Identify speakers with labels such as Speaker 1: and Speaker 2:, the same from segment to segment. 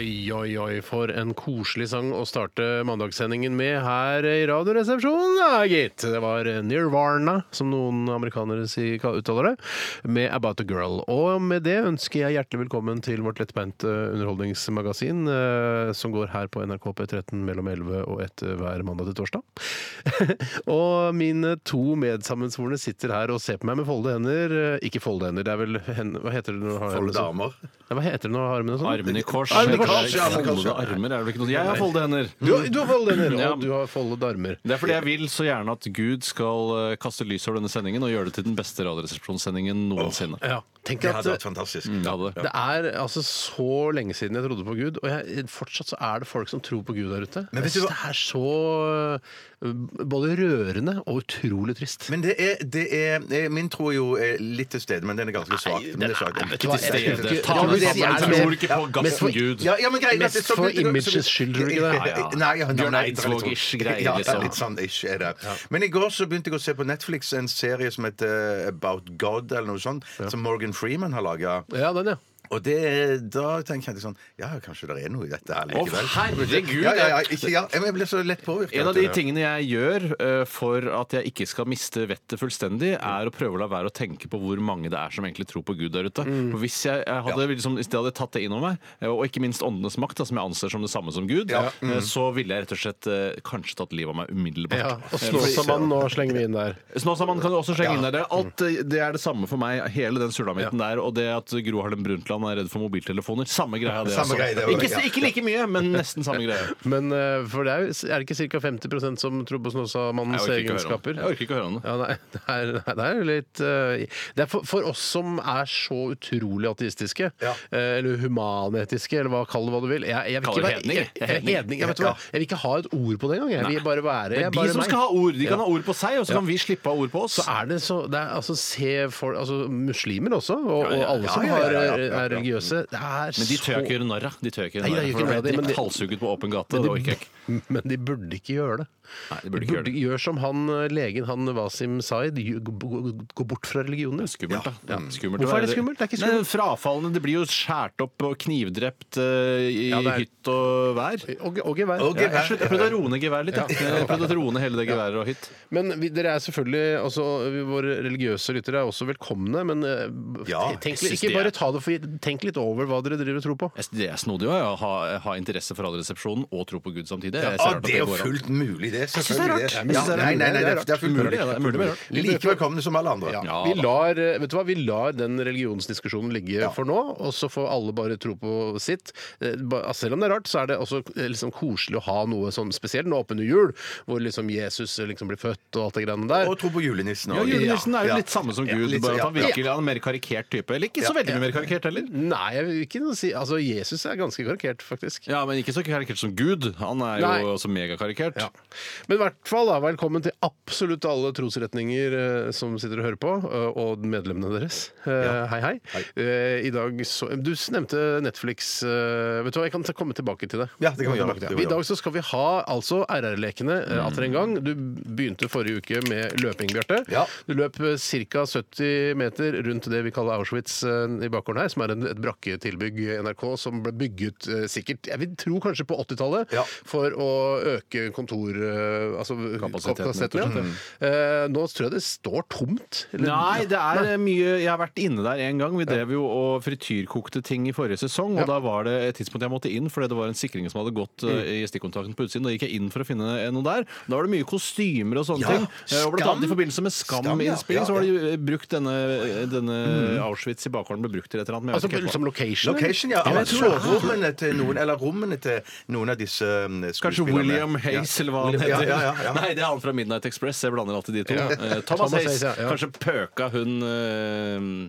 Speaker 1: Oi, oi, oi, for en koselig sang å starte mandagssendingen med her i Radioresepsjonen, ja, gitt. Det var Nirvana, som noen amerikanere sier, uttaler det, med About a Girl. Og med det ønsker jeg hjertelig velkommen til vårt lettbeinte underholdningsmagasin, eh, som går her på NRK P13 mellom 11 og 1 hver mandag til torsdag. og mine to medsammensvorne sitter her og ser på meg med folde hender. Eh, Ikke folde hender, det er vel hen, Hva heter det når du har
Speaker 2: Folde
Speaker 1: sånn?
Speaker 2: armer.
Speaker 1: Ja, hva heter det når armene er sånn?
Speaker 3: Armene i kors.
Speaker 1: Armene i
Speaker 3: Det er
Speaker 1: kors,
Speaker 2: ja, armene i kors,
Speaker 3: Foldede
Speaker 2: ja.
Speaker 3: armer er vel ikke noe Jeg har foldede hender.
Speaker 1: Du, du har foldet hender,
Speaker 3: Ja.
Speaker 1: og du har foldet armer.
Speaker 3: Det er fordi jeg vil så gjerne at Gud skal eh, kaste lys over denne sendingen og gjøre det til den beste radioresepsjonssendingen noensinne.
Speaker 1: Ja, tenk
Speaker 2: Det
Speaker 1: at
Speaker 2: hadde vært
Speaker 1: det
Speaker 2: fantastisk.
Speaker 3: Mm, det hadde det.
Speaker 1: er altså så lenge siden jeg trodde på Gud, og jeg, fortsatt så er det folk som tror på Gud der ute.
Speaker 2: Men
Speaker 1: jeg
Speaker 2: vet du
Speaker 1: synes
Speaker 2: hva-
Speaker 1: det er så øh, både rørende og utrolig trist.
Speaker 2: Men det er, det er eh, Min tro er jo eh, litt til stede, men den er ganske svak. Men det er svak.
Speaker 1: vet du hva, jeg-
Speaker 2: Ikke til stede.
Speaker 1: jeg- Ta med
Speaker 2: Ja, men-
Speaker 1: pappa,
Speaker 2: men-
Speaker 1: tror
Speaker 3: ikke på
Speaker 2: ja,
Speaker 3: gassen
Speaker 2: men for-
Speaker 3: Gud.
Speaker 2: Ja, ja, men greit,
Speaker 1: Mest
Speaker 2: det- så-
Speaker 1: for
Speaker 2: så- så-
Speaker 1: imagets skyld, tror du ikke det?
Speaker 2: Ja, ja. Nei, ja, nei,
Speaker 3: Bjørn
Speaker 2: nei, det er litt sånn-
Speaker 3: Eidsvåg-ish greier,
Speaker 2: Ja, Ja,
Speaker 3: liksom.
Speaker 2: litt sånn ish er det. Men i går så begynte jeg å se på Netflix en serie som heter eh, About God, eller noe sånt, som Morgan Freeman har laga.
Speaker 1: Ja, den, ja.
Speaker 2: Og det, da tenker jeg sånn Ja, kanskje det er noe i dette her
Speaker 3: Å,
Speaker 2: likevel.
Speaker 3: herregud,
Speaker 2: Ja, ja, ja, ikke, ja, men jeg ble så lett påvirket.
Speaker 3: En av de tingene jeg gjør eh, for at jeg ikke skal miste vettet fullstendig, er å prøve å la være å tenke på hvor mange det er som egentlig tror på Gud der ute. For hvis jeg, jeg hadde, liksom, hvis jeg hadde tatt det innover meg, eh, og ikke minst åndenes makt, da, som jeg anser som det samme som Gud,
Speaker 2: Ja.
Speaker 3: eh, så ville jeg rett og slett eh, kanskje tatt livet av meg umiddelbart.
Speaker 1: ja. Og
Speaker 3: Eh,
Speaker 1: Snåsamannen nå slenger vi inn der.
Speaker 3: Snåsamannen kan du også slenge inn der. Det er Alt eh, det er det samme for meg, hele den sulamitten der. Og det at Gro Harlem Brundtland er redd for mobiltelefoner. Samme greia, det.
Speaker 2: Samme
Speaker 3: altså.
Speaker 2: greie, det var-
Speaker 3: ikke,
Speaker 2: ja.
Speaker 3: ikke like mye, men nesten samme greie.
Speaker 1: Men øh, for det er, jo- er det ikke ca. 50 som tror på Snåsamannens
Speaker 3: Jeg orker ikke å høre om det.
Speaker 1: egenskaper?
Speaker 3: Jeg orker ikke å høre om det.
Speaker 1: Ja, nei, det er, nei, det er jo litt eh, Det er for, for oss som er så utrolig ateistiske,
Speaker 2: Ja.
Speaker 1: eh, eller humanetiske, eller hva kall det hva du vil Jeg, jeg vil
Speaker 3: Kaller
Speaker 1: ikke
Speaker 3: det
Speaker 1: være-
Speaker 3: hedninger.
Speaker 1: Jeg,
Speaker 3: Det er
Speaker 1: jeg,
Speaker 3: hedninger.
Speaker 1: hedning, jeg, vet du hva? jeg vil ikke ha et ord på det engang. Jeg vil bare være
Speaker 3: Det
Speaker 1: jeg
Speaker 3: er
Speaker 1: er
Speaker 3: de
Speaker 1: bare
Speaker 3: som
Speaker 1: meg.
Speaker 3: skal ha ord. De kan
Speaker 1: Ja.
Speaker 3: ha ord på seg, og så kan vi slippe å ha ord på oss.
Speaker 1: Så er det så det er, altså, Se for altså, muslimer også, og, og alle
Speaker 2: Ja,
Speaker 1: som
Speaker 2: ja, ja, ja, ja,
Speaker 1: har,
Speaker 2: ja, ja.
Speaker 1: er religiøse. Det er
Speaker 3: Men de tør jeg ikke
Speaker 1: så
Speaker 3: gjøre narr av. De tør jeg ikke
Speaker 1: Nei,
Speaker 3: gjøre
Speaker 1: det er jo
Speaker 3: narr
Speaker 1: ikke
Speaker 3: av.
Speaker 1: det, men
Speaker 3: Blitt
Speaker 1: det-
Speaker 3: halshugget på åpen gate. Det orker jeg ikke.
Speaker 1: men de burde ikke gjøre det.
Speaker 3: Nei, de burde ikke gjøre det.
Speaker 1: Gjør som han eh, legen, han Wasim Zaid. Gå- Gå gå bort fra religioner.
Speaker 3: Skummelt, da. Ja. Skummelt å
Speaker 1: Hvorfor er det
Speaker 3: være-
Speaker 1: skummelt? Det er ikke
Speaker 3: Nei, frafallene. Det blir jo skåret opp og knivdrept eh, i
Speaker 1: Ja, det er-
Speaker 3: hytt og vær.
Speaker 1: Og, og gevær.
Speaker 2: Og
Speaker 3: Ja, jeg,
Speaker 2: gevær.
Speaker 3: slutt, jeg prøvde å roe ned geværet litt. Jeg. jeg prøvde å roe ned hele det geværet og hytt.
Speaker 1: Men vi, dere er selvfølgelig altså, Våre religiøse lyttere er også velkomne, men eh,
Speaker 2: Ja,
Speaker 1: tenk,
Speaker 3: jeg
Speaker 1: litt-
Speaker 3: syns
Speaker 1: ikke
Speaker 3: de er-
Speaker 1: bare ta det for gitt. Tenk litt over hva dere driver og tror på.
Speaker 3: Jeg synes Det er snodig å ha, ha interesse for Radioresepsjonen og tro på Gud samtidig. Jeg
Speaker 1: Ah,
Speaker 2: Ja,
Speaker 3: ser rart at
Speaker 2: det er jo
Speaker 3: går an.
Speaker 2: fullt mulig, det.
Speaker 3: synes det er
Speaker 2: Selvfølgelig.
Speaker 3: rart. Jeg synes det
Speaker 2: Ja,
Speaker 3: er
Speaker 2: nei,
Speaker 3: mulig.
Speaker 2: nei,
Speaker 3: Det
Speaker 2: nei, det
Speaker 3: er
Speaker 2: er,
Speaker 3: rart.
Speaker 2: det er fullt
Speaker 3: Mulig,
Speaker 2: mulig.
Speaker 3: ja, det er mulig, men rart.
Speaker 2: Like velkomne som alle andre.
Speaker 3: Ja,
Speaker 1: vi,
Speaker 3: da.
Speaker 1: lar, eh, vet du hva, vi lar den religionsdiskusjonen ligge for nå, og så får alle bare tro på sitt. Eh, ba- altså, Selv om det er rart, så er det også eh, liksom, koselig å ha noe sånn spesielt nå oppunder jul, hvor liksom Jesus eh, liksom blir født og alt det greiene der.
Speaker 2: Og tro på julenissen
Speaker 3: Ja,
Speaker 2: også.
Speaker 3: Julenissen er jo
Speaker 2: Ja.
Speaker 3: litt samme som
Speaker 2: Ja,
Speaker 3: Gud,
Speaker 2: litt så-
Speaker 3: bare at han
Speaker 2: ja.
Speaker 3: virker han er en mer karikert type. Eller ikke så veldig mye mer karikert heller.
Speaker 1: Nei, jeg vil ikke si Altså, Jesus er ganske karikert, faktisk.
Speaker 3: Ja, men ikke så karikert som Gud. Han er jo
Speaker 1: Nei.
Speaker 3: også megakarikert.
Speaker 1: Ja. Men i hvert fall da, velkommen til absolutt alle trosretninger eh, som sitter og hører på, eh, og medlemmene deres. Eh, Hei, hei. Eh, I dag så, du nevnte Netflix. eh, vet du hva, Jeg kan ta- komme tilbake til det.
Speaker 2: Ja, det kan
Speaker 1: Komme
Speaker 2: vi gjøre.
Speaker 1: tilbake til
Speaker 2: Det kan vi
Speaker 1: I dag så skal vi ha altså RR-lekene eh, atter en gang. Du begynte forrige uke med løping, Bjarte.
Speaker 2: Mm. Ja.
Speaker 1: Du løp ca. 70 meter rundt det vi kaller Auschwitz eh, i bakgården her, som er en, et brakketilbygg i NRK som ble bygget eh, sikkert, jeg vil tro kanskje på 80-tallet,
Speaker 2: Ja.
Speaker 1: for å øke kontor... eh, Altså
Speaker 3: Kapasiteten,
Speaker 1: kapasiteten. Ja. Eh, Nå tror jeg det står tomt. eller-
Speaker 3: Nei, det er mye Jeg har vært inne der en gang. Vi drev jo og frityrkokte ting i forrige sesong, og da var det et tidspunkt jeg måtte inn fordi det var en sikring som hadde gått
Speaker 2: Mm.
Speaker 3: eh, i stikkontakten på utsiden. Da gikk jeg inn for å finne noe der. Da var det mye kostymer og sånne
Speaker 2: Ja,
Speaker 3: ting. Eh, Og blant
Speaker 2: Skam.
Speaker 3: annet i forbindelse med
Speaker 2: Skam, ja. Mm.
Speaker 3: Skam-innspilling så var det jo, eh, brukt denne, denne Auschwitz i bakgården ble brukt til et eller annet. men jeg
Speaker 1: Altså
Speaker 3: vet ikke helt hva.
Speaker 1: som location? eller?
Speaker 2: Location, ja.
Speaker 1: jeg
Speaker 2: men
Speaker 1: tror det.
Speaker 2: Soverommene til noen, eller rommene til noen av disse um,
Speaker 3: Kanskje
Speaker 2: skuespillerne.
Speaker 3: William Hayes, eller hva han
Speaker 2: William-
Speaker 3: heter.
Speaker 2: Ja, ja, ja, ja.
Speaker 3: Nei, det er han fra Midnight Express. Jeg blander alltid de to. Eh, Thomas,
Speaker 1: Thomas
Speaker 3: Hayes.
Speaker 1: Hayes, ja, ja.
Speaker 3: Kanskje pøka hun eh,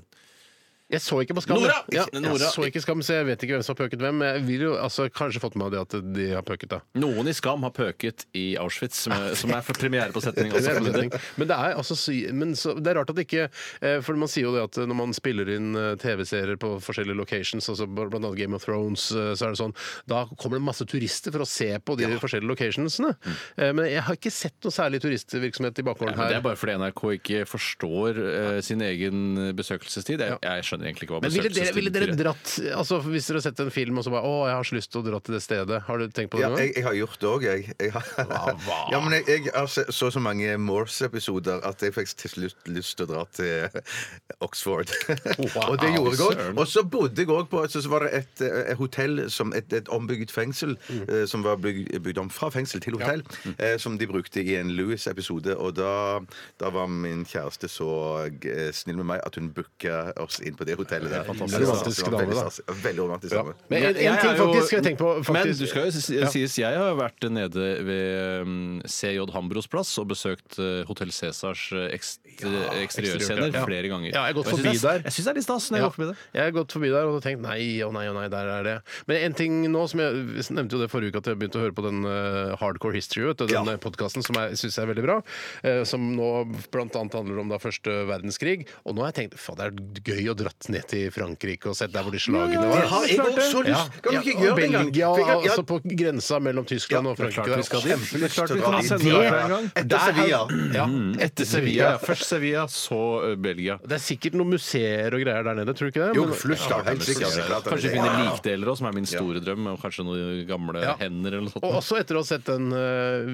Speaker 1: Jeg så ikke på Skam.
Speaker 3: Nora!
Speaker 1: Ja,
Speaker 3: Nora.
Speaker 1: Jeg så ikke Skam, så jeg vet ikke hvem som har pøket hvem. Jeg vil jo altså, kanskje fått med meg det at de har pøket, da.
Speaker 3: Noen i Skam har pøket i Auschwitz, som er, som er for premiere på setning.
Speaker 1: Det
Speaker 3: Altså,
Speaker 1: er en setning. Men det er, altså, sy- men så, det er rart at det ikke eh, For man sier jo det at når man spiller inn eh, TV-serier på forskjellige locations, altså bl- blant annet Game of Thrones, eh, så er det sånn Da kommer det masse turister for å se på de forskjellige locationsene. Eh, Men jeg har ikke sett noe særlig turistvirksomhet i bakgården
Speaker 3: Men
Speaker 1: her.
Speaker 3: det er bare fordi NRK ikke forstår eh, sin egen besøkelsestid. Jeg, jeg skjønner egentlig ikke hva
Speaker 1: Men ville dere,
Speaker 3: besøkelsestid
Speaker 1: ville dere
Speaker 3: betyr.
Speaker 1: dratt altså Hvis dere har sett en film og så bare 'Å, jeg har så lyst til å dra til det stedet', har du tenkt på det
Speaker 2: Ja,
Speaker 1: noen gang?
Speaker 2: jeg, jeg har gjort det òg, jeg. jeg har, ja, men jeg, jeg har se- så så mange Morse-episoder at jeg fikk til slutt lyst til å dra til eh, Oxford. og det gjorde jeg òg.
Speaker 3: søren.
Speaker 2: Og så bodde jeg òg på så, så var det et, eh, et hotell, som et, et ombygd fengsel, eh, som var bygd, bygd om fra fengsel til hotell, eh, som de brukte i en Louis-episode. Og da, da var min kjæreste så eh, snill med meg at hun booka oss inn på det hotellet der.
Speaker 1: fantastisk.
Speaker 2: Det var stas.
Speaker 1: Romantisk
Speaker 2: Det var
Speaker 1: dame,
Speaker 2: veldig
Speaker 1: da.
Speaker 2: stas. Veldig romantisk dame.
Speaker 1: Men en, en
Speaker 3: Jeg
Speaker 1: ting
Speaker 3: er jo-
Speaker 1: faktisk skal jeg tenke på. Faktisk,
Speaker 3: Men du skal jo si- sies, jeg har vært nede ved um, CJ Hambros plass og besøkt uh, Hotell Cæsars uh, ekst eksteriørscener
Speaker 1: ja.
Speaker 3: flere ganger.
Speaker 1: Ja, jeg har gått
Speaker 3: Og synes
Speaker 1: forbi
Speaker 3: det er-
Speaker 1: der.
Speaker 3: Jeg syns det er litt stas når jeg
Speaker 1: Ja.
Speaker 3: går forbi der.
Speaker 1: Jeg har gått forbi der og tenkt nei og nei og nei, der er det. Men en ting nå som jeg, jeg nevnte jo det forrige uke at jeg begynte å høre på den eh, Hardcore History, vet du, den
Speaker 2: Ja.
Speaker 1: podkasten som jeg syns er veldig bra, eh, som nå bl.a. handler om da første verdenskrig. Og nå har jeg tenkt faen, det er gøy å dratt ned til Frankrike og sett der hvor de slagene
Speaker 2: Det
Speaker 1: var.
Speaker 2: har jeg også så lyst Kan du
Speaker 1: Ja,
Speaker 2: ikke
Speaker 1: og
Speaker 2: gjøre det engang?
Speaker 1: Belgia,
Speaker 2: For jeg- ja,
Speaker 1: altså på grensa mellom Tyskland og
Speaker 3: klart
Speaker 1: Frankrike.
Speaker 3: vi skal dit.
Speaker 1: Kjempelyst
Speaker 3: Det er klart
Speaker 1: til å
Speaker 3: vi
Speaker 1: dra
Speaker 3: kan
Speaker 1: dit.
Speaker 3: sende
Speaker 1: Det-
Speaker 3: dere en gang.
Speaker 2: Etter Sevilla. Mm.
Speaker 1: Ja,
Speaker 3: Etter Sevilla. Ja. Først Sevilla, så uh, Belgia.
Speaker 1: Det er sikkert noen museer og greier der nede, tror du ikke det?
Speaker 2: Jo,
Speaker 1: Men-
Speaker 2: flust da, helt sikkert.
Speaker 3: Kanskje vi finner likdeler òg, som er min store drøm. Og kanskje noen gamle
Speaker 1: Ja.
Speaker 3: hender eller noe sånt.
Speaker 1: Og også etter å ha sett den eh,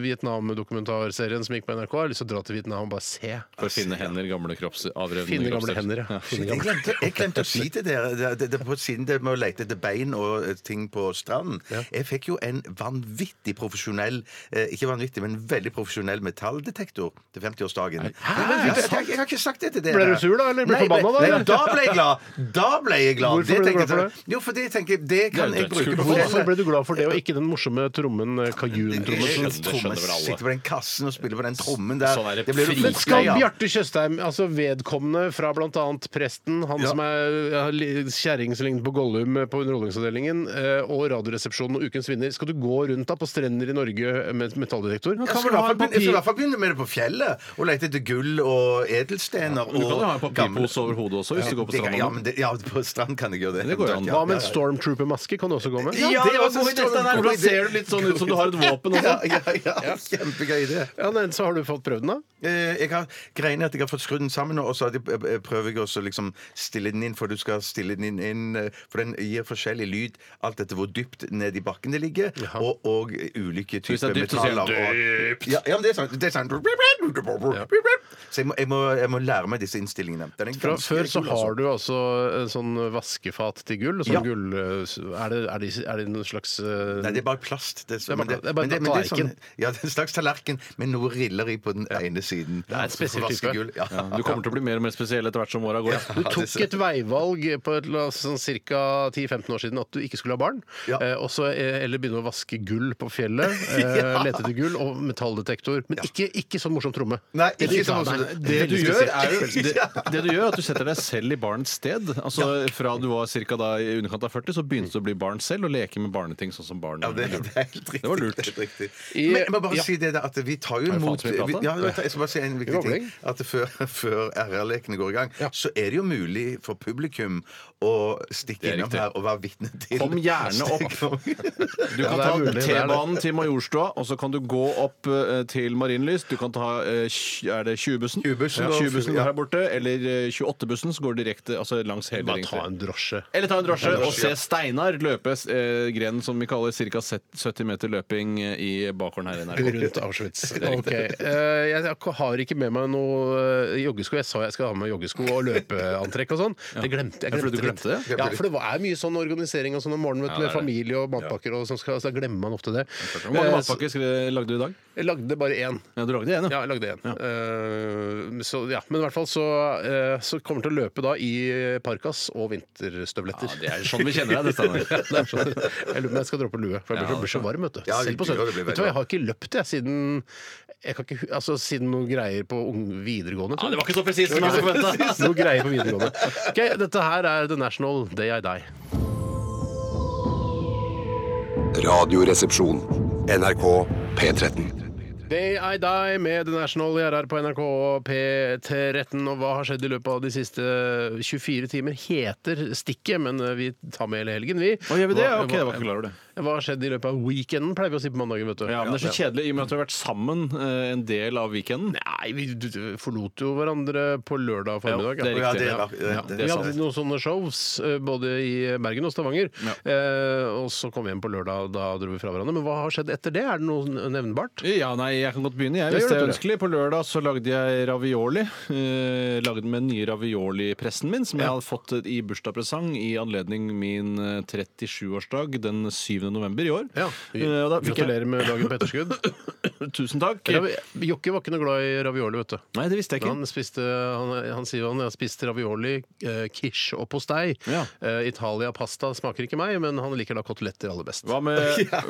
Speaker 1: Vietnam-dokumentarserien som gikk på NRK, har jeg lyst til å dra til Vietnam og bare se.
Speaker 3: For å finne hender, gamle kropps, avrevne
Speaker 1: Finne gamle
Speaker 3: kroppsdeler.
Speaker 1: hender, ja. Finne
Speaker 2: Jeg
Speaker 1: gamle.
Speaker 2: glemte, jeg glemte å si til dere det, det, det, på siden det med å lete etter bein og eh, ting på stranden Jeg fikk jo en vanvittig profesjonell eh, Ikke vanvittig, men veldig profesjonell metalldetektor til 50-årsdagen. Ja, men Jeg, jeg, jeg har ikke sagt det til dere.
Speaker 1: Sånn? Ble du sur da, eller ble du
Speaker 2: Nei,
Speaker 1: forbanna da,
Speaker 2: nei,
Speaker 1: eller?
Speaker 2: Da ble jeg glad! Da ble jeg glad.
Speaker 1: Hvorfor ble du
Speaker 2: tenker
Speaker 1: glad for
Speaker 2: jeg- Jo, for det tenker jeg Det kan
Speaker 3: Det er
Speaker 2: jeg bruke
Speaker 3: dødskult.
Speaker 2: på
Speaker 1: Hvorfor
Speaker 2: fjellet.
Speaker 1: ble du glad for det, og ikke den morsomme trommen, eh,
Speaker 2: Jeg
Speaker 1: kajuntrom?
Speaker 3: skjønner,
Speaker 2: skjønner,
Speaker 3: det skjønner vel alle.
Speaker 2: Sitter på den kassen og spiller på den trommen der.
Speaker 3: Sånn er det
Speaker 2: Det blir jo
Speaker 3: fri-
Speaker 1: Men skal
Speaker 2: Ja, ja.
Speaker 1: Bjarte Tjøstheim, altså vedkommende fra bl.a. presten, han som er ja, li- kjerring som ligner på Gollum eh, på Underholdningsavdelingen, eh, og Radioresepsjonen og Ukens vinner, skal du gå rundt da på strender i Norge med metalldetektor?
Speaker 2: Jeg
Speaker 1: Kan
Speaker 2: skal,
Speaker 1: vel
Speaker 2: i
Speaker 1: ha en
Speaker 2: hvert fall begynne, jeg skal i
Speaker 1: papir-
Speaker 2: hvert fall begynne med det på fjellet og lete etter gull og edelstener.
Speaker 3: Men Du kan
Speaker 2: og
Speaker 3: jo ha en
Speaker 2: gamle-
Speaker 3: papirpose over hodet også, hvis du går på
Speaker 2: Det kan-
Speaker 3: stranda.
Speaker 2: Ja, men det, ja, på strand kan jeg gjøre det.
Speaker 3: Det går jo an.
Speaker 2: Ja,
Speaker 1: Hva med en
Speaker 2: ja, ja.
Speaker 1: stormtrooper-maske? Kan du også gå med?
Speaker 2: Ja,
Speaker 3: det var
Speaker 2: også
Speaker 3: god idé,
Speaker 2: en
Speaker 3: Steinar.
Speaker 2: god
Speaker 3: Hvordan
Speaker 2: idé.
Speaker 3: ser du litt sånn ut som du har et våpen og
Speaker 2: Ja,
Speaker 3: sånn?
Speaker 2: ja, ja. Kjempegøy idé.
Speaker 1: Ja, men Så har du fått prøvd den, da?
Speaker 2: Eh, Jeg har greiene at jeg har fått skrudd den sammen, og så har de- eh, prøver jeg også å liksom stille den inn, for du skal stille den inn, inn eh, For den gir forskjellig lyd alt etter hvor dypt ned i bakken det ligger, og, og ulike
Speaker 3: hvis det
Speaker 2: typer
Speaker 3: er dypt, så sier
Speaker 2: metaller.
Speaker 3: den,
Speaker 2: og- Ja, ja, men det er sånn. Det er sånn. Så jeg må, jeg, må, jeg må lære meg disse innstillingene. Den er
Speaker 1: Fra
Speaker 2: ganske
Speaker 1: før så
Speaker 2: kul, altså.
Speaker 1: har du altså en sånn vaskefat til gull. Sånn
Speaker 2: Ja.
Speaker 1: gull eh, er det, er, det, er det noen slags eh,
Speaker 2: Nei, det er bare plast. Det er, så-
Speaker 1: Det er bare-
Speaker 2: men
Speaker 1: det er bare
Speaker 2: men men er
Speaker 1: tallerken.
Speaker 2: sånn- ja, det er en slags tallerken med noe riller i på den ene siden. Det
Speaker 1: er en spesiell type.
Speaker 2: Ja.
Speaker 3: Ja, Du kommer til å bli mer og mer spesiell etter hvert som åra går.
Speaker 1: Du tok et veivalg på et, la oss sånn, ca. 10-15 år siden at du ikke skulle ha barn.
Speaker 2: Ja.
Speaker 1: Eh, og så, eh, eller begynne å vaske gull på fjellet. Eh, Lete etter gull og metalldetektor. Men ikke, ikke sånn morsom tromme.
Speaker 2: Nei,
Speaker 1: Det er
Speaker 2: ikke
Speaker 1: ikke
Speaker 2: sånn
Speaker 1: det.
Speaker 2: morsom-
Speaker 1: Nei,
Speaker 3: Det
Speaker 1: er
Speaker 3: du,
Speaker 1: veldig
Speaker 3: gjør
Speaker 1: spesielt.
Speaker 3: er jo, det, det du gjør er at du setter deg selv i barnets sted. Altså Fra du var cirka da i underkant av 40, så begynte du å bli barn selv og leke med barneting sånn som barn.
Speaker 2: Ja, det, det er helt riktig.
Speaker 3: Det var lurt.
Speaker 2: er helt riktig.
Speaker 1: I-
Speaker 2: Men jeg må bare
Speaker 1: ja.
Speaker 2: si det der at vi tar jo
Speaker 3: faen
Speaker 2: imot
Speaker 3: så mye prat,
Speaker 2: vi-
Speaker 3: da?
Speaker 2: ja, vet du, Jeg skal bare si en viktig
Speaker 1: Rolling.
Speaker 2: ting. At før, før RR-lekene går i gang,
Speaker 1: Ja.
Speaker 2: så er det jo mulig for publikum å stikke
Speaker 3: er
Speaker 2: innom
Speaker 3: riktig.
Speaker 2: her og være vitne til
Speaker 3: Kom gjerne opp. Du kan
Speaker 1: det er mulig,
Speaker 3: ta
Speaker 1: det er det.
Speaker 3: T-banen til Majorstua, og så kan du gå opp eh, til Marienlyst. Du kan ta eh, tj- er det 20-bussen
Speaker 2: 20-bussen,
Speaker 3: ja.
Speaker 2: da.
Speaker 3: 20-bussen går her borte, eller eh, 28-bussen, som går direkte altså langs hele
Speaker 1: Bare
Speaker 3: Ring
Speaker 1: ta
Speaker 3: tre.
Speaker 1: en drosje.
Speaker 3: Eller ta en drosje
Speaker 2: drosje,
Speaker 3: og se
Speaker 2: ja.
Speaker 3: Steinar løpe eh, grenen som vi kaller ca. 70 meter løping eh, i bakgården her i
Speaker 1: Gå
Speaker 3: NRK.
Speaker 1: rundt Auschwitz. Ok. Eh, jeg har ikke med meg noe eh, joggesko. Jeg sa jeg skal ha med meg joggesko og løpeantrekk og sånn. Det glemte jeg.
Speaker 3: Ja, fordi du
Speaker 1: glemte litt.
Speaker 3: glemte det?
Speaker 1: Ja, for det var- er mye sånn organisering og sånn om morgenen vet,
Speaker 3: Ja,
Speaker 1: du,
Speaker 3: det
Speaker 1: med
Speaker 3: er det.
Speaker 1: familie og matpakker og sånn, skal- så da glemmer man ofte det.
Speaker 3: Hvor mange
Speaker 1: Eh,
Speaker 3: matpakker skre- lagde du i dag?
Speaker 1: så- Jeg lagde bare én.
Speaker 3: Ja, Du lagde én,
Speaker 1: Ja, jeg lagde én. Eh, så, ja. Men i hvert fall så, eh, så kommer jeg til å løpe da i parkas og vinterstøvletter.
Speaker 3: Ja, det er sånn vi kjenner deg, det, Steinar.
Speaker 1: Det er sånn. Jeg lurer på om jeg skal droppe lue,
Speaker 3: altså.
Speaker 1: for jeg blir så, blir så varm. Vet du.
Speaker 2: Ja,
Speaker 1: Selv på
Speaker 2: det blir-
Speaker 1: søndag.
Speaker 2: det blir
Speaker 1: Vet du hva,
Speaker 2: veldig
Speaker 1: jeg har ikke løpt jeg, siden jeg kan ikke, hu- altså, siden noen greier på ung- videregående.
Speaker 3: Ja, det var ikke så presist som jeg hadde forventa.
Speaker 1: Noe greier på videregående. Ok, Dette her er The National Day I Die.
Speaker 4: Radioresepsjon. NRK P13.
Speaker 1: Day I Die med The National i RR på NRK P13. Og hva har skjedd i løpet av de siste 24 timer, heter stikket, men eh, vi tar med hele helgen, vi.
Speaker 3: Å, gjør vi det?
Speaker 1: Hva-
Speaker 3: Ok, jeg var ikke klar over det.
Speaker 1: hva- Hva har skjedd i løpet av weekenden, pleier vi å si på mandagen, vet du.
Speaker 3: Ja, men Det er så kjedelig i og med at vi har vært sammen eh, en del av weekenden.
Speaker 1: Nei, vi d- d- forlot jo hverandre på lørdag formiddag.
Speaker 3: Ja, det er
Speaker 2: Ja,
Speaker 3: riktig.
Speaker 2: det var,
Speaker 3: Ja,
Speaker 2: det,
Speaker 1: Vi
Speaker 3: er
Speaker 1: hadde
Speaker 3: sant.
Speaker 1: noen sånne shows eh, både i Bergen og Stavanger. Eh, og så kom vi hjem på lørdag, da dro vi fra hverandre. Men hva har skjedd etter det? Er det noe nevnbart?
Speaker 3: Ja, nei, jeg kan godt begynne. Jeg,
Speaker 1: Ja,
Speaker 3: hvis det er
Speaker 1: gjør det, Tore.
Speaker 3: ønskelig. På lørdag så lagde jeg ravioli. Eh, lagde den med den nye ravioli-pressen min, som jeg hadde fått i bursdagspresang i anledning min eh, 37-årsdag den 7. november i år. Eh, og da fikk jeg,
Speaker 1: Gratulerer med dagen på etterskudd.
Speaker 3: tusen takk.
Speaker 1: Ravi- Jokke var ikke noe glad i ravioli, vet du.
Speaker 3: Nei, det visste jeg ikke.
Speaker 1: Han, spiste, han, han sier han har spist ravioli, eh, quiche og postei.
Speaker 3: Ja.
Speaker 1: Eh, Italia-pasta smaker ikke meg, men han liker da koteletter aller best.
Speaker 3: Hva med,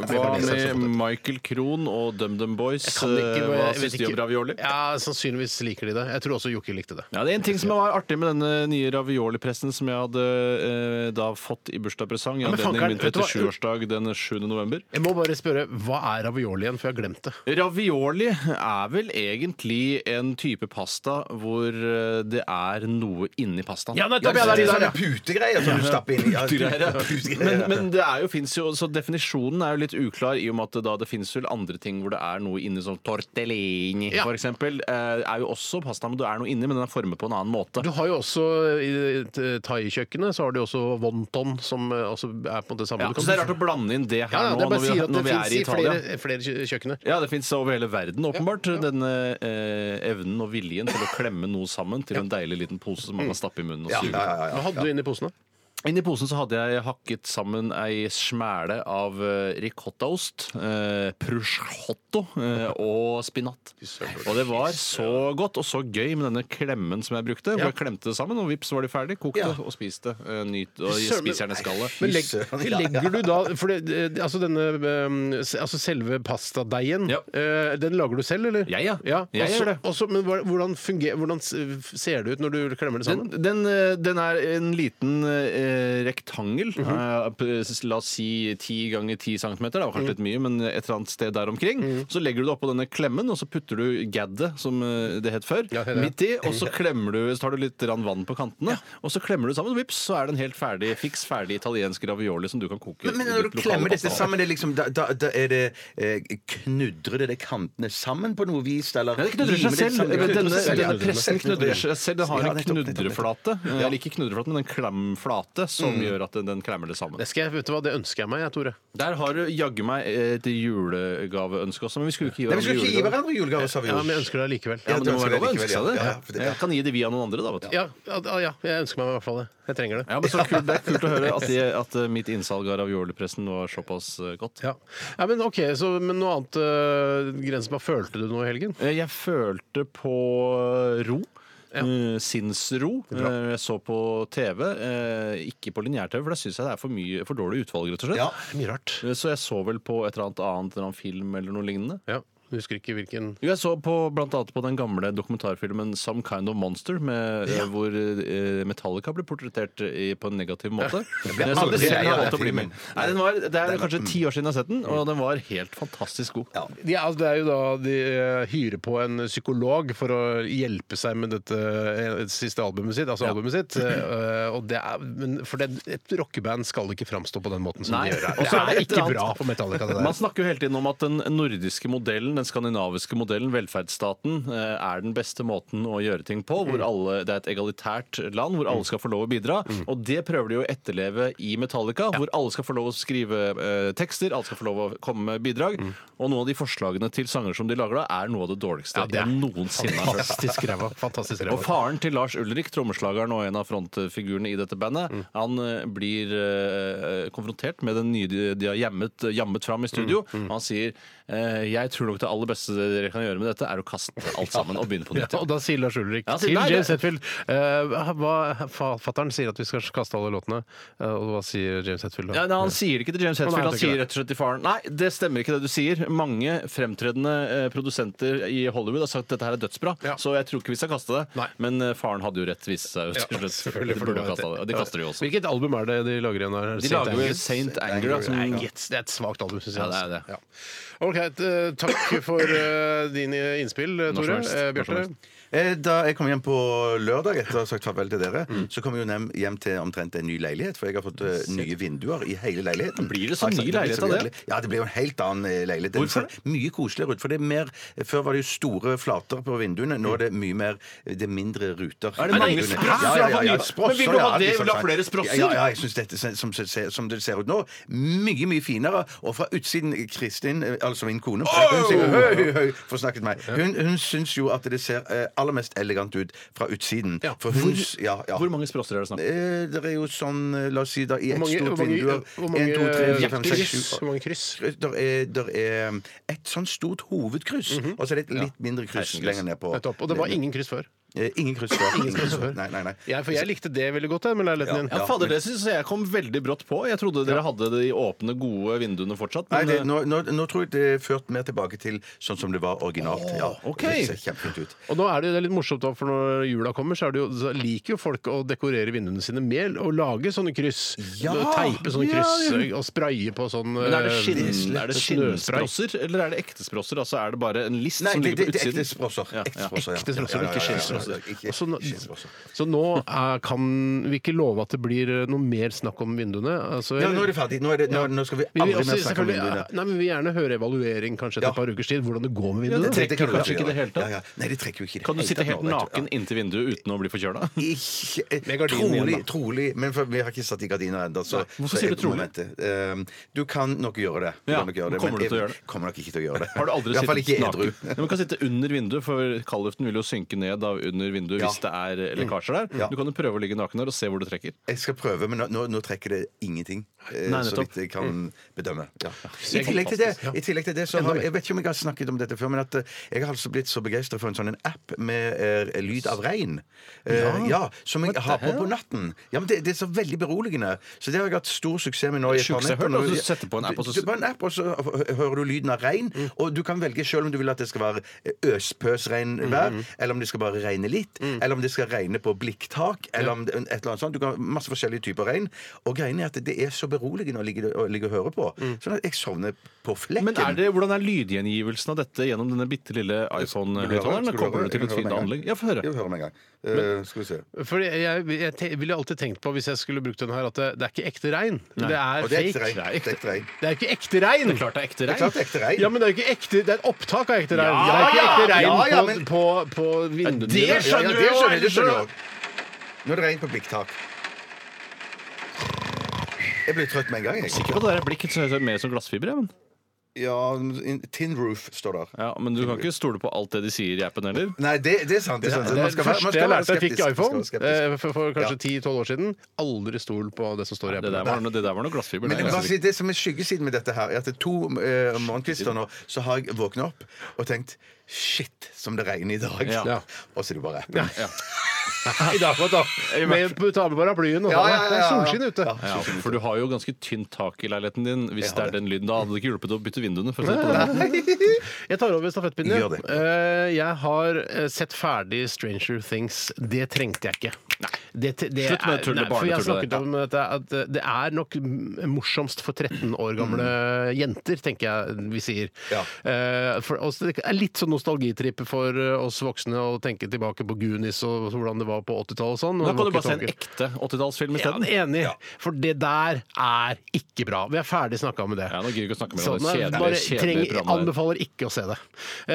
Speaker 3: hva
Speaker 1: det er
Speaker 3: med Michael Krohn og DumDum Boys?
Speaker 1: Kan ikke-
Speaker 3: Eh, Hva
Speaker 1: jeg
Speaker 3: syns
Speaker 1: vet
Speaker 3: de
Speaker 1: ikke.
Speaker 3: om ravioli?
Speaker 1: Ja, Sannsynligvis liker de det. Jeg tror også Jokke likte det.
Speaker 3: Ja, det er En ting som var artig med denne nye ravioli-pressen som jeg hadde eh, da fått i bursdagspresang i
Speaker 1: men
Speaker 3: anledning min
Speaker 1: fankeren, vet du hva?
Speaker 3: 37-årsdag den 7. november.
Speaker 1: Jeg må bare spørre, hva er ravioli igjen, for jeg har glemt det.
Speaker 3: Ravioli er vel egentlig en type pasta hvor eh, det er noe inni pastaen.
Speaker 1: nettopp!
Speaker 2: det er sånne putegreier som du stapper inn i. Ja,
Speaker 3: Men, men det er jo, finnes jo, så definisjonen er jo litt uklar, i og med at det da det finnes vel andre ting hvor det er noe inni, som tortellini
Speaker 1: Ja.
Speaker 3: for eksempel. eh, er jo også pasta, men det er noe inni, men den er formet på en annen måte.
Speaker 1: Du har jo også I eh, thai-kjøkkenet så har de også wonton, som eh, altså er på en måte samme
Speaker 3: Ja,
Speaker 1: Du
Speaker 3: så
Speaker 1: kan-
Speaker 3: det er rart å blande inn det her
Speaker 1: Ja, ja,
Speaker 3: nå
Speaker 1: det er
Speaker 3: når
Speaker 1: bare å
Speaker 3: vi,
Speaker 1: si at
Speaker 3: når
Speaker 1: det
Speaker 3: vi er i
Speaker 1: fins i
Speaker 3: Italia.
Speaker 1: flere, flere kjø- kjøkkener.
Speaker 3: Ja, det fins over hele verden, åpenbart. Denne eh, evnen og viljen til å klemme noe sammen til en deilig liten pose som man kan stappe i munnen og suge.
Speaker 1: Hva hadde du inni posene?
Speaker 3: Inni posen så hadde jeg hakket sammen ei smæle av eh, ricottaost, eh, prosciutto eh, og spinat. Og det var så godt og så gøy med denne klemmen som jeg brukte. Hvor jeg klemte det sammen, og vips var de ferdig. Kokte og spiste. Eh, nyt, og
Speaker 1: Søren, men-
Speaker 3: spiser gjerne skallet.
Speaker 1: Men legg,
Speaker 2: søren, ja, ja.
Speaker 1: legger du da For det, eh, altså denne eh, s- altså selve pastadeigen,
Speaker 3: Ja.
Speaker 1: eh, den lager du selv, eller?
Speaker 3: Jeg, ja. Jeg
Speaker 1: også-
Speaker 3: gjør det.
Speaker 1: også- men hva- hvordan, funger, hvordan s- ser det ut når du klemmer det sammen?
Speaker 3: Den, den, eh, den er en liten eh, rektangel.
Speaker 2: Mhm.
Speaker 3: eh, p- La oss si 10 ganger 10 cm. Det var kanskje
Speaker 2: Mhm.
Speaker 3: litt mye, men et eller annet sted der omkring. Så legger du det oppå denne klemmen, og så putter du gaddet, som eh, det het før,
Speaker 1: Ja, det er det.
Speaker 3: midt i. Og så klemmer du, så tar du litt rann vann på kantene, og så klemmer du sammen. Vips, så er det en helt ferdig, fiks ferdig italiensk ravioli som du kan koke.
Speaker 2: Men
Speaker 3: i
Speaker 2: når
Speaker 3: ditt
Speaker 2: du
Speaker 3: lokale
Speaker 2: klemmer disse
Speaker 3: pasta.
Speaker 2: sammen, det er liksom, da, da, da er det eh, Knudrer det de kantene sammen på noe vis? Eller
Speaker 3: Nei, det knudrer seg
Speaker 2: limer det
Speaker 3: selv.
Speaker 2: sammen?
Speaker 3: Denne,
Speaker 2: Knudrer seg selv, ja.
Speaker 3: denne pressen knudrer seg selv. Den har
Speaker 2: Ja,
Speaker 3: en
Speaker 2: nettopp, nettopp, Mm.
Speaker 3: knudreflate. Eller ikke knudreflate, men en klemflate som gjør at den, den klemmer det sammen.
Speaker 1: Det skal jeg, vet du hva, det ønsker jeg meg, jeg, Tore.
Speaker 3: Der har du jaggu meg et julegaveønske også, men vi skulle ikke gi
Speaker 2: Nei, vi
Speaker 3: hverandre
Speaker 2: skulle ikke gi
Speaker 3: julegave.
Speaker 2: hverandre julegaver, sa vi
Speaker 1: Ja,
Speaker 2: jo.
Speaker 1: men jeg ønsker deg likevel.
Speaker 3: Ja, men det må
Speaker 2: ønsker
Speaker 3: være lov å
Speaker 2: likevel,
Speaker 3: ønske seg det.
Speaker 2: ja. Ja, for det-
Speaker 3: Jeg kan gi det via noen andre, da. vet du.
Speaker 1: Ja, ja, ja, jeg ønsker meg i hvert fall det. Jeg trenger det.
Speaker 3: Ja, men så kult, Det er kult å høre at, de, at eh, mitt innsalg av raviolipressen var såpass eh, godt.
Speaker 1: Ja. ja, men ok, så, men noe annet uh, grensen på Følte du noe i helgen?
Speaker 3: Eh, Jeg følte på ro. Eh, Sinnsro. Eh, Jeg så på TV, eh, ikke på lineær-TV, for da syns jeg det er for, mye, for dårlig utvalg, rett og slett.
Speaker 2: Ja.
Speaker 1: Mye rart.
Speaker 3: Eh, Så jeg så vel på et eller annet annet, en eller annen film eller noe lignende.
Speaker 1: Ja, jeg Husker ikke hvilken
Speaker 3: Jo, jeg så på blant annet på den gamle dokumentarfilmen 'Some Kind of Monster', med, eh, hvor eh, Metallica ble portrettert eh, i, på en negativ måte. Men jeg så
Speaker 2: aldri
Speaker 3: det selv, jeg
Speaker 2: lei av
Speaker 3: har valgt
Speaker 2: den
Speaker 3: å bli med.
Speaker 2: filmen.
Speaker 3: Nei, den var, det er kanskje ti år siden jeg har sett den, og den var helt fantastisk god.
Speaker 1: ja, altså, Det er jo da de eh, hyrer på en psykolog for å hjelpe seg med dette eh, siste albumet sitt. Altså albumet sitt eh, og det er, men for det, et rockeband skal ikke framstå på den måten som
Speaker 3: Nei.
Speaker 1: de gjør her.
Speaker 3: Og
Speaker 1: Det
Speaker 3: så er
Speaker 1: er
Speaker 3: det et
Speaker 1: ikke
Speaker 3: eller
Speaker 1: bra
Speaker 3: annet-
Speaker 1: for Metallica, det
Speaker 3: Man
Speaker 1: der.
Speaker 3: snakker jo hele tiden om at den nordiske modellen, den skandinaviske modellen, velferdsstaten, eh, er den beste måten å gjøre ting på. Hvor
Speaker 1: Mm.
Speaker 3: alle, det er et egalitært land hvor alle skal få lov å bidra. Og det prøver de å etterleve i Metallica, hvor alle skal få lov å skrive eh, tekster, alle skal få lov å komme med bidrag.
Speaker 1: Mm.
Speaker 3: Og noen av de forslagene til sanger som de lager da, er noe av det dårligste
Speaker 1: Ja, det er
Speaker 3: jeg noensinne har hørt.
Speaker 1: Fantastisk ræva. Fantastisk
Speaker 3: Og
Speaker 1: ræva.
Speaker 3: faren til Lars Ulrik, trommeslageren og en av frontfigurene i dette bandet,
Speaker 1: Mm.
Speaker 3: han eh, blir
Speaker 1: Mm,
Speaker 3: eh, konfrontert med den nye de de har jammet, jammet fram i studio. Og han sier eh, jeg tror nok det det aller beste dere kan gjøre med dette, er å kaste alt sammen og begynne på
Speaker 1: Ja,
Speaker 3: nytt.
Speaker 1: og da sier Lars Ulrik
Speaker 3: Ja, sier-
Speaker 1: til
Speaker 3: nei, det-
Speaker 1: James Hetfield eh, hva, fa- Fatteren sier at vi skal kaste alle låtene, eh, og hva sier James Hetfield da?
Speaker 3: Ja, nei, han sier ikke til James
Speaker 1: nei,
Speaker 3: Hetfield,
Speaker 1: han
Speaker 3: han
Speaker 1: sier
Speaker 3: sier rett og slett til faren Nei, det stemmer ikke det du sier. Mange fremtredende eh, produsenter i Hollywood har sagt at dette her er dødsbra,
Speaker 1: Ja.
Speaker 3: så jeg tror ikke vi skal kaste det.
Speaker 1: Nei.
Speaker 3: Men eh, faren hadde jo rett, viste seg jo til slutt.
Speaker 1: selvfølgelig,
Speaker 3: De
Speaker 1: for
Speaker 3: burde
Speaker 1: det var
Speaker 3: ha kastet
Speaker 1: et-
Speaker 3: det. Og de kaster det jo også.
Speaker 1: Hvilket album er det de lager igjen? her?
Speaker 3: De
Speaker 1: Saint
Speaker 3: lager jo
Speaker 1: Anger?
Speaker 3: Saint Anger, da, som
Speaker 1: Nei, yes, det er et svakt album, syns jeg.
Speaker 3: Ja, det er
Speaker 1: altså.
Speaker 3: det.
Speaker 1: Ja. Ok, eh, takk for eh, dine innspill, eh,
Speaker 3: Når
Speaker 1: Tore.
Speaker 3: som helst,
Speaker 1: Eh,
Speaker 3: når som
Speaker 1: Bjarte.
Speaker 3: helst.
Speaker 2: Eh, Da jeg kom hjem på lørdag etter å ha sagt farvel til dere,
Speaker 3: Mm.
Speaker 2: så kom jeg jo hjem, hjem til omtrent en ny leilighet, for jeg har fått eh, nye vinduer i hele leiligheten.
Speaker 3: Blir det så
Speaker 2: Altså,
Speaker 3: ny
Speaker 2: blir
Speaker 3: leilighet
Speaker 2: så
Speaker 3: av det?
Speaker 2: veldig- Ja, det blir jo en helt annen eh, leilighet.
Speaker 3: Hvorfor
Speaker 2: det? er Mye koseligere ut, for det er mer Før var det jo store flater på vinduene, nå er det mye mer eh, Det er mindre ruter.
Speaker 3: Er det
Speaker 2: på
Speaker 3: mange
Speaker 2: vinduene.
Speaker 3: sprosser?
Speaker 2: Ja, ja, ja, ja,
Speaker 3: Men vil du
Speaker 2: sprosser,
Speaker 3: ha
Speaker 2: ja,
Speaker 3: det?
Speaker 2: liksom
Speaker 3: Vil du ha
Speaker 2: sånn.
Speaker 3: flere sprosser?
Speaker 2: Ja, ja, jeg syns dette ser- som, ser- som det ser ut nå, mye, mye finere. Og fra utsiden Kristin, eh, altså min kone Hun sier høy, høy, høy, får snakket meg. Hun, hun syns jo at det ser eh, aller mest elegant ut fra utsiden.
Speaker 1: Ja.
Speaker 2: For hun ja, ja.
Speaker 3: Hvor mange sprosser er det snakk om?
Speaker 2: Eh, Det er jo sånn, eh, la oss si da, i
Speaker 1: Hvor
Speaker 2: ett
Speaker 1: mange,
Speaker 2: stort
Speaker 1: hvor mange,
Speaker 2: vindu
Speaker 1: hvor mange, eh,
Speaker 2: 1, 2, 3, 4, 5, 6,
Speaker 1: kryss?
Speaker 2: 7
Speaker 1: Hvor mange kryss?
Speaker 2: Der er, der er et sånn stort hovedkryss, og så er det et litt mindre kryss
Speaker 3: Heisenkryss.
Speaker 2: lenger ned på.
Speaker 1: Mhm. Nettopp. Og det var ingen kryss før.
Speaker 2: Eh, Ingen kryss før.
Speaker 1: Ingen kryss før.
Speaker 2: Nei, nei, nei.
Speaker 1: Jeg, for jeg likte det veldig godt, jeg, med leiligheten din.
Speaker 3: Ja, fader, det syns jeg kom veldig brått på. Jeg trodde dere hadde de åpne, gode vinduene fortsatt.
Speaker 2: Nei,
Speaker 3: Men, eh,
Speaker 2: det, nå, nå, nå tror jeg det er ført mer tilbake til sånn som det var originalt. Ja,
Speaker 3: ok.
Speaker 2: Det ser kjempefint ut.
Speaker 1: Og nå er det, jo- det er litt morsomt, da, for når jula kommer, så, er det jo, så liker jo folk å dekorere vinduene sine med og lage sånne kryss.
Speaker 2: Ja!
Speaker 1: Og Teipe sånne
Speaker 2: Ja,
Speaker 1: kryss
Speaker 2: ja.
Speaker 1: og spraye på sånn
Speaker 3: Men er det,
Speaker 1: eh,
Speaker 3: skinn, er det
Speaker 1: snøspray.
Speaker 3: skinnsprosser, eller er det ekte sprosser? Altså er det bare en list
Speaker 2: Nei,
Speaker 3: som
Speaker 2: det,
Speaker 3: ligger
Speaker 2: det,
Speaker 3: på
Speaker 2: det er ekte
Speaker 3: utsiden?
Speaker 2: sprosser.
Speaker 3: Ja, ja.
Speaker 2: Ekte sprosser,
Speaker 1: Ekte sprosser, ikke skinnsprosser.
Speaker 2: Ikke
Speaker 1: Og så nå-
Speaker 2: skinnsprosser.
Speaker 1: Så nå er, kan vi ikke love at det blir eh, noe mer snakk om vinduene. Altså,
Speaker 2: Ja, nå er det ferdig. Nå, er det, nå, nå skal vi
Speaker 1: Vi vil
Speaker 2: aldri
Speaker 1: også
Speaker 2: mer snakke om
Speaker 1: selvfølgelig-
Speaker 2: vinduene.
Speaker 1: Nei, men vi vil gjerne høre evaluering kanskje etter et
Speaker 2: Ja.
Speaker 1: par ukers tid, hvordan det går med
Speaker 3: Ja,
Speaker 1: vinduene.
Speaker 3: det trekker
Speaker 2: kan du
Speaker 3: kanskje
Speaker 2: gjøre.
Speaker 3: ikke i det hele tatt.
Speaker 2: Ja, ja. Nei, det trekker jo ikke i det
Speaker 3: Kan du
Speaker 2: hele
Speaker 3: sitte
Speaker 2: tatt
Speaker 3: helt
Speaker 2: nå, vet du.
Speaker 3: naken inntil vinduet uten å bli forkjøla?
Speaker 2: Ikke, eh,
Speaker 1: Med gardinen
Speaker 2: trolig,
Speaker 1: igjen, da.
Speaker 2: trolig, men for, vi har ikke satt i gardiner ennå.
Speaker 3: Hvorfor sier du trolig?
Speaker 2: Eh, du kan nok gjøre det. Du
Speaker 3: Ja,
Speaker 2: kan nok gjøre det
Speaker 3: kommer du
Speaker 2: men
Speaker 3: til å
Speaker 2: jeg
Speaker 3: gjøre det?
Speaker 2: Kommer nok ikke til å gjøre det.
Speaker 3: Har du aldri
Speaker 2: I hvert fall
Speaker 3: sittet
Speaker 2: ikke
Speaker 3: naken?
Speaker 2: edru.
Speaker 3: Ja, men du kan sitte under vinduet, for kaldluften vil jo synke ned da under vinduet
Speaker 2: Ja.
Speaker 3: hvis det er eh, lekkasjer der.
Speaker 2: Ja.
Speaker 3: Du kan jo prøve å ligge naken der og se hvor det trekker.
Speaker 2: Jeg skal prøve, men nå, nå, nå trekker det ingenting. eh,
Speaker 3: Nei,
Speaker 2: så
Speaker 3: nettopp. Mm.
Speaker 2: vidt jeg kan bedømme. Ja. I,
Speaker 1: er
Speaker 2: tillegg til det,
Speaker 1: fantastisk, ja.
Speaker 2: I tillegg til det så
Speaker 1: Enda
Speaker 2: har
Speaker 1: mer.
Speaker 2: Jeg vet ikke om jeg har snakket om dette før, men at eh, jeg har altså blitt så begeistra for en sånn en app med eh, lyd av regn. Eh, ja, Som jeg har på på natten. Ja, men det, det er så veldig beroligende. Så det har jeg hatt stor suksess med nå. i et par
Speaker 3: Sjukt, jeg
Speaker 2: netter.
Speaker 3: hørte, altså,
Speaker 2: Nå-
Speaker 3: du setter på en app, og så-
Speaker 2: Du- du- på en app, og så hø- hører du lyden av regn.
Speaker 3: Mm.
Speaker 2: Og du kan velge sjøl om du vil at det skal være
Speaker 3: Mm-hmm.
Speaker 2: øspøsregnvær, eller om det skal bare regne litt,
Speaker 3: Mm.
Speaker 2: eller om det skal regne på blikktak, eller om det, et eller annet sånt. Du kan ha masse forskjellige typer regn. Og greien er at det er så beroligende å ligge, å ligge og høre på. Sånn at jeg sovner på flekken.
Speaker 3: Mm. Men er det, hvordan er lydgjengivelsen av dette gjennom denne bitte lille iPhone-høyttaleren? Kommer du til et fint anlegg? Ja, få høre.
Speaker 2: Jeg vil høre med en gang. Eh, skal vi se.
Speaker 1: Fordi jeg, jeg te, ville alltid tenkt på, hvis jeg skulle brukt den her, at det, det er ikke ekte regn. Det er
Speaker 2: Og det er ekte
Speaker 1: fake.
Speaker 2: regn. Det er ekte regn.
Speaker 1: Det er jo ikke ekte regn!
Speaker 3: Klart det er ekte
Speaker 2: Det er
Speaker 3: regn.
Speaker 2: klart det er ekte regn.
Speaker 1: Ja, men det er jo ikke ekte Det er et opptak av ekte regn.
Speaker 3: Ja,
Speaker 1: det er ikke ekte
Speaker 2: ja,
Speaker 1: regn
Speaker 2: ja, ja,
Speaker 1: på-
Speaker 2: men-
Speaker 1: på, på
Speaker 3: det
Speaker 1: vinduene. dine.
Speaker 3: skjønner
Speaker 2: ja,
Speaker 3: du
Speaker 2: det
Speaker 3: jo,
Speaker 2: skjønner, jeg, det
Speaker 3: ellers
Speaker 2: skjønner
Speaker 3: så-
Speaker 2: jeg også. Nå er det regn på blikktak. Jeg blir trøtt med en gang. Jeg.
Speaker 3: Sikker på at det der er blikket så høres mer som glassfiber, ja, men.
Speaker 2: Ja, in- Tin roof står der.
Speaker 3: Ja, men du kan ikke stole på alt det de sier i appen heller.
Speaker 2: Nei, det, det er sant. Det er sant.
Speaker 1: Det er
Speaker 2: Man
Speaker 1: det
Speaker 2: skal være- man
Speaker 1: første
Speaker 2: skal
Speaker 1: jeg
Speaker 2: være
Speaker 1: lærte jeg fikk
Speaker 2: skeptisk. Man
Speaker 1: iPhone
Speaker 2: skal være skeptisk.
Speaker 1: eh, for, for kanskje 10-12 år siden. Aldri stol på det som står i
Speaker 3: Det der
Speaker 1: appen.
Speaker 3: var, noe- det der var noe glassfiber.
Speaker 2: Men
Speaker 3: det er
Speaker 2: jeg vil bare
Speaker 3: glassfiber.
Speaker 2: si, det som er skyggesiden med dette her, er at det er to eh, morgenkvister nå, så har jeg våkna opp og tenkt Shit, som det regner i dag.
Speaker 3: Ja.
Speaker 1: Ja.
Speaker 2: Og så er det bare appen. Ja.
Speaker 1: I dag, da. Med, ta med paraplyen. og
Speaker 2: Ja,
Speaker 1: sånn,
Speaker 2: ja, ja,
Speaker 1: Det er
Speaker 2: ja.
Speaker 1: solskinn ute.
Speaker 2: Ja.
Speaker 3: Ja, for du har jo ganske tynt tak i leiligheten din hvis
Speaker 2: Jeg
Speaker 3: det
Speaker 2: har
Speaker 3: er den lyden. Da hadde det ikke hjulpet å bytte vinduene. For å si det på den. måten.
Speaker 1: Jeg tar over stafettpinnen. ja.
Speaker 2: Gjør det.
Speaker 1: Eh, Jeg har eh, sett ferdig Stranger Things. Det trengte jeg ikke. Det, det
Speaker 3: Slutt med
Speaker 1: er-
Speaker 3: tullet,
Speaker 1: nei, for jeg har
Speaker 3: barnetullet
Speaker 1: snakket
Speaker 3: der.
Speaker 1: om dette, at eh, det er nok m- morsomst for 13 år gamle jenter, tenker jeg vi sier.
Speaker 2: Ja.
Speaker 1: Eh, For oss, det er litt sånn nostalgitripp for eh, oss voksne å tenke tilbake på Goonies og hvordan det var på 80-tallet og sånn.
Speaker 3: Da kan
Speaker 1: og
Speaker 3: du bare se en
Speaker 1: walkie-talkie.
Speaker 3: ekte 80-tallsfilm
Speaker 1: Ja,
Speaker 3: isteden.
Speaker 1: enig. For det der er ikke bra. Vi er ferdig snakka med det.
Speaker 3: Ja, nå gidder vi ikke å snakke mer om
Speaker 1: Sånn,
Speaker 3: det
Speaker 1: jeg
Speaker 3: kjedelige-
Speaker 1: bare
Speaker 3: kjedelige
Speaker 1: trenger-
Speaker 3: programmet der.
Speaker 1: Anbefaler ikke å se det.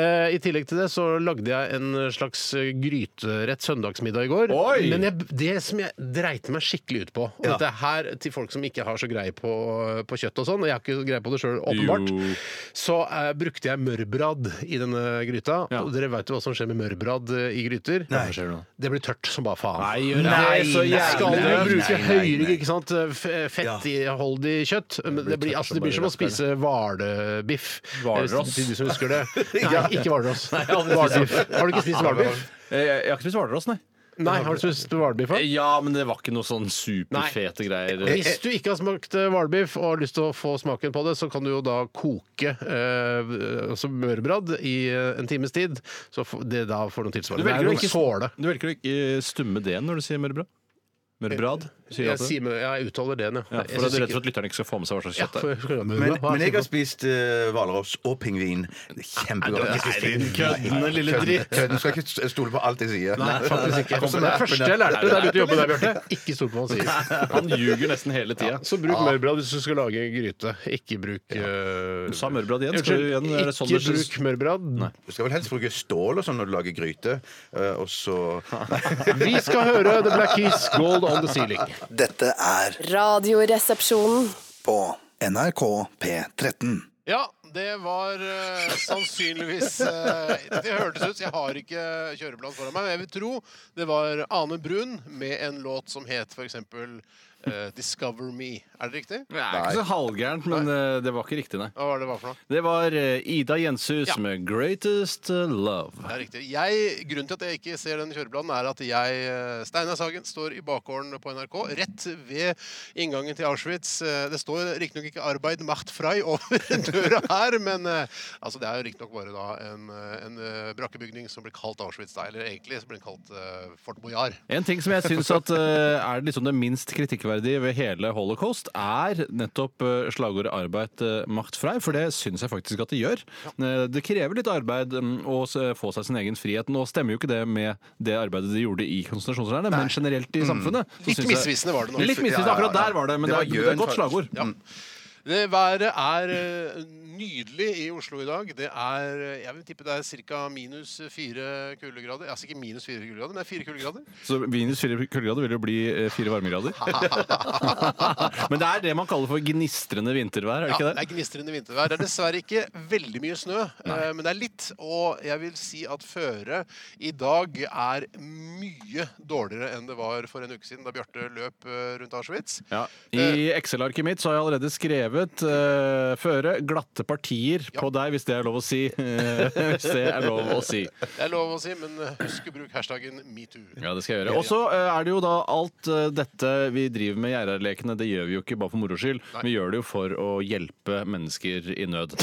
Speaker 1: Eh, I tillegg til det så lagde jeg en slags eh, gryterett søndagsmiddag i går.
Speaker 3: Oi!
Speaker 1: Men jeg det, det som jeg dreit meg skikkelig ut på, og
Speaker 2: Ja.
Speaker 1: dette er her til folk som ikke har så greie på, på kjøtt og sånn, og jeg har ikke så greie på det sjøl, åpenbart,
Speaker 3: Jo.
Speaker 1: så eh, brukte jeg mørbrad i denne gryta.
Speaker 3: Ja.
Speaker 1: Og dere veit jo hva som skjer med mørbrad eh, i gryter?
Speaker 3: Hva skjer nå?
Speaker 1: Det blir tørt som bare faen.
Speaker 3: Nei, gjør det.
Speaker 1: Nei,
Speaker 3: Det er så jævlig
Speaker 1: skal du
Speaker 3: tørt.
Speaker 1: bruke
Speaker 2: Nei, nei,
Speaker 1: høyere
Speaker 2: nei.
Speaker 1: ikke sant? F- fettholdig kjøtt? Men Det blir,
Speaker 3: tørt
Speaker 1: altså, det
Speaker 3: som
Speaker 1: blir som
Speaker 3: bare
Speaker 1: å spise hvalbiff. Eh,
Speaker 3: Hvalross.
Speaker 1: Til de som husker det. Nei, ikke hvalross. Hvalbiff. Har du ikke spist hvalbiff?
Speaker 3: Jeg, Eh, jeg har ikke spist hvalross, nei. Eh,
Speaker 1: Nei, har du spist hvalbiff? da?
Speaker 3: Ja, men det var ikke noe sånn superfete greier.
Speaker 1: Hvis du ikke har smakt eh, hvalbiff og har lyst til å få smaken på det, så kan du jo da koke eh, altså mørbrad i eh, en times tid. Så f- det da får noe
Speaker 3: Du
Speaker 1: tilsvarende. Det
Speaker 3: velger,
Speaker 1: er
Speaker 3: å
Speaker 1: noe såle.
Speaker 3: ikke, du velger å ikke eh, stumme D-en når du sier mørbrad? Mørbrad? Sier
Speaker 1: Jeg,
Speaker 3: alt det?
Speaker 1: sier, men jeg uttaler det, ja.
Speaker 3: ja, for da er
Speaker 1: Jeg synes
Speaker 3: du redd
Speaker 1: ikke-
Speaker 3: for at lytterne ikke skal få med seg hva slags
Speaker 1: Ja,
Speaker 3: kjøtt det er.
Speaker 1: for- for-
Speaker 2: Men,
Speaker 1: hva er
Speaker 2: men jeg har
Speaker 1: kjøtt?
Speaker 2: spist eh, hvalross og pingvin. Kjempegodt.
Speaker 1: Nei, din køddende lille dritt.
Speaker 2: Kødden skal ikke stole på alt jeg sier.
Speaker 1: Nei, faktisk ikke. Det er det første jeg lærte da jeg begynte å jobbe der, Bjarte. Ikke stol på hva han sier.
Speaker 3: Han ljuger nesten hele tida.
Speaker 1: Så bruk mørbrad hvis du skal lage gryte. Ikke bruk eh,
Speaker 3: Du sa mørbrad igjen. Skal du igjen
Speaker 1: Unnskyld,
Speaker 3: gjøre sånn
Speaker 1: ikke
Speaker 3: du synes-
Speaker 1: bruk mørbrad.
Speaker 2: Du skal vel helst bruke stål og sånn når du lager gryte, eh, og så
Speaker 1: Vi skal høre The Black Keys, Gold on the Ceiling.
Speaker 5: Dette er
Speaker 6: Radioresepsjonen.
Speaker 5: på NRK P13.
Speaker 1: Ja, det var eh, sannsynligvis eh, Det hørtes ut, jeg har ikke kjøreplan foran meg, men jeg vil tro det var Ane Brun med en låt som het f.eks. Uh, 'Discover Me'. Er det riktig?
Speaker 3: Det er ikke så halvgærent, men eh, det var ikke riktig, nei.
Speaker 1: Hva var det det var for noe?
Speaker 3: Det var eh, Ida Jenshus
Speaker 1: Ja.
Speaker 3: med 'Greatest eh, Love'.
Speaker 1: Det er riktig. Jeg, grunnen til at jeg ikke ser den kjøreplanen, er at jeg, eh, Steinar Sagen, står i bakgården på NRK, rett ved inngangen til Auschwitz. Eh, Det står riktignok ikke 'Arbeid macht frei' over døra her, men eh, altså, det er jo riktignok bare da en, eh, en eh, brakkebygning som blir kalt Auschwitz, da, eller egentlig så blir den kalt eh, Fort Boyard.
Speaker 3: En ting som jeg syns at eh, er liksom det minst kritikkverdige ved hele holocaust, er nettopp eh, slagordet 'arbeid eh, macht frei', for det syns jeg faktisk at det gjør. Eh, Det krever litt arbeid mm, å s- få seg sin egen frihet. Nå stemmer jo ikke det med det arbeidet de gjorde i konsentrasjonsleirene, men generelt i samfunnet. så
Speaker 1: Mm. Litt
Speaker 3: syns jeg-
Speaker 1: misvisende var det nå.
Speaker 3: Litt misvisende,
Speaker 2: Ja, ja, ja.
Speaker 3: akkurat der var det, men det,
Speaker 2: Det var
Speaker 3: er, det er et
Speaker 2: gjøn,
Speaker 3: godt slagord. Mm.
Speaker 1: Ja. Det været er eh, nydelig i Oslo i dag. Det er, eh, jeg vil tippe det er ca. minus fire kuldegrader. Altså ikke minus fire kuldegrader, men det er fire kuldegrader.
Speaker 3: Så minus fire kuldegrader vil jo bli eh, fire varmegrader. Men det er det man kaller for gnistrende vintervær, er det
Speaker 1: Ja,
Speaker 3: ikke
Speaker 1: det
Speaker 3: det?
Speaker 1: er gnistrende vintervær. Det er dessverre ikke veldig mye snø, eh, men det er litt. Og jeg vil si at føret i dag er mye dårligere enn det var for en uke siden, da Bjarte løp eh, rundt Auschwitz.
Speaker 3: Ja. I Excel-arket mitt så har jeg allerede skrevet eh, 'føre glatte partier' på deg, hvis det er lov å si. Eh, hvis det er lov å si.
Speaker 1: Det er lov å si, men eh, husk å bruke hashtaggen metoo.
Speaker 3: Ja, det skal jeg gjøre. Og så eh, er det jo da alt eh, dette vi driver med i Gjerardlekene, det gjør vi jo ikke bare for moro skyld. Vi gjør det jo for å hjelpe mennesker i nød.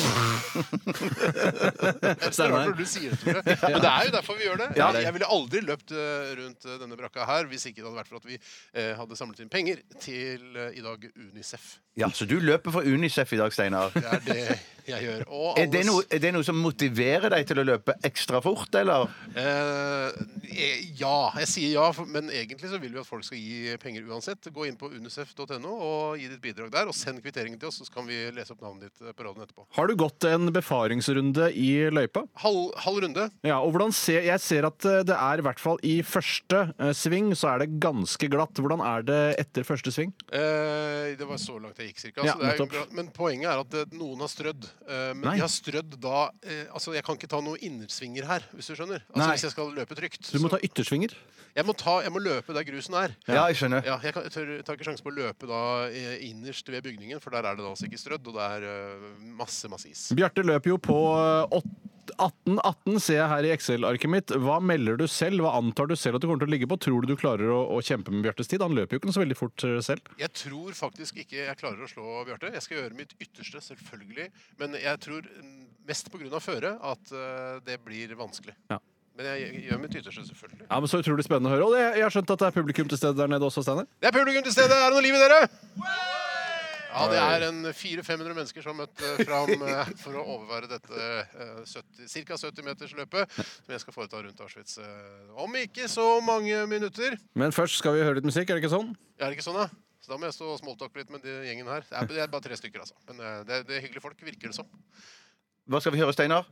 Speaker 1: Det er
Speaker 3: Steinar?
Speaker 1: rart når du sier det, Tore. Men det er jo derfor vi gjør det.
Speaker 3: Ja.
Speaker 1: Jeg ville aldri løpt eh, rundt eh, denne brakka her hvis ikke det hadde vært for at vi eh, hadde samlet inn penger til eh, i dag Unicef.
Speaker 2: Ja, så du løper for Unicef i dag, Steinar.
Speaker 1: Det er det jeg gjør. Og
Speaker 2: Er det,
Speaker 1: alles-
Speaker 2: noe, er det noe som motiverer deg til å løpe ekstra fort, eller?
Speaker 1: Eh, eh, ja. Jeg sier ja, for- men egentlig så vil vi at folk skal gi penger uansett. Gå inn på unicef.no og gi ditt bidrag der, og send kvitteringen til oss, så kan vi lese opp navnet ditt eh, på radioen etterpå.
Speaker 3: Har du gått en befaringsrunde i løypa?
Speaker 1: Halv, halv runde.
Speaker 3: Ja, og hvordan ser, Jeg ser at eh, det er i hvert fall i første eh, sving så er det ganske glatt. Hvordan er det etter første sving?
Speaker 1: Eh, det var så langt jeg gikk, cirka.
Speaker 3: Ja,
Speaker 1: så det er, jo
Speaker 3: nettopp.
Speaker 1: bra. men poenget er at eh, noen har strødd. Eh, men
Speaker 3: Nei.
Speaker 1: de har strødd da eh, Altså, jeg kan ikke ta noen innersvinger her, hvis du skjønner. Altså,
Speaker 3: Nei.
Speaker 1: Hvis jeg skal løpe trygt.
Speaker 3: Du må
Speaker 1: så-
Speaker 3: ta yttersvinger.
Speaker 1: jeg, må ta, jeg må løpe der grusen er.
Speaker 2: Ja, jeg skjønner.
Speaker 1: Ja, jeg, kan, jeg tør, tar ikke sjansen på å løpe da eh, innerst ved bygningen, for der er det da altså ikke strødd, og det er eh, masse, masse is.
Speaker 3: Bjarte løper jo på eh, 18-18, ser jeg her i Excel-arket mitt. Hva melder du selv? Hva antar du selv at du kommer til å ligge på? Tror du du klarer å, å kjempe med Bjartes tid? Han løper jo ikke så veldig fort eh, selv.
Speaker 1: Jeg tror faktisk ikke jeg klarer å slå Bjarte. Jeg skal gjøre mitt ytterste, selvfølgelig. Men jeg tror mm, mest pga. føret at eh, det blir vanskelig.
Speaker 3: Ja.
Speaker 1: Men jeg gjør mitt ytterste, selvfølgelig.
Speaker 3: Ja, men Så utrolig spennende å høre. Og det, jeg har skjønt at det er publikum til stede der nede også, Steinar.
Speaker 1: Det er publikum til stede. Er det noe liv i dere? Ja, det er en 400-500 mennesker som har møtt eh, fram eh, for å overvære dette eh, 70, ca. 70-metersløpet som jeg skal foreta rundt Auschwitz eh, om ikke så mange minutter.
Speaker 3: Men først skal vi høre litt musikk, er det ikke sånn?
Speaker 1: Er det ikke sånn, da? Så da må jeg stå og smalltalke litt med de gjengen her. Det er, det er bare tre stykker, altså. Men eh, det, det er hyggelige folk, virker det som.
Speaker 2: Hva skal vi høre, Steinar?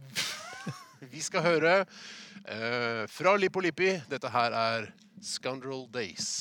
Speaker 1: Vi skal høre eh, fra Lippo Lippi. Dette her er Scoundrel Days.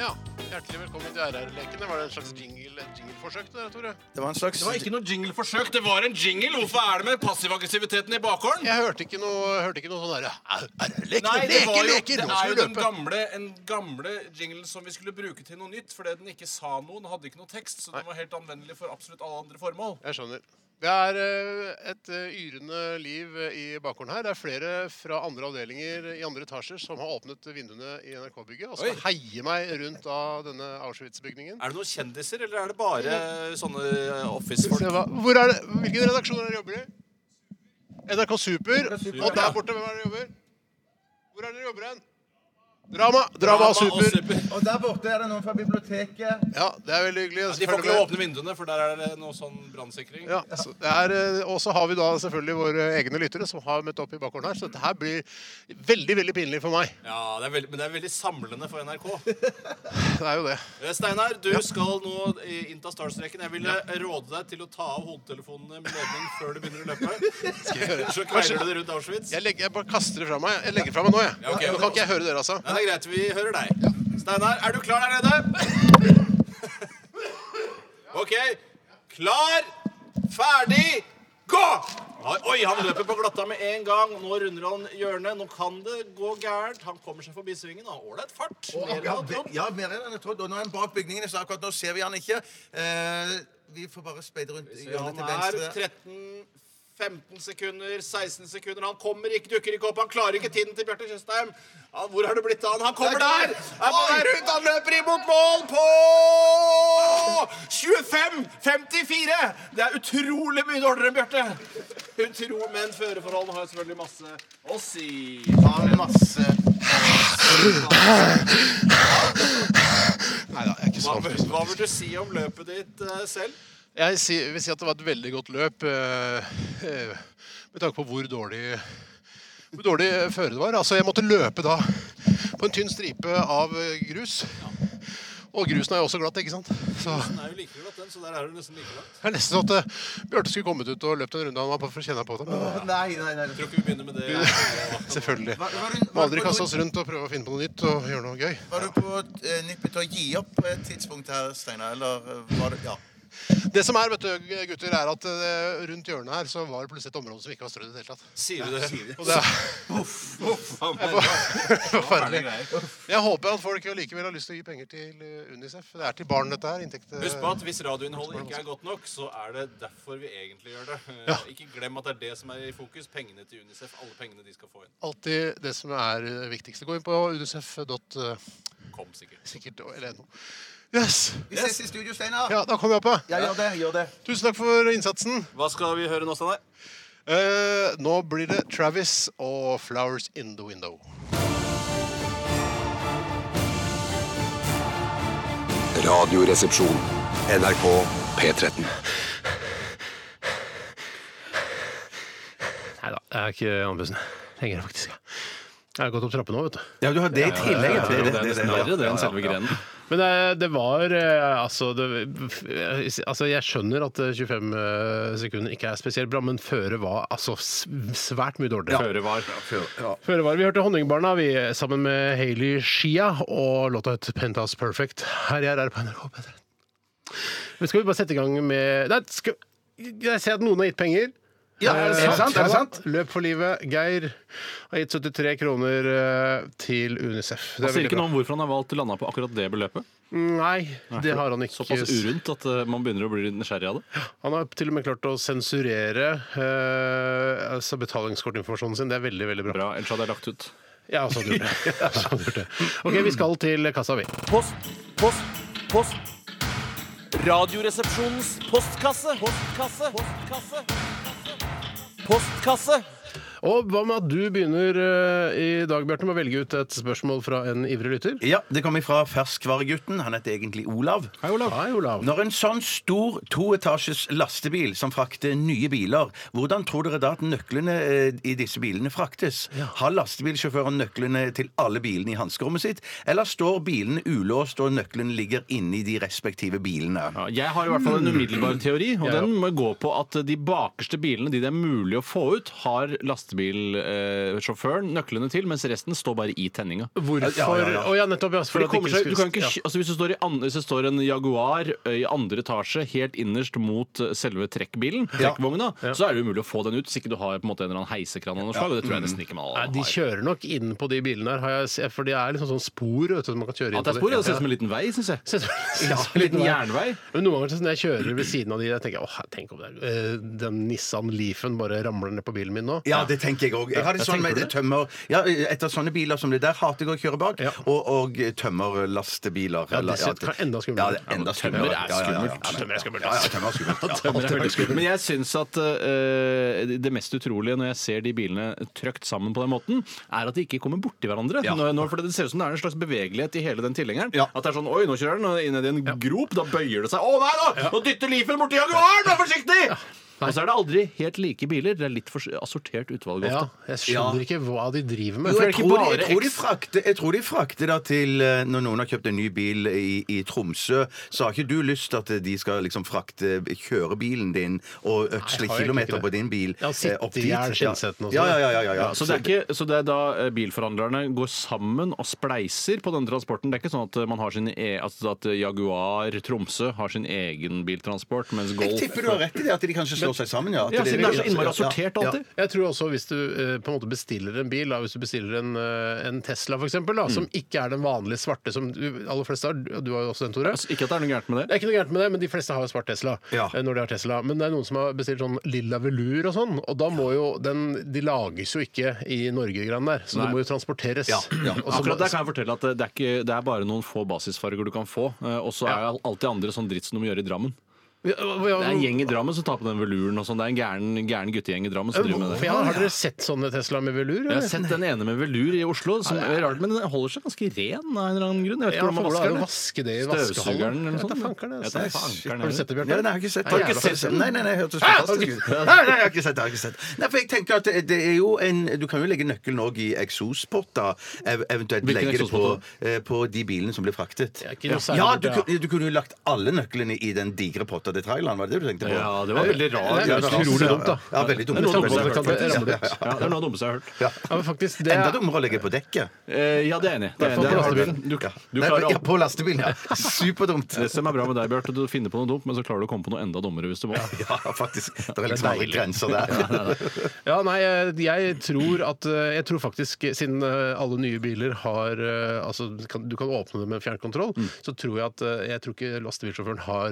Speaker 1: Ja, hjertelig velkommen til RR-lekene. Var det en slags jingle, et jingleforsøk der, Tore?
Speaker 2: Det var en slags
Speaker 3: Det var ikke noe jingleforsøk, det var en jingle! Hvorfor er det med passiv-aggressiviteten i bakhånden?
Speaker 1: Jeg hørte ikke noe, hørte ikke noe sånn derre RR-lekene,
Speaker 3: Nei, det,
Speaker 1: leke,
Speaker 3: var jo,
Speaker 1: leker,
Speaker 3: det
Speaker 1: nå
Speaker 3: er
Speaker 1: skal
Speaker 3: jo
Speaker 1: vi
Speaker 3: den
Speaker 1: løpe.
Speaker 3: gamle, en gamle jinglen som vi skulle bruke til noe nytt, fordi den ikke sa noe, den hadde ikke noe tekst, så den var helt anvendelig for absolutt alle andre formål.
Speaker 1: Jeg skjønner. Det er eh, et eh, yrende liv eh, i bakgården her. Det er flere fra andre avdelinger i andre etasjer som har åpnet vinduene i NRK-bygget og skal heie meg rundt av denne Auschwitz-bygningen.
Speaker 3: Er det noen kjendiser, eller er det bare sånne
Speaker 1: Se
Speaker 3: office-folk?
Speaker 1: hva- Hvor er det? Hvilken redaksjon er det jobber i? NRK Super. Og der borte, hvem er det jobber? Hvor er det dere jobber hen? Drama, drama og Super.
Speaker 2: Og der borte er det noen fra biblioteket.
Speaker 1: Ja, det er veldig hyggelig.
Speaker 3: Altså, De får ikke
Speaker 1: selvfølgelig.
Speaker 3: lov å åpne vinduene, for der er det noe sånn brannsikring.
Speaker 1: Ja, så det er, eh, og så har vi da selvfølgelig våre egne lyttere som har møtt opp i bakgården her, så dette her blir veldig, veldig pinlig for meg.
Speaker 3: Ja, det er veldig, men det er veldig samlende for NRK.
Speaker 1: Det er jo det.
Speaker 3: Eh, Steinar, du skal nå i- innta startstreken. Jeg ville råde deg til å ta av hodetelefonene med ledning før du begynner å løpe. Så kveiler du det rundt Auschwitz.
Speaker 1: Jeg, legger, jeg bare kaster det fra meg. Jeg legger fra meg nå, jeg.
Speaker 3: Ja, ok.
Speaker 1: Nå kan ikke jeg høre dere, altså.
Speaker 3: Nei, det er greit. Vi hører deg. Steinar, er du klar der nede? OK. Klar, ferdig, gå! Oi, han løper på glatta med en gang. Nå runder han hjørnet. Nå kan det gå gærent. Han kommer seg forbi svingen. da. Ålreit fart. Mer enn jeg
Speaker 2: Ja,
Speaker 3: hadde trodd.
Speaker 2: ja, mer enn jeg trodde. Og nå er han bak bygningene, så akkurat nå ser vi han ikke. Eh, vi får bare speide rundt hjørnet til
Speaker 3: Han er
Speaker 2: venstre.
Speaker 3: 13 15 sekunder, 16 sekunder. Han kommer ikke, dukker ikke opp. Han klarer ikke tiden til Bjarte Tjøstheim. Ja, Hvor har det blitt av han? Han kommer der! Han er på vei rundt, han løper i mot mål på 25-54! Det er utrolig mye dårligere enn Bjarte. Utro, men føreforholdene har selvfølgelig masse å si. Har masse
Speaker 1: Nei da, jeg er ikke
Speaker 3: hva,
Speaker 1: så
Speaker 3: vil- hva vil du si om løpet ditt eh, selv?
Speaker 1: Jeg si- vil si at det var et veldig godt løp eh, eh, med tanke på hvor dårlig, hvor dårlig eh, føre det var. Altså, jeg måtte løpe da på en tynn stripe av eh, grus. Og grusen er jo også glatt, ikke sant? Så
Speaker 3: Den er jo like glatt, den, så der er du nesten like langt.
Speaker 1: Det er nesten sånn at eh, Bjarte skulle kommet ut og løpt en runde. Han var bare for å kjenne på det. Men
Speaker 2: Nei, nei, nei.
Speaker 3: Tror ikke vi begynner med det. nå.
Speaker 1: selvfølgelig.
Speaker 2: Var, var,
Speaker 1: Må
Speaker 2: du,
Speaker 1: aldri
Speaker 2: var,
Speaker 1: kaste oss rundt og prøve å finne på noe nytt og gjøre noe gøy.
Speaker 2: du, var du på eh, nippet til å gi opp på et tidspunkt her, Steinar? Eller eh, var det Ja.
Speaker 1: Det som er, vet du, gutter, er at eh, rundt hjørnet her så var det plutselig et område som ikke var strødd i det hele tatt.
Speaker 3: Sier du det?
Speaker 1: Og det er forferdelig.
Speaker 3: Husk
Speaker 1: Jeg håper at folk allikevel har lyst til å gi penger til eh, Unicef. Det er til barn, dette her. Inntekt, eh,
Speaker 3: på at hvis radioinnholdet ikke er godt nok, så er det derfor vi egentlig gjør det. Eh,
Speaker 1: Ja.
Speaker 3: Ikke glem at det er det som er i fokus. Pengene til UNICEF. Alle pengene de skal få inn.
Speaker 1: Alltid det som er eh, viktigst. Gå inn på unicef.sikkert
Speaker 3: Kom sikkert.
Speaker 1: eller no. Yes!
Speaker 2: Vi ses i studio, Steinar.
Speaker 1: Ja, da kommer jeg opp, ja.
Speaker 2: Ja, gjør det. Gjør det.
Speaker 1: Tusen takk for innsatsen.
Speaker 3: Hva skal vi høre nå, Steinar?
Speaker 1: Eh, nå blir det Travis og Flowers in the Window.
Speaker 4: Radioresepsjon. NRK P13.
Speaker 7: Nei da, jeg er ikke andpusten lenger, faktisk. Jeg har gått opp trappene nå, vet du.
Speaker 2: Ja, du har det i tillegg.
Speaker 3: Ja, det er nesten verre det enn selve grenen.
Speaker 7: Men det, det var eh, altså, det, altså Jeg skjønner at eh, 25 sekunder ikke er spesielt bra, men føre var altså s- svært mye dårligere.
Speaker 3: Føre var.
Speaker 7: Føre var. Vi hørte Honningbarna vi, sammen med Hailey Shia og låta het Penthouse Perfect. Her jeg er på NRK P13. Men Skal vi bare sette i gang med Nei, skal, Jeg ser at noen har gitt penger. Eh,
Speaker 2: Ja, er det sant? Er det sant?
Speaker 7: Løp for livet. Geir har gitt 73 kroner eh, til Unicef. Det er
Speaker 3: Han sier
Speaker 7: veldig
Speaker 3: ikke
Speaker 7: bra.
Speaker 3: noe om hvorfor han har valgt å lande på akkurat det beløpet.
Speaker 7: Nei, det har han ikke.
Speaker 3: Såpass urundt at eh, man begynner å bli nysgjerrig av det.
Speaker 7: Han har til og med klart å sensurere eh, altså betalingskortinformasjonen sin. Det er veldig veldig bra.
Speaker 3: Bra, Ellers hadde jeg lagt ut.
Speaker 7: Jeg har også gjort det. Jeg har også gjort det. OK, vi skal til kassa, vi.
Speaker 8: Post, post, post. Radioresepsjonens postkasse. Postkasse. Postkasse. Postkasse.
Speaker 1: Og hva med at du begynner eh, i dag, Bjarte, med å velge ut et spørsmål fra en ivrig lytter?
Speaker 2: Ja, Det kommer fra ferskvaregutten. Han heter egentlig Olav.
Speaker 1: Hei, Olav. Hei, Olav.
Speaker 2: Når en sånn stor toetasjes lastebil som frakter nye biler, hvordan tror dere da at nøklene eh, i disse bilene fraktes? Har lastebilsjåføren nøklene til alle bilene i hanskerommet sitt, eller står bilene ulåst og nøkkelen ligger inni de respektive bilene?
Speaker 3: Ja, jeg har i hvert fall en umiddelbar teori, og
Speaker 1: Jeg
Speaker 3: den må gå på at de bakerste bilene, de det er mulig å få ut, har lastebilsjåføren nøklene til, mens resten står bare i tenninga.
Speaker 1: Hvorfor Å ja,
Speaker 2: Ja, ja, ja.
Speaker 1: nettopp. Ja,
Speaker 3: For det kommer seg, du kan ikke,
Speaker 1: ja.
Speaker 3: sky- altså hvis, det står i an, hvis det står en Jaguar ø, i andre etasje helt innerst mot ø, selve trekkbilen, trekkvogna, så er det umulig å få den ut hvis ikke du har på en måte en eller annen heisekran av noe slag. Og det tror jeg nesten ikke man
Speaker 1: Nei,
Speaker 3: har.
Speaker 1: De kjører nok inn på de bilene her, har jeg, se- for de er liksom sånn spor vet du, som man kan kjøre inn
Speaker 3: At det er spor, ja, det ser ut som en liten vei, syns jeg.
Speaker 1: Ser ut som-
Speaker 3: Ja, en liten jernvei.
Speaker 1: Men noen ganger så når jeg kjører ved siden av de, jeg tenker jeg, åh, tenk om det er eh, den Nissan Leafen bare ramler ned på bilen min nå.
Speaker 2: Ja, det tenker jeg òg. Jeg har det
Speaker 1: Ja,
Speaker 2: sånn med
Speaker 1: tenker du
Speaker 2: tømmer ja, Etter sånne biler som det der hater jeg å kjøre bak.
Speaker 1: Ja.
Speaker 2: Og, og tømmerlastebiler.
Speaker 1: Ja,
Speaker 2: eller-
Speaker 1: det ser- kan enda skumlere.
Speaker 2: Ja, det er enda
Speaker 3: tømmer er
Speaker 2: skumlere. Ja, ja, ja, ja.
Speaker 3: skummelt.
Speaker 1: Tømmer er skummelt,
Speaker 2: Ja,
Speaker 1: ass.
Speaker 2: ja, tømmer er skummelt. ja.
Speaker 1: Tømmer er veldig skummelt.
Speaker 3: Men jeg syns at ø, det mest utrolige når jeg ser de bilene trøkt sammen på den måten, er at de ikke kommer borti hverandre.
Speaker 2: Ja.
Speaker 3: Nå- nå- for det ser ut som det er en slags bevegelighet i hele den tilhengeren.
Speaker 2: Ja.
Speaker 3: At det er sånn Oi, nå kjører den og inn i en grop. Da bøyer det seg. Å nei da! Nå dytter Leafen borti Jaguaren! Vær forsiktig! Og så er det aldri helt like biler. Det er litt for assortert utvalg
Speaker 1: Ja,
Speaker 3: ofte.
Speaker 1: jeg skjønner ikke hva de driver med.
Speaker 2: Jo,
Speaker 1: for
Speaker 2: jeg,
Speaker 1: det er
Speaker 2: tror de,
Speaker 1: ikke
Speaker 2: jeg,
Speaker 1: bare
Speaker 2: tror de
Speaker 1: X.
Speaker 2: frakter, jeg tror de frakter da til eh, Når noen har kjøpt en ny bil i, i Tromsø, så har ikke du lyst til at de skal liksom frakte kjøre bilen din og
Speaker 1: Nei,
Speaker 2: øksle
Speaker 1: har jeg ikke
Speaker 2: kilometer
Speaker 1: det.
Speaker 2: på din bil
Speaker 1: Ja, sitte
Speaker 2: eh, opp
Speaker 1: i
Speaker 2: dit.
Speaker 1: hjel Skinnsetten og sånn.
Speaker 2: ja, ja, ja, ja, ja, ja.
Speaker 3: Ja, så, det er ikke, så det er da eh, bilforhandlerne går sammen og spleiser på denne transporten? Det er ikke sånn at eh, man har sin e altså at eh, Jaguar Tromsø har sin egen biltransport, mens
Speaker 2: Jeg
Speaker 3: Golf
Speaker 2: tipper du har rett i det, at de kanskje slår seg sammen. Ja, At
Speaker 3: Ja, siden det er så innmari
Speaker 2: Ja, ja.
Speaker 3: assortert alltid.
Speaker 1: Jeg tror også hvis du eh, på en måte bestiller en bil, da, hvis du bestiller en, eh, en Tesla f.eks., som
Speaker 3: Mm.
Speaker 1: ikke er den vanlige svarte som du, aller fleste har, og du har jo også den, Tore.
Speaker 3: Altså, ikke at det er noe gærent med
Speaker 1: Det
Speaker 3: det.
Speaker 1: er ikke noe gærent med det, men de fleste har jo svart Tesla.
Speaker 2: Ja.
Speaker 1: eh, når de har Tesla. Men det er noen som har bestilt sånn lilla velur og sånn, og da må jo den De lages jo ikke i Norge, grann der, så
Speaker 3: Nei.
Speaker 1: det må jo transporteres.
Speaker 2: Ja, ja.
Speaker 1: Og så
Speaker 3: Akkurat
Speaker 1: må-
Speaker 3: der kan jeg fortelle at det er, ikke, det er bare noen få basisfarger du kan få. eh, Og så er alt det andre sånn dritt som du må gjøre i Drammen.
Speaker 1: Ja, ja,
Speaker 3: Det er en gjeng i Drammen som tar på den veluren og sånn. Det er en gæren, gæren guttegjeng i Drammen som driver med det.
Speaker 1: Ja, har dere sett sånne Tesla med
Speaker 3: Jeg
Speaker 1: velur? eller?
Speaker 3: har sett den ene med velur i Oslo, som er rart, men den holder seg ganske ren av en eller annen grunn. Jeg vet
Speaker 1: Ja,
Speaker 3: ikke hvordan man
Speaker 1: for hvordan er
Speaker 3: vasker
Speaker 1: det
Speaker 3: den.
Speaker 1: å vaske det i
Speaker 3: Støvsugeren
Speaker 1: vaskehallen?
Speaker 3: eller noe sånt. Jeg vet da
Speaker 1: Jeg vet da fankeren, altså.
Speaker 3: fankeren,
Speaker 1: Har du sett det,
Speaker 2: Nei, nei,
Speaker 1: Bjarte?
Speaker 2: jeg har ikke sett
Speaker 1: Har
Speaker 2: det.
Speaker 1: du ikke
Speaker 2: Jeg har ikke
Speaker 1: sett
Speaker 2: sett det. Nei, nei, nei, jeg hørte så fantastisk ut. Nei, nei, jeg har ikke sett det. Jeg har ikke sett. det. Nei, for jeg tenker at det, det er jo en Du kan jo legge nøkkelen òg i eksospotter. ev- Eventuelt
Speaker 3: Hvilken
Speaker 2: legge det på,
Speaker 3: eksospotter?
Speaker 2: eh, på de bilene som blir fraktet.
Speaker 1: er ikke noe særlig
Speaker 2: Ja,
Speaker 1: med
Speaker 2: du,
Speaker 1: det,
Speaker 2: kun- du kunne jo lagt alle nøklene i den digre potta til Thailand, var det det du tenkte på?
Speaker 3: Ja, det var veldig rart.
Speaker 1: Det er utrolig dumt, da.
Speaker 2: Ja, veldig dumt.
Speaker 1: Det er noe dumt, det kan
Speaker 2: Veldig
Speaker 1: ramle
Speaker 2: dumt.
Speaker 1: ut.
Speaker 2: Ja,
Speaker 3: Ja,
Speaker 2: ja,
Speaker 3: det er noe av det dummeste jeg har hørt.
Speaker 2: ja.
Speaker 1: Ja, men faktisk, det
Speaker 2: Enda
Speaker 1: er
Speaker 2: dummere å legge på dekket.
Speaker 3: Eh, Ja, det er jeg enig. i. Det er-
Speaker 1: Hvertfall
Speaker 3: det er-
Speaker 1: på lastebilen.
Speaker 3: Du,
Speaker 2: Ja.
Speaker 3: du
Speaker 2: Nei,
Speaker 3: klarer
Speaker 2: ja, på lastebilen, ja. Superdumt.
Speaker 3: Det som er bra med deg, Bjarte, du finner på noe dumt, men så klarer du å komme på noe enda dummere hvis du må.
Speaker 2: Ja, faktisk. Det er liksom aldri grenser der.
Speaker 1: Ja, nei, eh, jeg tror at eh, Jeg tror faktisk, siden eh, alle nye biler har eh, Altså, du kan- du kan åpne dem med fjernkontroll,
Speaker 3: Mm.
Speaker 1: så tror jeg at eh, Jeg tror ikke lastebilsjåføren har,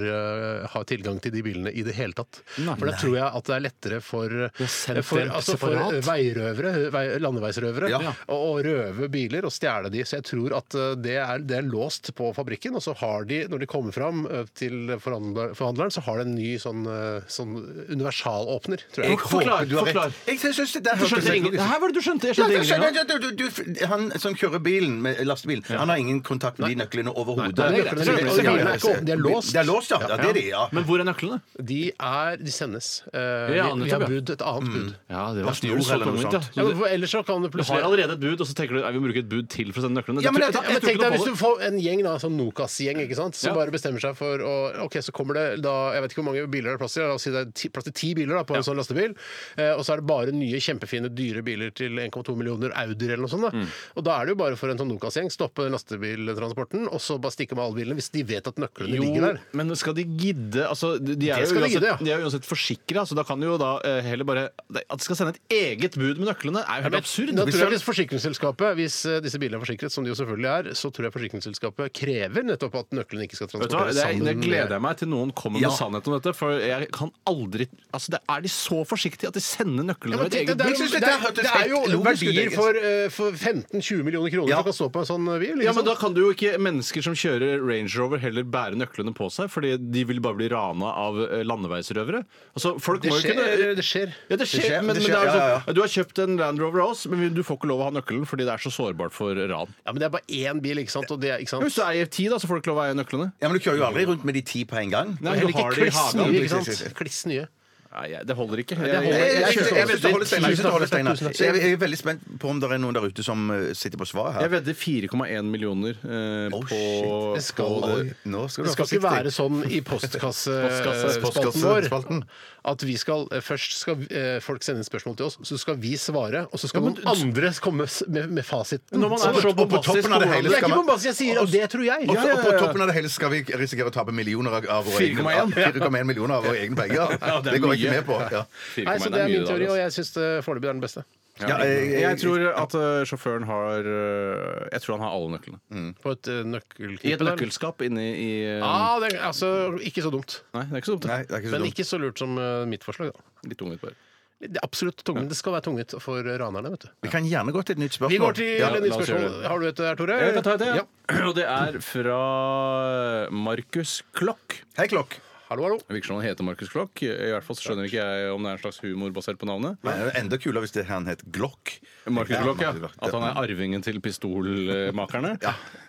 Speaker 1: eh, har tilgang til de bilene i det hele tatt.
Speaker 3: Nei.
Speaker 1: for da tror jeg at det er lettere for,
Speaker 3: sendt
Speaker 1: for,
Speaker 3: dem
Speaker 1: altså, for
Speaker 3: separat.
Speaker 1: veirøvere, eh, vei, landeveisrøvere,
Speaker 2: Ja.
Speaker 1: å, å røve biler og stjele de. Så jeg tror at eh, det er, det er låst på fabrikken, og så har de, når de kommer fram eh, til forhandler, forhandleren, så har de en ny sånn, eh, sånn universalåpner, tror jeg.
Speaker 2: Jeg
Speaker 3: Forklar,
Speaker 2: håper du har
Speaker 3: forklar.
Speaker 2: rett. Jeg synes det der
Speaker 3: Du skjønte
Speaker 2: hørtes
Speaker 3: ingen...
Speaker 2: logisk ut.
Speaker 3: Hæ, hva er det du skjønte? Jeg
Speaker 2: Ja,
Speaker 3: skjønte
Speaker 2: jeg skjønner,
Speaker 3: ingenting.
Speaker 2: jeg skjønner, du, du, du, han som kjører bilen med lastebilen, han har ingen kontakt med de nøklene overhodet.
Speaker 3: Nei, nei, nei,
Speaker 1: nei, nei, nei, nei, nei, nei, de er låst.
Speaker 2: Det er låst, ja. ja det er de, ja.
Speaker 3: Men hvor er nøklene?
Speaker 1: De er De sendes. Eh,
Speaker 3: Ja,
Speaker 1: vi, vi
Speaker 3: nettopp, ja.
Speaker 1: har
Speaker 3: Mm,
Speaker 1: bud, et annet bud.
Speaker 3: Ja, det
Speaker 2: var snor eller noe sånt.
Speaker 1: Ja, men for ellers så kan det
Speaker 3: Du har
Speaker 1: plutselig
Speaker 3: allerede et bud, og så tenker du at vi må bruke et bud til for å sende nøklene.
Speaker 2: Ja, men
Speaker 3: Det
Speaker 2: jeg-
Speaker 3: tror-
Speaker 1: ja, men
Speaker 3: tror
Speaker 1: tenk
Speaker 3: ikke
Speaker 1: deg
Speaker 3: noe
Speaker 1: Hvis
Speaker 3: på
Speaker 1: du får en gjeng, da, sånn Nokas-gjeng, ikke sant, som
Speaker 3: Ja.
Speaker 1: bare bestemmer seg for å Ok, så kommer det da Jeg vet ikke hvor mange biler det er plass til, la oss si det er ti, plass til ti biler da, på en sånn lastebil. Eh, og så er det bare nye, kjempefine, dyre biler til 1,2 millioner Audier eller noe sånt. Da.
Speaker 3: Mm.
Speaker 1: Og da er det jo bare for en sånn Nokas-gjeng stoppe den lastebiltransporten, og så bare stikke med alle bilene hvis de vet at nøklene
Speaker 3: Jo,
Speaker 1: ligger der.
Speaker 3: men skal de gidde altså, de, de, er jo
Speaker 1: Det skal de
Speaker 3: uansett,
Speaker 1: gidde, ja.
Speaker 3: de er jo uansett forsikra, så da kan de jo da eh, heller bare At de skal sende et eget bud med nøklene, er jo helt absurd.
Speaker 1: Da tror jeg hvis forsikringsselskapet, hvis eh, disse bilene er forsikret, som de jo selvfølgelig er, så tror jeg forsikringsselskapet krever nettopp at nøklene ikke skal
Speaker 3: Vet du hva,
Speaker 1: transporteres
Speaker 3: det, er,
Speaker 1: sammen.
Speaker 3: det gleder
Speaker 1: med-
Speaker 3: jeg meg til noen kommer med sannhet om dette. For jeg kan aldri Altså, det, Er de så forsiktige at de sender
Speaker 1: Ja,
Speaker 3: nøklene
Speaker 1: men
Speaker 3: med et
Speaker 1: tenk deg,
Speaker 3: eget
Speaker 1: det, er,
Speaker 2: Jeg
Speaker 1: jo-
Speaker 2: synes
Speaker 1: det,
Speaker 2: dette
Speaker 1: er,
Speaker 2: hørtes
Speaker 1: det er jo
Speaker 2: helt logisk ut,
Speaker 1: verdier
Speaker 2: egentlig.
Speaker 1: for, eh, for 15-20 millioner kroner
Speaker 2: Ja.
Speaker 1: som kan stå på en sånn bil.
Speaker 3: Ja, men Da kan du jo ikke mennesker som kjører Range Rover, heller bære nøklene på seg, fordi de vil bare bli rana av eh, landeveisrøvere. Altså, folk
Speaker 1: Det
Speaker 3: må jo
Speaker 1: skjer.
Speaker 3: kunne
Speaker 1: eh, Det skjer.
Speaker 3: ja, det skjer,
Speaker 2: Det skjer,
Speaker 3: men,
Speaker 2: det
Speaker 3: men det
Speaker 2: skjer,
Speaker 3: er jo
Speaker 2: ja, ja,
Speaker 3: sånn, Du har kjøpt en Land Rover av oss, men du får ikke lov å ha nøkkelen fordi det er så sårbart for ran.
Speaker 1: Ja, men det er bare én bil, ikke sant? Og det, er- ikke
Speaker 3: Ja,
Speaker 1: sant?
Speaker 3: Hvis du eier ti, da, så får du ikke lov å eie nøklene.
Speaker 2: Ja, men Du kjører jo aldri rundt med de ti på en gang.
Speaker 3: Nei,
Speaker 1: Heller ikke
Speaker 3: har de i
Speaker 1: kliss
Speaker 3: hagen.
Speaker 1: nye, ikke sant? Kliss nye.
Speaker 3: Nei, jeg- det holder ikke.
Speaker 1: det holder
Speaker 2: Jeg,
Speaker 1: ikke.
Speaker 2: jeg,
Speaker 3: jeg,
Speaker 2: jeg, jeg, synes det holder Steinar. jeg, synes det holder Steinar.
Speaker 1: Tusen takk.
Speaker 2: Så jeg, jeg er veldig spent på om det er noen der ute som eh, sitter på svar
Speaker 3: jeg
Speaker 2: her.
Speaker 3: vedder 4,1 millioner eh, på,
Speaker 2: Oh, shit.
Speaker 1: Det skal,
Speaker 3: på
Speaker 2: Oi, nå skal
Speaker 1: det skal
Speaker 2: du være
Speaker 1: ikke
Speaker 2: forsiktig.
Speaker 1: være sånn i
Speaker 2: Eh,
Speaker 3: Postkasse-
Speaker 1: postkassespalten vår
Speaker 2: postkassespalten.
Speaker 1: at vi skal, eh, først skal eh, folk sende inn spørsmål til oss, så skal vi svare, og så skal noen andre komme s- med, med fasiten.
Speaker 3: Når man er
Speaker 1: Sånn.
Speaker 3: så
Speaker 2: Og på
Speaker 3: bombastisk
Speaker 2: toppen av det
Speaker 3: på
Speaker 2: hele
Speaker 1: Jeg er
Speaker 3: hvordan-
Speaker 1: ikke bombastisk, jeg sier, og det tror jeg.
Speaker 2: Og så- og på toppen av det hele skal vi risikere å tape millioner av- av våre egne
Speaker 3: 4,1.
Speaker 2: 4,1 millioner av våre egne penger.
Speaker 3: Ja, det er
Speaker 2: det går jeg
Speaker 3: mye.
Speaker 2: ikke med på. Ja.
Speaker 1: Nei,
Speaker 3: 4,1
Speaker 1: så det er min
Speaker 3: mye, da,
Speaker 1: teori,
Speaker 3: altså.
Speaker 1: og jeg syns foreløpig det er den beste.
Speaker 2: Ja, jeg- jeg-
Speaker 3: jeg tror at eh, sjåføren har eh, Jeg tror han har alle nøklene.
Speaker 2: Mm.
Speaker 1: På et eh,
Speaker 3: I et
Speaker 1: nøkkelknippe der.
Speaker 3: nøkkelskap inni i eh,
Speaker 1: Ja, det er altså ikke så dumt.
Speaker 3: Nei, det er ikke så dumt.
Speaker 2: Nei,
Speaker 3: det.
Speaker 2: det er ikke så
Speaker 1: Men
Speaker 2: dumt.
Speaker 1: ikke så lurt som eh, mitt forslag, da.
Speaker 3: Litt ungt bare.
Speaker 1: Det er absolutt tungt, men det skal være tungt for ranerne, vet du.
Speaker 2: Vi kan gjerne gå til et nytt spørsmål.
Speaker 1: Vi går til
Speaker 2: Ja.
Speaker 1: et
Speaker 3: la
Speaker 1: nytt
Speaker 3: oss gjøre
Speaker 1: spørsmål.
Speaker 3: det.
Speaker 1: Har du et der, Tore?
Speaker 3: Jeg kan ta et,
Speaker 1: Ja.
Speaker 3: ja. Og det er fra Markus Klokk.
Speaker 2: Hei, Klokk.
Speaker 1: Hallo, hallo.
Speaker 3: Det virker som han heter Markus Klokk. I hvert fall så skjønner ikke jeg om det er en slags humor basert på navnet.
Speaker 2: Nei, det er Enda kulere hvis det han het Glock.
Speaker 3: Markus
Speaker 2: Ja,
Speaker 3: Klokk, ja.
Speaker 2: Markus Klokk, ja.
Speaker 3: At han er arvingen til pistolmakerne.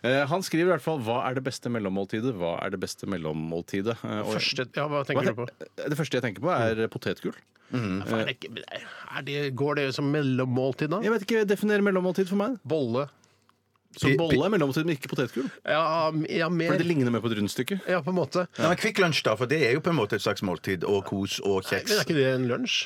Speaker 3: Eh, Han skriver i hvert fall 'Hva er det beste mellommåltidet?' Hva er det beste mellommåltidet? Eh, og-
Speaker 1: Første, ja,
Speaker 3: Hva
Speaker 1: hva tenker du på?
Speaker 3: te- Det første jeg tenker på, er potetgull.
Speaker 1: Er det, ikke- er det, går det som mellommåltid, da?
Speaker 3: Jeg vet ikke, Definer mellommåltid for meg.
Speaker 1: Bolle.
Speaker 3: Så bolle er mellommåltid, men ikke potetgull.
Speaker 1: Ja, m- ja
Speaker 3: For det
Speaker 1: mer.
Speaker 3: ligner mer på et rundstykke.
Speaker 1: Ja, på en måte.
Speaker 2: Nei, men Kvikk Lunsj, da, for det er jo på en måte et slags måltid. Og kos
Speaker 1: Nei,
Speaker 2: og
Speaker 1: men
Speaker 2: kjeks. Ah,
Speaker 1: er ikke det en lunsj?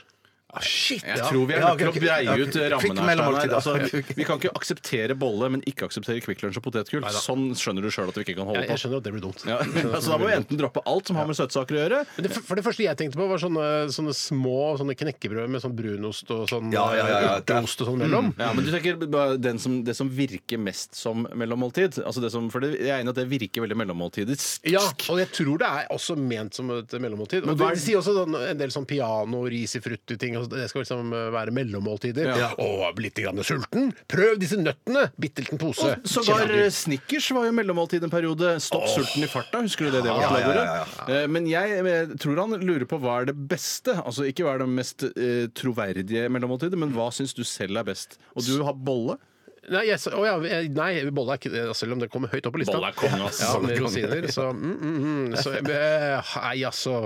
Speaker 2: Shit!
Speaker 3: Jeg tror vi er
Speaker 2: Ja,
Speaker 3: nødt til
Speaker 2: ok,
Speaker 3: å breie
Speaker 2: ok.
Speaker 3: ut
Speaker 2: Kvikk
Speaker 3: rammene her.
Speaker 2: mellommåltid,
Speaker 3: Steinar.
Speaker 2: da.
Speaker 3: Altså, vi kan ikke akseptere bolle, men ikke akseptere Kvikk Lunsj og potetgull. Sånn skjønner du sjøl at vi ikke kan holde
Speaker 1: Jeg, jeg
Speaker 3: på.
Speaker 1: skjønner at det blir dumt.
Speaker 3: Ja, altså, da må vi enten droppe alt som har med søtsaker å gjøre.
Speaker 1: Men det, for det første jeg tenkte på, var sånne, sånne små sånne knekkebrød med sånn brunost og sånn
Speaker 2: Ja, ja, ja, ja.
Speaker 1: eh, urteost og sånn mellom.
Speaker 3: Ja, men du tenker bare den som, Det som virker mest som mellommåltid. Altså det som, for det, jeg er enig i at det virker veldig mellommåltidisk.
Speaker 1: Ja, og jeg tror det er også ment som et mellommåltid. Og
Speaker 3: hva er-
Speaker 1: de sier også sånn, en del sånn piano, ris i frutti-ting. og Det skal liksom eh, være mellommåltider.
Speaker 3: Ja.
Speaker 1: Og litt grann sulten? Prøv disse nøttene! Bitte liten pose.
Speaker 3: Og Sågar eh,
Speaker 1: Kjenner du-
Speaker 3: Snickers var jo mellommåltid en periode. Stopp sulten i farta, husker du det? det var
Speaker 2: ja, ja,
Speaker 3: slagordet?
Speaker 2: ja,
Speaker 3: Eh, Men jeg eh, tror han lurer på hva er det beste. Altså ikke hva er det mest eh, troverdige mellommåltidet, men hva syns du selv er best? Og du har bolle.
Speaker 1: Nei, jeg, sa- å ja, jeg- nei, bolle er ikke det, selv om det kommer høyt opp på lista.
Speaker 3: Bolle er konge, ass.
Speaker 1: Ja,
Speaker 3: Bolle
Speaker 1: med
Speaker 3: er konge.
Speaker 1: rosiner, så, mm, mm, mm, så eh, Nei, altså.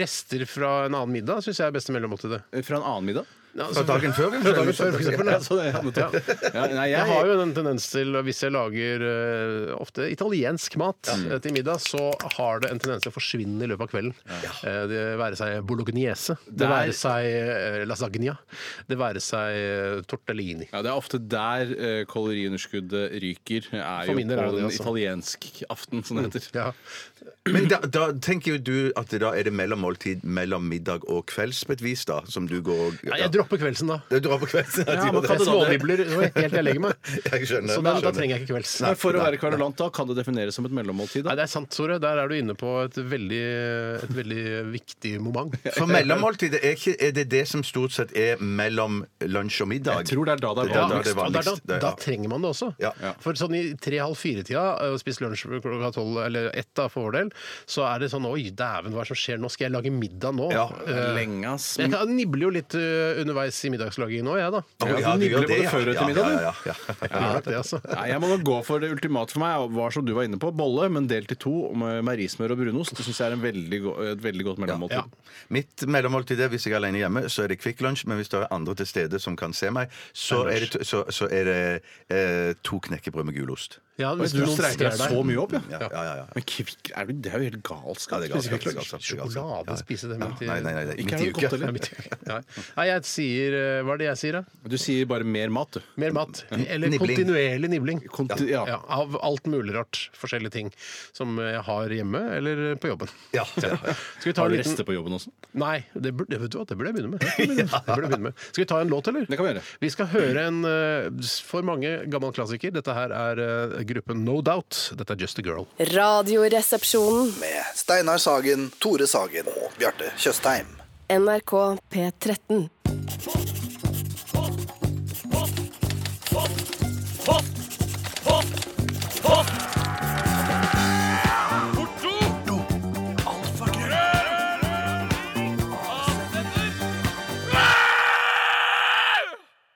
Speaker 1: Rester fra en annen middag syns jeg er beste mellommåltidet.
Speaker 3: Eh, Fra en annen middag?
Speaker 1: Ja,
Speaker 2: Fra
Speaker 1: altså,
Speaker 2: dagen før?
Speaker 1: fra dagen før, for eksempel.
Speaker 3: Ja, så det, ja, nettopp. ja, nei,
Speaker 1: Jeg har jo en tendens til, og hvis jeg lager eh, ofte italiensk mat eh, til middag, så har det en tendens til å forsvinne i løpet av kvelden. Eh, det være seg bolognese, det,
Speaker 3: er-
Speaker 1: være seg eh, lasagna, det være seg eh, tortellini.
Speaker 3: Ja, Det er ofte der eh, kaloriunderskuddet ryker. Er
Speaker 1: For
Speaker 3: jo
Speaker 1: min del er
Speaker 3: på
Speaker 1: det
Speaker 3: den
Speaker 1: det, altså.
Speaker 3: italienske aften, som det heter.
Speaker 1: Ja.
Speaker 2: Men da, da tenker jo du at det da er det mellommåltid mellom middag og kvelds på et vis, da? Som du går og
Speaker 1: Nei, jeg dropper kveldsen, da.
Speaker 2: Du drar på kvelds?
Speaker 3: Ja, man kan
Speaker 1: Jeg
Speaker 3: det da, det-
Speaker 1: smånibler det var helt til jeg legger meg.
Speaker 2: Jeg skjønner.
Speaker 1: Så da,
Speaker 2: jeg
Speaker 1: da
Speaker 2: skjønner.
Speaker 1: trenger jeg ikke kvelds.
Speaker 3: Men For å være kverulant, da, kan det defineres som et mellommåltid?
Speaker 1: Nei,
Speaker 3: da?
Speaker 1: det er sant, Tore. Der er du inne på et veldig, et veldig viktig moment.
Speaker 2: For mellommåltidet er, ikke, er det det som stort sett er mellom lunsj og middag?
Speaker 3: Jeg tror det er da det er
Speaker 2: Det er da
Speaker 3: vanligst.
Speaker 2: det er
Speaker 1: Og
Speaker 2: vanligst.
Speaker 1: da, da,
Speaker 2: Det-
Speaker 1: da
Speaker 2: ja.
Speaker 1: trenger man det også.
Speaker 2: Ja. Ja.
Speaker 1: For sånn i tre-halv fire-tida, eh, og spist lunsj klokka tolv eller ett da, for vår del, så er det sånn Oi, dæven, hva er det som skjer nå? Skal jeg lage middag nå?
Speaker 2: Ja,
Speaker 1: Eh,
Speaker 3: Lenge, ass.
Speaker 1: jeg kan- nibler jo litt eh, underveis i middagslagingen nå, jeg, da.
Speaker 2: Å,
Speaker 3: Ja,
Speaker 2: ja,
Speaker 3: du
Speaker 2: du
Speaker 3: nibler
Speaker 2: gjør det,
Speaker 3: både
Speaker 2: ja.
Speaker 3: før og etter
Speaker 2: Ja,
Speaker 3: middag, du.
Speaker 2: ja, ja, ja.
Speaker 1: Jeg gjør nok det, altså.
Speaker 3: Nei, jeg må nok gå for det ultimate for meg. og Var som du var inne på, bolle, men delt i to med, med rismør og brunost. Det syns jeg er en veldig go et veldig godt mellommåltid.
Speaker 1: Ja.
Speaker 2: Mitt mellommåltid er hvis jeg er alene hjemme, så er det Kvikk Lunsj. Men hvis det er andre til stede som kan se meg, så er det, to- så, så er det eh, to knekkebrød med gulost.
Speaker 1: Ja,
Speaker 3: Oi,
Speaker 1: hvis
Speaker 3: Altså, du
Speaker 1: noen
Speaker 3: streiker
Speaker 1: ser
Speaker 3: deg
Speaker 1: deg.
Speaker 3: så mye opp, ja.
Speaker 2: Ja, ja, ja. ja.
Speaker 3: Men kvikk, er du, det er jo helt galskap.
Speaker 2: Ja, det er galskap, det er galskap, det er galskap.
Speaker 1: Sjokolade,
Speaker 2: altså. Ja, ja.
Speaker 1: spise det
Speaker 2: Ja,
Speaker 1: midt i
Speaker 2: Nei, nei, nei, nei.
Speaker 3: Ikke
Speaker 2: midt
Speaker 3: er
Speaker 2: i
Speaker 3: det godt,
Speaker 2: uka.
Speaker 3: eller?
Speaker 1: Nei, midt i- Nei. Nei, jeg sier eh, Hva er det jeg sier, da?
Speaker 3: Du sier bare mer mat, du.
Speaker 1: Mer mat. Eller
Speaker 2: Nibling.
Speaker 1: kontinuerlig nibling.
Speaker 3: Konti ja.
Speaker 1: Ja, av alt mulig rart. Forskjellige ting som jeg har hjemme eller på jobben.
Speaker 2: Ja, ja, ja.
Speaker 1: Skal vi ta
Speaker 3: Har
Speaker 1: en
Speaker 3: du
Speaker 1: liten
Speaker 3: rester på jobben også?
Speaker 1: Nei, det burde, det vet du hva, det burde jeg begynne med. Det burde jeg begynne med. Skal vi ta en låt, eller?
Speaker 3: Det kan vi gjøre.
Speaker 1: Vi skal høre en eh, for mange gammel klassiker. Dette her er eh, gruppen No Doubt. Dette er Just a Girl.
Speaker 6: Radioresepsjonen.
Speaker 5: Med Steinar Sagen, Tore Sagen og Bjarte Tjøstheim.
Speaker 6: NRK P13.
Speaker 9: Porto. Alfakrøll.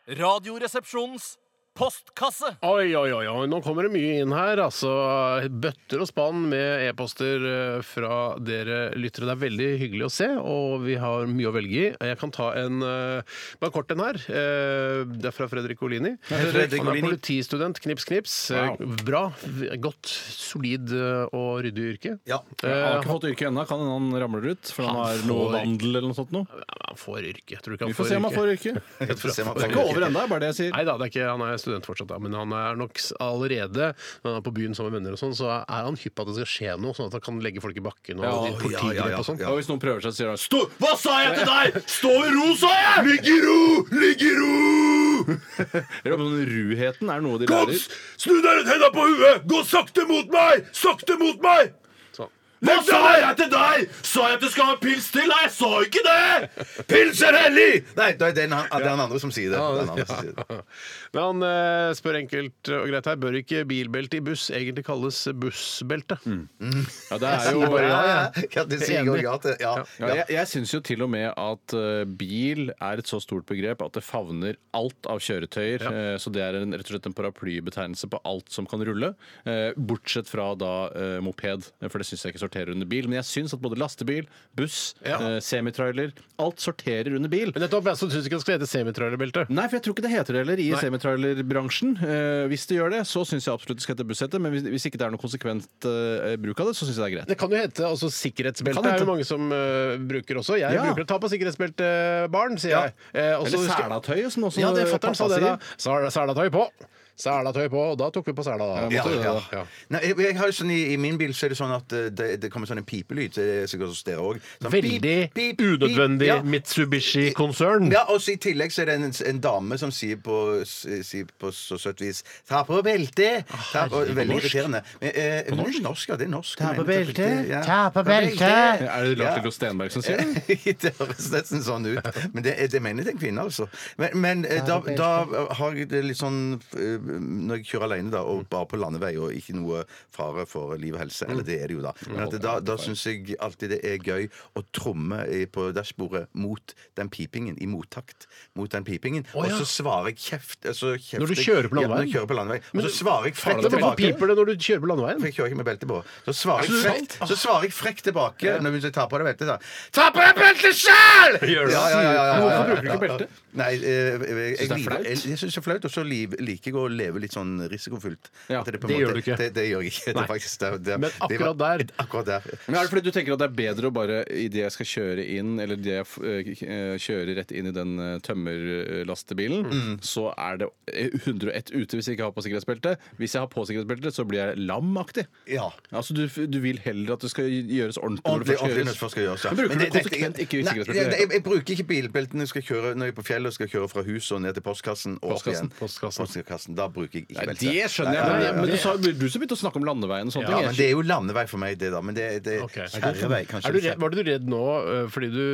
Speaker 10: Radioresepsjonens postkasse.
Speaker 1: Oi, oi, oi, oi, nå kommer det mye inn her. Altså, bøtter og spann med e-poster eh, fra dere lyttere. Det er veldig hyggelig å se, og vi har mye å velge i. Jeg kan ta en eh, bare kort en her. Eh, Det er fra Fredrik Olini.
Speaker 2: Fredrik
Speaker 1: Han er
Speaker 2: Olini.
Speaker 1: politistudent, knips, knips. Eh, Bra, godt, solid eh, og ryddig yrke.
Speaker 2: Ja.
Speaker 3: Han har
Speaker 1: Eh,
Speaker 3: ikke fått yrke ennå. Kan hende han ramler ut. For han
Speaker 1: Han
Speaker 3: har noe
Speaker 1: får-
Speaker 3: vandel eller noe sånt noe.
Speaker 1: Han får yrke. Jeg tror ikke han
Speaker 3: Vi får se om han får yrke. Det
Speaker 2: Jeg får se om han
Speaker 3: er
Speaker 2: får
Speaker 3: ikke
Speaker 2: yrke.
Speaker 3: over ennå, bare det jeg sier.
Speaker 1: Nei da, det er ikke, han er student fortsatt, da, men han er nok s- allerede Når han er på byen sammen med venner, og sånn, så er han hypp på at det skal skje noe, sånn at han kan legge folk i bakken og
Speaker 3: Ja,
Speaker 1: ja, politigrep
Speaker 2: ja, ja,
Speaker 1: og sånn.
Speaker 2: ja.
Speaker 3: Og hvis noen prøver seg, sier han Stå! Hva sa jeg til deg?! Stå i ro, sa jeg!
Speaker 2: Ligg i ro! Ligg i ro!
Speaker 3: Eller om den ruheten er noe de lærer.
Speaker 2: Snu dere henda på huet! Gå sakte mot meg! Sakte mot meg!
Speaker 1: Sånn.
Speaker 3: Hva sa jeg til deg?! Sa jeg at du skal ha en pils til?! Nei, jeg sa ikke det!
Speaker 2: Pils er hellig! Nei, det er den, han- det er han andre som sier det. Det er han andre som sier det.
Speaker 1: Men han eh, spør enkelt og greit her, bør ikke bilbelte i buss egentlig kalles bussbelte?
Speaker 3: Ja, det er jo
Speaker 2: Ja, ja. ja, det sier jeg også ja til. Ja,
Speaker 3: Ja,
Speaker 2: ja.
Speaker 3: jeg jeg syns jo til og med at eh, bil er et så stort begrep at det favner alt av kjøretøyer. eh, så det er en, rett og slett en paraplybetegnelse på alt som kan rulle. eh, bortsett fra da eh, moped, eh, for det syns jeg ikke sorterer under bil. Men jeg syns at både lastebil, buss, eh, semitrailer Alt sorterer under bil.
Speaker 1: Men nettopp, jeg syns ikke det skal hete semitrailerbelte.
Speaker 3: Nei, for jeg tror ikke det heter det heller i semitrailerbransjen. Eh, hvis det gjør det, så syns jeg absolutt det skal hete bussete. Men hvis, hvis ikke det er noe konsekvent eh, bruk av det, så syns jeg det er greit.
Speaker 1: Det kan jo hete altså, sikkerhetsbelte.
Speaker 3: Kan
Speaker 1: Det er
Speaker 3: hete.
Speaker 1: jo mange som eh, bruker også. Jeg
Speaker 3: Ja.
Speaker 1: bruker det. Ta på sikkerhetsbeltet, barn, sier jeg. Eh, og så
Speaker 3: Eller
Speaker 1: husker-
Speaker 3: selatøyet, som også
Speaker 1: Ja, det fatter'n sa
Speaker 3: pappa
Speaker 1: det, da.
Speaker 3: sier.
Speaker 1: Sel- Selatøy på! Selatøy på. Og da tok vi på sela, da.
Speaker 2: Ja,
Speaker 1: Måtte vi det,
Speaker 2: ja.
Speaker 1: da. Ja.
Speaker 2: Nei, jeg, jeg har jo sånn, i, I min bil så er det sånn at eh, det, det kommer sånn en pipelyd. så Det er sikkert hos dere òg. Sånn, pip,
Speaker 1: Veldig
Speaker 2: pip, pip.
Speaker 1: unødvendig
Speaker 2: Ja.
Speaker 1: Mitsubishi-konsern.
Speaker 2: Ja, og så I tillegg så er det en, en dame som sier på, sier på så søtt vis 'ta på beltet'. Ta på, veldig irriterende. Men, eh, på norsk? norsk? Ja, det er norsk. Ta på beltet! Ta på beltet!
Speaker 3: Er det Lars Lillo Stenberg som sier det?
Speaker 2: det høres nesten sånn ut. Men det, det mener jeg til en kvinne, altså. Men, men eh, da, da har jeg det litt sånn eh, Når jeg kjører alene, da, og bare på landevei, og ikke noe fare for liv og helse,
Speaker 1: Mm.
Speaker 2: eller det er det jo, da. Men at det, da, da syns jeg alltid det er gøy å tromme i- på dashbordet mot den pipingen, i mottakt mot den pipingen, og så svarer jeg kjeft, altså, kjeft
Speaker 1: Når du kjører på
Speaker 2: Ja, når jeg
Speaker 1: landeveien?
Speaker 2: kjører på landeveien. Og så svarer jeg frekt
Speaker 1: Hvorfor
Speaker 2: tilbake.
Speaker 1: piper det når du kjører på landeveien?
Speaker 2: For jeg kjører ikke med belte på. Så svarer jeg
Speaker 1: det
Speaker 2: frekt, så svarer jeg frekt tilbake når hun tar på deg beltet. da. Ta på deg beltet sjæl! Ja, ja, ja, ja, ja,
Speaker 3: Hvorfor
Speaker 2: ja,
Speaker 3: bruker du ikke
Speaker 2: ja.
Speaker 3: belte?
Speaker 2: Nei, eh, jeg, jeg,
Speaker 3: Synes det er
Speaker 2: liker-
Speaker 3: flaut?
Speaker 2: jeg, jeg syns det er flaut, og så liv- liker jeg å leve litt sånn risikofylt.
Speaker 3: Ja,
Speaker 2: At på en
Speaker 1: det gjør du ikke.
Speaker 2: Det, det gjør jeg ikke. Det,
Speaker 1: Nei.
Speaker 2: er faktisk, det, det,
Speaker 1: Men
Speaker 2: det var-
Speaker 1: akkurat der-
Speaker 2: Akkurat der.
Speaker 3: Men Er det fordi du tenker at det er bedre å bare idet jeg skal kjøre inn, eller idet jeg eh, k- eh, kjører rett inn i den eh, tømmerlastebilen, så er det 101 ute hvis jeg ikke har på sikkerhetsbelte. Hvis jeg har på sikkerhetsbelte, så blir jeg lamaktig.
Speaker 2: Ja.
Speaker 3: Altså, du, f- du vil heller at det skal gjøres ordentlig,
Speaker 2: Ordentlig,
Speaker 3: når
Speaker 2: ordentlig
Speaker 3: det
Speaker 2: når det
Speaker 3: først
Speaker 2: først
Speaker 3: skal gjøres.
Speaker 2: skal gjøres. ja.
Speaker 3: Men bruker
Speaker 2: Men
Speaker 3: du
Speaker 2: det- det-
Speaker 3: konsekvent ikke
Speaker 2: Nei,
Speaker 3: sikkerhetsbelte?
Speaker 2: jeg, jeg, jeg bruker ikke bilbeltet når jeg skal kjøre når jeg er på fjellet og skal kjøre fra huset og ned til postkassen og opp
Speaker 1: Postkassen,
Speaker 2: igjen.
Speaker 1: postkassen.
Speaker 2: Postkassen, Da bruker jeg ikke
Speaker 3: Nei,
Speaker 2: belte.
Speaker 3: det skjønner jeg,
Speaker 2: Nei,
Speaker 3: men,
Speaker 2: ja, ja,
Speaker 3: men du, sa, du som begynte å snakke om landeveien og sånne
Speaker 2: Ja,
Speaker 3: ting.
Speaker 2: men det er jo landevei for meg, det da. Men det, det
Speaker 1: Ok.
Speaker 2: kjærevei, kanskje.
Speaker 1: Er du redd, var du redd nå eh, fordi du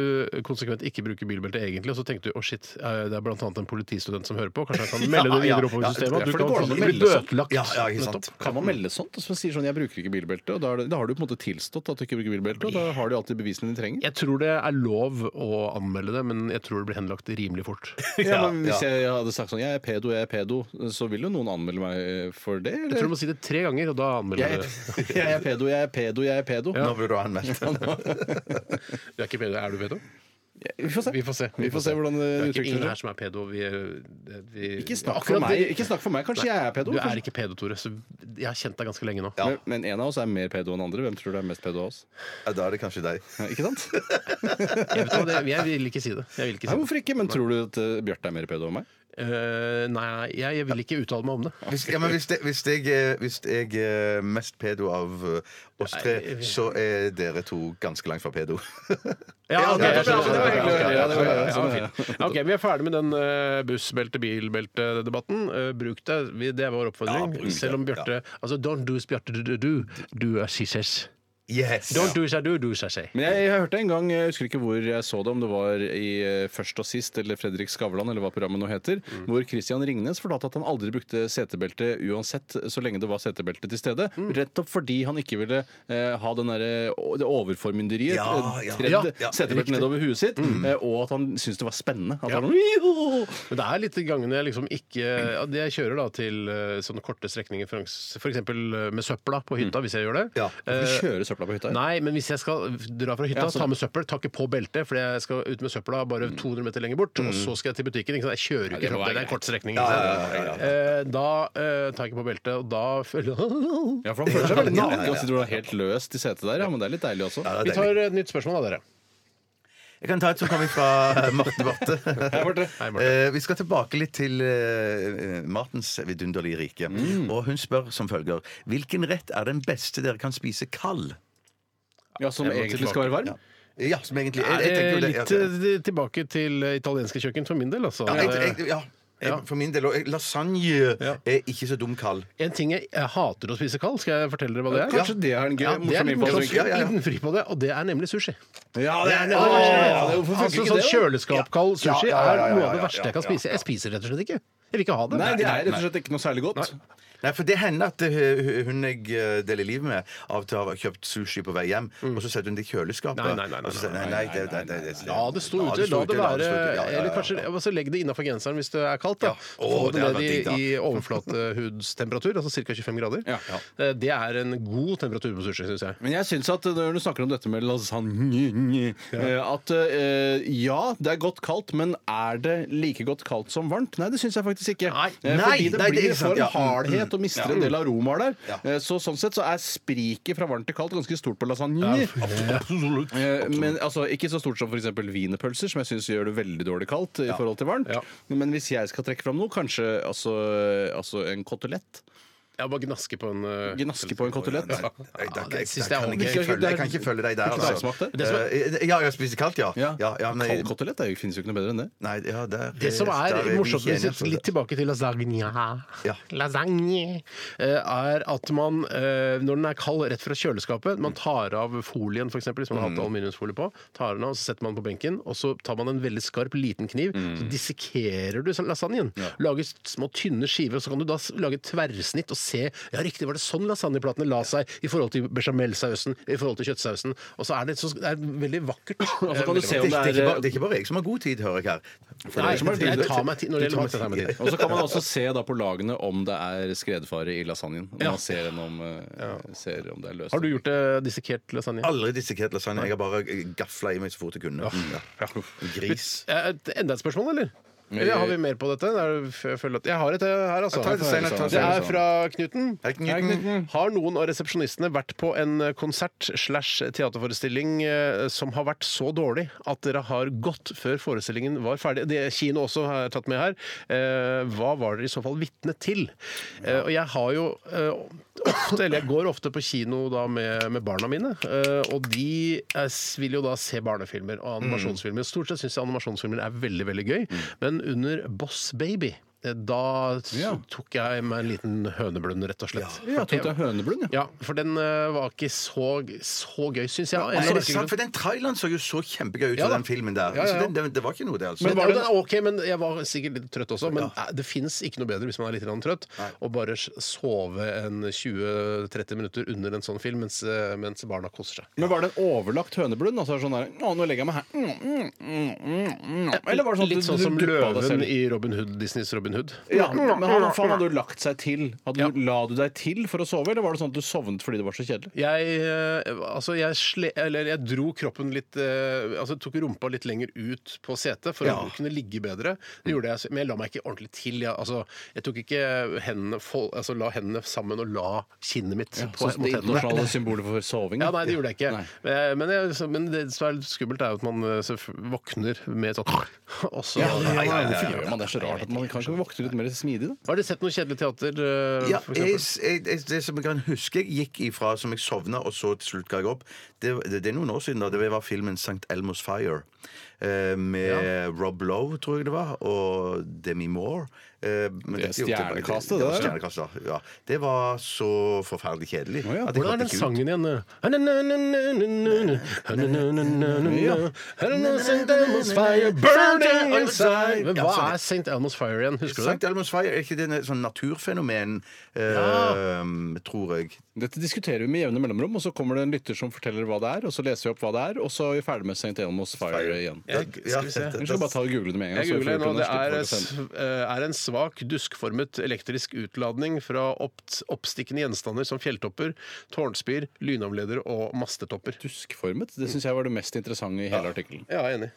Speaker 1: konsekvent ikke bruker bilbelte egentlig, og så tenkte du å shit, eh, det er blant annet en politistudent som hører på, kanskje jeg kan melde det
Speaker 2: Ja, ja,
Speaker 1: videre oppover
Speaker 2: ja,
Speaker 1: i systemet? at
Speaker 3: for
Speaker 1: Du
Speaker 3: det går
Speaker 1: kan
Speaker 3: an å
Speaker 1: bli
Speaker 3: melde sånn.
Speaker 1: bøtelagt.
Speaker 2: Ja, ja, ikke sant.
Speaker 1: Nettopp.
Speaker 3: Kan man melde sånt? Så sier sånn, jeg bruker ikke bilbelte, og da, er det, da har du på en måte tilstått at du ikke bruker bilbelte, og da har du alltid bevisene de trenger.
Speaker 1: Jeg tror det er lov å anmelde det, men jeg tror det blir henlagt rimelig fort.
Speaker 3: Ja, men
Speaker 2: Ja,
Speaker 3: hvis jeg hadde sagt sånn, jeg er pedo, jeg er pedo, så vil jo noen anmelde meg for det,
Speaker 1: Jeg tror du
Speaker 3: eller?
Speaker 1: må si det tre ganger, og da anmelder
Speaker 3: Jeg,
Speaker 1: du det.
Speaker 3: jeg er pedo, jeg er pedo, jeg er pedo.
Speaker 2: Nå blir du anmeldt.
Speaker 1: Du er ikke pedo, er du pedo?
Speaker 3: Vi får se.
Speaker 1: Vi får se.
Speaker 3: Vi får se hvordan det
Speaker 1: Det er ikke
Speaker 3: utvikler
Speaker 1: ingen
Speaker 3: seg.
Speaker 1: her som er pedo. Vi, eh, vi,
Speaker 3: Ikke snakk
Speaker 1: Akkurat
Speaker 3: for meg,
Speaker 1: det-
Speaker 3: ikke snakk for meg. Kanskje jeg er pedo?
Speaker 1: Du er
Speaker 3: kanskje-
Speaker 1: ikke pedo, Tore. Så jeg har kjent deg ganske lenge nå.
Speaker 3: Men, men en av oss er mer pedo enn andre. Hvem tror du er mest pedo av oss?
Speaker 2: Ja, da er det kanskje deg.
Speaker 3: Ja, Ikke sant?
Speaker 1: Jeg, vet, hva, det- jeg vil ikke si det. Jeg vil ikke
Speaker 3: Nei,
Speaker 1: si det.
Speaker 3: hvorfor ikke? Men tror du at eh, Bjarte er mer pedo enn meg?
Speaker 1: Eh, nei, jeg, jeg vil ikke uttale meg om det.
Speaker 2: Hvis, ja, men hvis, det, hvis, jeg, er- hvis jeg er mest pedo av eh, oss tre, så er dere to ganske langt fra pedo.
Speaker 1: Ja, ok,
Speaker 2: ja,
Speaker 1: jeg skjønner.
Speaker 2: ja, det var hyggelig å
Speaker 1: Ja,
Speaker 2: høre. Ja,
Speaker 1: det
Speaker 2: det
Speaker 1: var
Speaker 2: var-
Speaker 1: ja,
Speaker 3: Sånn
Speaker 1: fint. Ja, ok, Vi er ferdig med den eh, bussbelte-bilbelte-debatten. Eh, Bruk det. Vi- Det er vår oppfordring. Selv om Bjarte Altså, don't do as Bjarte do, do. do as she says.
Speaker 2: Yes.
Speaker 1: Don't do sha do, do sha shay.
Speaker 3: Men jeg, jeg hørte en gang, jeg husker ikke hvor jeg så det, om det var i eh, Først og sist eller Fredrik Skavlan, eller hva programmet nå heter, hvor Christian Ringnes fortalte at han aldri brukte setebelte uansett, så lenge det var setebelte til stede. Rett opp fordi han ikke ville eh, ha den derre- det overformynderiet.
Speaker 2: Ja, ja.
Speaker 3: tredd
Speaker 1: Ja,
Speaker 2: ja,
Speaker 3: setebeltet
Speaker 1: riktig.
Speaker 3: nedover huet sitt, eh, og at han syntes det var spennende. At
Speaker 1: Ja.
Speaker 3: han, «Wiho!»
Speaker 1: Men det er litt gangene jeg liksom ikke ja, det Jeg kjører da til eh, sånne korte strekninger, f.eks. eh, med søpla på hytta, hvis jeg gjør det.
Speaker 2: Mm. Ja.
Speaker 3: Du
Speaker 1: Eh,
Speaker 3: kjører søpla på hytta. ja.
Speaker 1: Nei, men hvis jeg skal dra fra hytta,
Speaker 3: Ja, så-
Speaker 1: ta med søppel, ta ikke på beltet, for jeg skal ut med søpla bare
Speaker 2: Mm.
Speaker 1: 200 meter lenger bort, og så skal jeg til butikken. Ikke sant? Jeg kjører jo
Speaker 3: det
Speaker 1: ikke
Speaker 3: må
Speaker 1: fram til
Speaker 3: være
Speaker 1: det er en kort strekning.
Speaker 2: Ja,
Speaker 1: Ikke sant?
Speaker 2: ja, ja, ja,
Speaker 1: Eh, Da eh, tar jeg ikke på beltet, og da føler jeg
Speaker 3: Ja, for han føler seg veldig
Speaker 2: Ja, ja, ja,
Speaker 3: naken.
Speaker 2: ja.
Speaker 3: Han sitter og er helt løst i setet der, ja, men det er litt deilig også.
Speaker 2: Ja, det
Speaker 1: Vi
Speaker 2: er
Speaker 1: tar
Speaker 2: deilig.
Speaker 1: et nytt spørsmål da, dere.
Speaker 2: Jeg kan ta et som kommer fra Morten Barthe.
Speaker 3: Her borte.
Speaker 1: Hei, Morten.
Speaker 2: Eh, vi skal tilbake litt til eh, eh, matens vidunderlige rike. Og hun spør som følger Hvilken rett er den beste dere kan spise kald?
Speaker 3: Ja, som
Speaker 1: Jeg må
Speaker 3: egentlig skal være varm.
Speaker 2: Ja, som egentlig jeg, jeg tenker
Speaker 1: Eh,
Speaker 2: jo det, ja.
Speaker 1: Litt eh, tilbake til eh, italienske kjøkken for min del, altså.
Speaker 2: Ja, jeg,
Speaker 1: Eh,
Speaker 2: jeg, ja. Jeg, for min del. Og jeg- lasagne
Speaker 1: Ja.
Speaker 2: er ikke så dum kald.
Speaker 1: En ting jeg, jeg hater å spise kald, skal jeg fortelle dere hva det er?
Speaker 3: Kanskje det er en gøy,
Speaker 1: Ja, det er
Speaker 3: morsom
Speaker 1: litt morsomt.
Speaker 3: innfallsvinkel.
Speaker 2: Ja, ja, ja.
Speaker 1: Liten fri på det, og det er nemlig sushi.
Speaker 3: Ja, det er Hvorfor
Speaker 1: Åh,
Speaker 3: funker
Speaker 1: altså,
Speaker 3: ikke
Speaker 1: sånn
Speaker 3: det, da?
Speaker 1: kjøleskapkald sushi
Speaker 2: Ja, ja, ja, ja, ja,
Speaker 1: er noe av
Speaker 2: ja,
Speaker 1: det verste jeg kan
Speaker 2: ja,
Speaker 1: spise. Jeg spiser det rett og slett ikke. Jeg vil ikke ha det.
Speaker 3: Nei, det er rett og slett ikke noe særlig godt.
Speaker 2: Nei, for det hender at eh, hun jeg eh, deler liv med, av og til har kjøpt sushi på vei hjem, og så setter hun det i kjøleskapet.
Speaker 1: Mm. Nei, nei, nei, nei,
Speaker 2: og så sier hun,
Speaker 1: nei,
Speaker 2: nei, nei, det- det- det- det-
Speaker 1: La det stå ute, la det
Speaker 2: stå
Speaker 1: være
Speaker 2: ute, ja, ja, ja,
Speaker 1: Eller
Speaker 2: ja.
Speaker 1: kanskje altså, legg det innafor genseren hvis det er kaldt. da
Speaker 2: Ja.
Speaker 1: Få
Speaker 2: Å,
Speaker 1: det
Speaker 2: det
Speaker 1: ned
Speaker 2: hadde
Speaker 1: i,
Speaker 2: vært digg, da.
Speaker 1: i overflatehudstemperatur, altså ca. 25 grader.
Speaker 3: Ja.
Speaker 1: Eh, Det er en god temperatur på sushi, syns jeg.
Speaker 3: Men jeg syns at når du snakker om dette med lasagne eh, At eh, ja, det er godt kaldt, men er det like godt kaldt som varmt? Nei, det syns jeg faktisk ikke.
Speaker 1: Nei.
Speaker 3: Eh,
Speaker 2: Nei,
Speaker 3: Fordi det
Speaker 2: nei, det er
Speaker 3: blir
Speaker 2: ikke sant,
Speaker 3: for
Speaker 2: ja.
Speaker 3: hardhet og mister en del aromaer der.
Speaker 2: Ja.
Speaker 3: Eh, Så sånn sett så er spriket fra varmt til kaldt ganske stort på lasagne.
Speaker 2: Absolutt.
Speaker 3: Eh, Men altså, Ikke så stort som f.eks. wienerpølser, som jeg syns gjør det veldig dårlig kaldt i forhold til varmt.
Speaker 1: Ja.
Speaker 3: Men hvis jeg skal trekke fram noe, kanskje altså, altså en kotelett.
Speaker 1: Jeg bare gnaske på en eh,
Speaker 3: Gnaske på en kotelett.
Speaker 2: Nei, nei,
Speaker 1: Ja,
Speaker 2: det-
Speaker 1: det
Speaker 2: jeg-
Speaker 1: synes jeg
Speaker 2: jeg kan
Speaker 1: er
Speaker 2: ikke
Speaker 3: ordentlig.
Speaker 2: følge- Jeg kan ikke følge deg der,
Speaker 3: Ikke dagsmakt,
Speaker 2: altså.
Speaker 3: det?
Speaker 1: Det som er-
Speaker 2: Eh, Ja, jeg spiser kaldt, ja.
Speaker 3: Ja.
Speaker 2: ja, ja men-
Speaker 3: Kald kotelett er jo- finnes jo ikke noe bedre enn det.
Speaker 2: Nei, ja, der,
Speaker 1: Det som
Speaker 2: der
Speaker 1: er
Speaker 2: Eh, vi
Speaker 1: morsomt,
Speaker 2: ikke enige,
Speaker 1: litt,
Speaker 2: altså.
Speaker 1: litt tilbake til lasagne,
Speaker 2: Ja.
Speaker 1: lasagne eh, er at man, eh, når den er kald rett fra kjøleskapet, man tar av folien f.eks., hvis man har
Speaker 2: Mm.
Speaker 1: hatt aluminiumsfolie på, tar den av, så setter man den på benken, og så tar man en veldig skarp liten kniv,
Speaker 2: Mm.
Speaker 1: så dissekerer du lasagnen. Lager små, tynne skiver, og så kan du da s- lage et tverrsnitt og se Ja, riktig, var det sånn lasagneplatene la seg i forhold til bechamelsausen, i forhold til kjøttsausen, og så er det, så, det er veldig vakkert.
Speaker 3: Og så
Speaker 1: Eh,
Speaker 3: kan du
Speaker 1: veldig
Speaker 3: se
Speaker 2: det,
Speaker 3: om
Speaker 2: det, er
Speaker 3: det
Speaker 2: ikke bare,
Speaker 3: er
Speaker 2: det er ikke bare jeg som har god tid, hører jeg her. For
Speaker 1: Nei,
Speaker 2: det er som er
Speaker 1: jeg
Speaker 2: bildet.
Speaker 1: tar meg tid når det
Speaker 2: Du
Speaker 1: gjelder
Speaker 2: tar
Speaker 1: mat, jeg tar meg
Speaker 3: Og
Speaker 1: tid.
Speaker 3: så kan man også se da på lagene om det er skredfare i lasagnen. Når
Speaker 1: Ja.
Speaker 3: man ser om, eh, ser om det er løst.
Speaker 1: Har du gjort det dissekert lasagne?
Speaker 2: Aldri dissekert lasagne. Jeg har bare gafla i meg så fort jeg kunne. Mm, ja. Gris. Mm.
Speaker 1: Eh, et- Enda et spørsmål, eller? Eller har vi mer på dette? Det er- Jeg, føler at jeg har et eh, her, altså.
Speaker 2: Ta et senere, ta et
Speaker 1: Det er
Speaker 2: senere.
Speaker 1: fra Knuten.
Speaker 2: Hei, Knuten.
Speaker 3: Mm-hmm.
Speaker 1: Har noen av resepsjonistene vært på en eh, konsert slash teaterforestilling eh, som har vært så dårlig at dere har gått før forestillingen var ferdig? Det Kino også har jeg tatt med her. Eh, Hva var dere i så fall vitne til? Eh, Og jeg har jo eh, ofte, eller jeg går ofte på kino da med, med barna mine, eh, og de eh, s- vil jo da se barnefilmer og animasjonsfilmer.
Speaker 3: Mm.
Speaker 1: Stort sett syns jeg animasjonsfilmer er veldig, veldig gøy, men under Boss Baby eh, da s-
Speaker 3: Ja.
Speaker 1: tok jeg meg en liten høneblund, rett og slett.
Speaker 3: Ja, jeg tror det er høneblund, ja.
Speaker 1: Ja, for den eh, var ikke så, så gøy, syns jeg.
Speaker 3: altså,
Speaker 2: Er
Speaker 1: Eller-
Speaker 2: det sant? For den traileren så jo så kjempegøy ut,
Speaker 1: Ja
Speaker 2: så
Speaker 1: da.
Speaker 2: den filmen der.
Speaker 1: Ja, ja, ja.
Speaker 2: Så den, den, det var ikke noe, det, altså.
Speaker 1: men var det OK, men jeg var sikkert litt trøtt også. Men eh, det fins ikke noe bedre hvis man er litt grann trøtt, å bare s- sove en 20-30 minutter under en sånn film mens, eh, mens barna koser seg.
Speaker 3: Men var det en overlagt høneblund? Altså sånn der, Å, nå legger jeg meg her. Mm, mm, mm, mm, mm. Eller var det sånn at
Speaker 1: Litt
Speaker 3: du-
Speaker 1: sånn
Speaker 3: du
Speaker 1: som
Speaker 3: duppa deg
Speaker 1: løven
Speaker 3: selv?
Speaker 1: i Robin Hood, Disneys Robin Hood.
Speaker 3: Ja, men han, for han hadde jo lagt seg til. Hadde,
Speaker 1: Ja.
Speaker 3: du- La du deg til for å sove, eller var det sånn at du sovnet fordi det var så kjedelig?
Speaker 1: Jeg, eh, altså jeg, sle, eller jeg dro kroppen litt eh, Altså tok rumpa litt lenger ut på setet for å kunne ligge bedre. Det gjorde jeg, men jeg la meg ikke ordentlig til. Jeg, altså, jeg tok ikke hendene fol- altså, la hendene sammen og la kinnet mitt på,
Speaker 3: Så det
Speaker 1: mot hendene.
Speaker 3: internasjonale symbolet for soving?
Speaker 1: Ja, nei, det gjorde jeg ikke.
Speaker 3: Nei.
Speaker 1: Men, jeg- men, jeg, men det som er litt skummelt, er jo at man eh, så f- våkner med sånn Og så
Speaker 3: Ja, ja, ja, ja, ja,
Speaker 1: Hvorfor
Speaker 3: ja,
Speaker 1: gjør
Speaker 3: ja.
Speaker 1: man
Speaker 3: Det er så rart at man kanskje våkner litt mer smidig, da.
Speaker 1: Har dere sett noe kjedelig teater? eh,
Speaker 2: Ja,
Speaker 1: for
Speaker 2: jeg,
Speaker 1: eksempel?
Speaker 2: jeg, jeg, det som jeg kan huske jeg gikk ifra som jeg sovna, og så til slutt ga jeg opp, det, det, det er noen år siden da det var filmen St. Elmo's Fire. eh, med Rob Lowe, tror jeg det var, og Demi Moore. Eh, men
Speaker 3: Det er
Speaker 2: dette jo- var-
Speaker 3: stjernekastet,
Speaker 2: det. var
Speaker 3: det der.
Speaker 2: stjernekastet, Ja. Det var så forferdelig
Speaker 3: Å
Speaker 2: kjedelig.
Speaker 3: ja,
Speaker 2: at jeg
Speaker 1: Hvordan er
Speaker 2: klarte
Speaker 1: den
Speaker 2: ikke ut.
Speaker 1: sangen igjen? St. Elmo's fire burning inside Men Hva er St. Elmo's fire igjen? Husker du
Speaker 2: Sankt
Speaker 1: det?
Speaker 2: Elmos Fire, er ikke det et sånn naturfenomen, eh, tror jeg?
Speaker 3: Dette diskuterer vi med jevne mellomrom, og så kommer det en lytter som forteller hva det er, og så leser vi opp hva det er, og så er vi ferdig med St. Elmos Fire igjen.
Speaker 2: Ja, ja, dette-
Speaker 3: Vi skal bare ta og google det med en gang.
Speaker 1: Jeg
Speaker 3: så vi får
Speaker 1: googler nå.
Speaker 3: gjort
Speaker 1: Det
Speaker 3: det når
Speaker 1: er,
Speaker 3: slutt på det.
Speaker 1: s- eh, er en svak, duskformet elektrisk utladning fra opp, oppstikkende gjenstander som fjelltopper, tårnspir, lynavleder og mastetopper.
Speaker 3: Duskformet? Det syns jeg var det mest interessante i hele artikkelen.
Speaker 1: Ja, jeg er enig.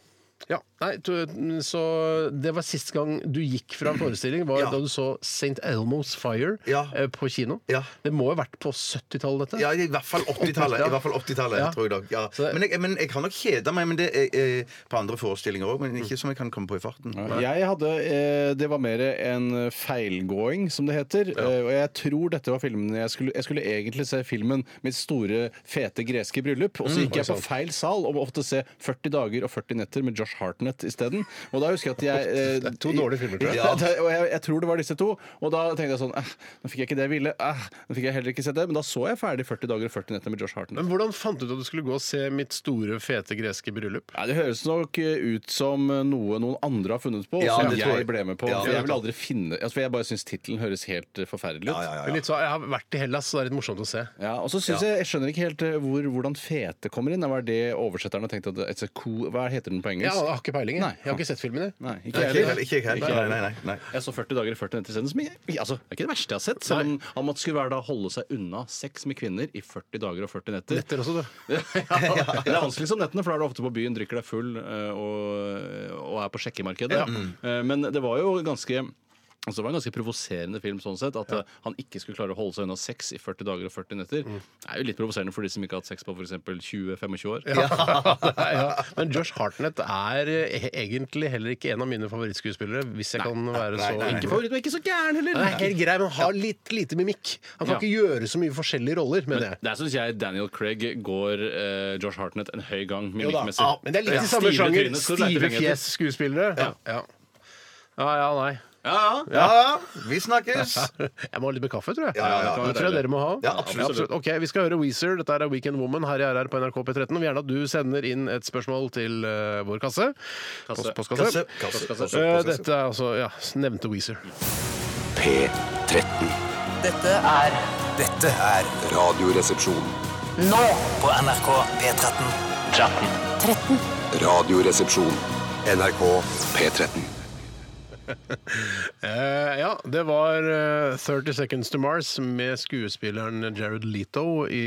Speaker 1: Ja, nei, du, så Det var sist gang du gikk fra en forestilling, var
Speaker 2: Ja.
Speaker 1: da du så St. Elmo's Fire
Speaker 2: Ja.
Speaker 1: eh, på kino.
Speaker 2: Ja.
Speaker 1: Det må jo ha vært på 70-tallet, dette?
Speaker 2: Ja, i hvert fall 80-tallet. I hvert fall 80-tallet,
Speaker 1: Ja.
Speaker 2: tror jeg da. Ja.
Speaker 1: Så det-
Speaker 2: Men, jeg, men jeg har nok kjeda meg men det er, eh, på andre forestillinger òg, men
Speaker 1: Mm.
Speaker 2: ikke som jeg kan komme på i farten.
Speaker 3: Jeg hadde, eh, Det var mer en feilgåing, som det heter. Eh, og jeg tror dette var filmen jeg skulle, jeg skulle egentlig se filmen 'Mitt store, fete greske bryllup'.
Speaker 1: Mm,
Speaker 3: Og så gikk jeg på feil sal og måtte se 40 dager og 40 netter med Josh Hartnett isteden. Og da husker jeg at jeg eh,
Speaker 1: Det er to dårlige filmer, tror jeg.
Speaker 3: Ja, det- og jeg, jeg tror det var disse to. Og da tenkte jeg sånn eh, Nå fikk jeg ikke det jeg ville. Eh, nå fikk jeg heller ikke sett det. Men da så jeg ferdig 40 dager og 40 netter med Josh Hartnett.
Speaker 1: Men Hvordan fant du ut at du skulle gå og se mitt store, fete greske bryllup?
Speaker 3: Nei, Det høres nok eh, ut som noe noen andre har funnet på,
Speaker 2: Ja,
Speaker 3: som
Speaker 2: det tror
Speaker 3: jeg
Speaker 2: jeg.
Speaker 3: ble med på.
Speaker 2: Ja,
Speaker 3: for
Speaker 2: det
Speaker 3: jeg vil
Speaker 2: tror
Speaker 3: aldri finne altså, for Jeg bare syns tittelen høres helt eh, forferdelig ut. Ja,
Speaker 1: Men Litt så, jeg har vært i Hellas, så det er litt morsomt å se.
Speaker 3: og så synes Jeg jeg skjønner ikke helt eh, hvor, hvordan fete kommer inn. Hva er det oversetteren har tenkt at it's a cool, Hva heter den på
Speaker 1: Jeg
Speaker 3: engelsk?
Speaker 1: har har ikke peiling.
Speaker 3: Nei.
Speaker 1: Jeg, jeg har ikke sett filmen. jeg.
Speaker 3: Nei, ikke
Speaker 2: Ikke
Speaker 3: jeg
Speaker 2: jeg
Speaker 3: heller.
Speaker 2: heller. Ikke jeg heller. Nei, nei, nei, nei.
Speaker 3: Jeg så 40 dager i 40 netter isteden. som jeg- Altså, det er ikke det verste jeg har sett. Selv om han måtte skulle være da holde seg unna sex med kvinner i 40 dager og 40 netter.
Speaker 1: Netter også, du.
Speaker 3: ja, det er vanskelig som nettene, for da er du ofte på byen, drikker deg full eh, og, og er på sjekkemarkedet. Eh, Men det var jo ganske Altså, det var en ganske provoserende film sånn sett. At eh, han ikke skulle klare å holde seg unna sex i 40 dager og 40 netter.
Speaker 1: Mm.
Speaker 3: Det er jo litt provoserende for de som ikke har hatt sex på f.eks. 20-25 år.
Speaker 1: Nei, ja. Men Josh Hartnett er eh, egentlig heller ikke en av mine favorittskuespillere, hvis jeg kan være så
Speaker 3: Ikke favoritt, men ikke så gæren heller!
Speaker 1: Han er helt grei, men har litt lite mimikk. Han kan
Speaker 3: Ja.
Speaker 1: ikke gjøre så mye forskjellige roller, mener jeg.
Speaker 3: Der syns jeg Daniel Craig går eh, Josh Hartnett en høy gang
Speaker 1: Jo da,
Speaker 3: mimikkmessig.
Speaker 1: ja, men det er litt i samme
Speaker 3: Stive
Speaker 1: sjanger.
Speaker 3: tryne, så det er ikke
Speaker 1: Stive
Speaker 3: penger til.
Speaker 1: fjes-skuespillere. Ja. Ja. ja, ja, nei.
Speaker 3: Ja, ja.
Speaker 2: Ja, vi snakkes!
Speaker 1: Jeg må ha litt med kaffe, tror jeg.
Speaker 2: ja, ja.
Speaker 1: Det tror jeg dere må ha.
Speaker 2: Ja, absolutt.
Speaker 1: Ok, Vi skal høre Weezer. Dette er Weekend Woman her i RR på NRK P13. Og vi gjerne at du sender inn et spørsmål til eh, vår kasse. Post- postkasse.
Speaker 2: Kasse, kasse, kasse,
Speaker 1: Eh,
Speaker 2: kasse.
Speaker 1: dette er altså ja, nevnte Weezer.
Speaker 4: P13.
Speaker 11: Dette er
Speaker 4: Dette er Radioresepsjon.
Speaker 11: nå på NRK P13.
Speaker 4: Radioresepsjon. NRK P13.
Speaker 1: Eh, ja, det var eh, 30 Seconds to Mars med skuespilleren Jared Leto i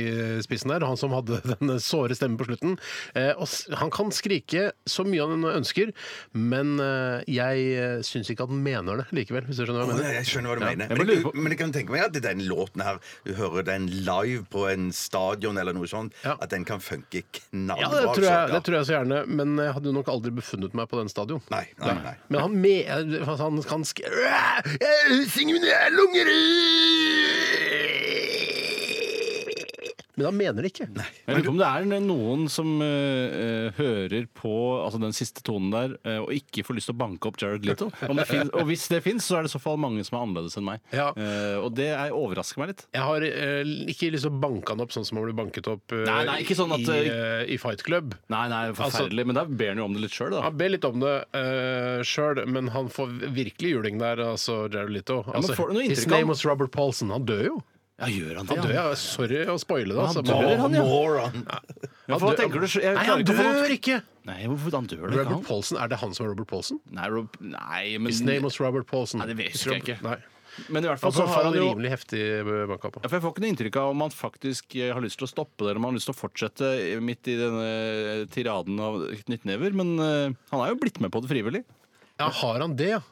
Speaker 1: spissen der. Han som hadde den såre stemmen på slutten. Eh, og s- han kan skrike så mye han ønsker, men eh, jeg syns ikke at han mener det likevel. Hvis du skjønner hva jeg
Speaker 2: Å,
Speaker 1: mener.
Speaker 2: nei, Jeg skjønner hva du
Speaker 3: jeg
Speaker 2: mener. Men,
Speaker 3: bare lurer
Speaker 2: jeg-
Speaker 3: på-
Speaker 2: men jeg kan tenke meg at den låten her Du hører den live på en stadion eller noe sånt,
Speaker 1: Ja.
Speaker 2: at den kan funke knallbra.
Speaker 1: Ja, det tror, jeg,
Speaker 2: altså.
Speaker 1: det tror jeg så gjerne, men jeg hadde nok aldri befunnet meg på den stadion.
Speaker 2: Nei, nei, nei.
Speaker 1: Men han, me altså, han kan sk... Jeg synger mine lunger Men han mener det ikke.
Speaker 3: Jeg lurer på om det er noen som eh, eh, hører på altså den siste tonen der eh, og ikke får lyst til å banke opp Jared Little. Om det finnes, og hvis det fins, så er det i så fall mange som er annerledes enn meg.
Speaker 1: Ja.
Speaker 3: Eh, og det er, overrasker meg litt.
Speaker 1: Jeg har eh, ikke lyst til å banke han opp sånn som han ble banket opp eh,
Speaker 3: Nei, nei, ikke sånn at,
Speaker 1: i, eh, i Fight Club.
Speaker 3: Nei, nei, forferdelig. men da ber han jo om det litt sjøl, da.
Speaker 1: Altså- Han ber litt om det uh, sjøl, men han får virkelig juling der, altså Jared Lito.
Speaker 3: men
Speaker 1: Altså,
Speaker 3: får du noe
Speaker 1: his
Speaker 3: inntrykk av
Speaker 1: name
Speaker 3: han?
Speaker 1: was Robert Paulson. Han dør jo.
Speaker 3: Ja, gjør han det?
Speaker 1: Han dør, ja. Sorry å spoile det. Altså.
Speaker 3: dør,
Speaker 1: men-
Speaker 3: han, ja.
Speaker 2: Moron!
Speaker 3: Ja, for hva tenker du? Jeg
Speaker 1: Nei,
Speaker 3: klarer
Speaker 1: han
Speaker 3: ikke å få-
Speaker 1: dør ikke!
Speaker 3: Nei, hvorfor han dør det ikke?
Speaker 1: Robert
Speaker 3: Han?
Speaker 1: Paulson, Er det han som er Robert Paulson?
Speaker 3: Nei, Rob, nei, men,
Speaker 1: His name was Robert Paulson.
Speaker 3: Nei, det vet- husker jeg ikke.
Speaker 1: Nei.
Speaker 3: men i hvert fall
Speaker 1: Han
Speaker 3: så har han jo
Speaker 1: rimelig heftig eh, banka på.
Speaker 3: Ja, for Jeg får ikke noe inntrykk av om han faktisk eh, har lyst til å stoppe det, eller om han har lyst til å fortsette midt i denne eh, tiraden av knyttnever, men eh, han er jo blitt med på det frivillig.
Speaker 1: Ja, Har han det, ja?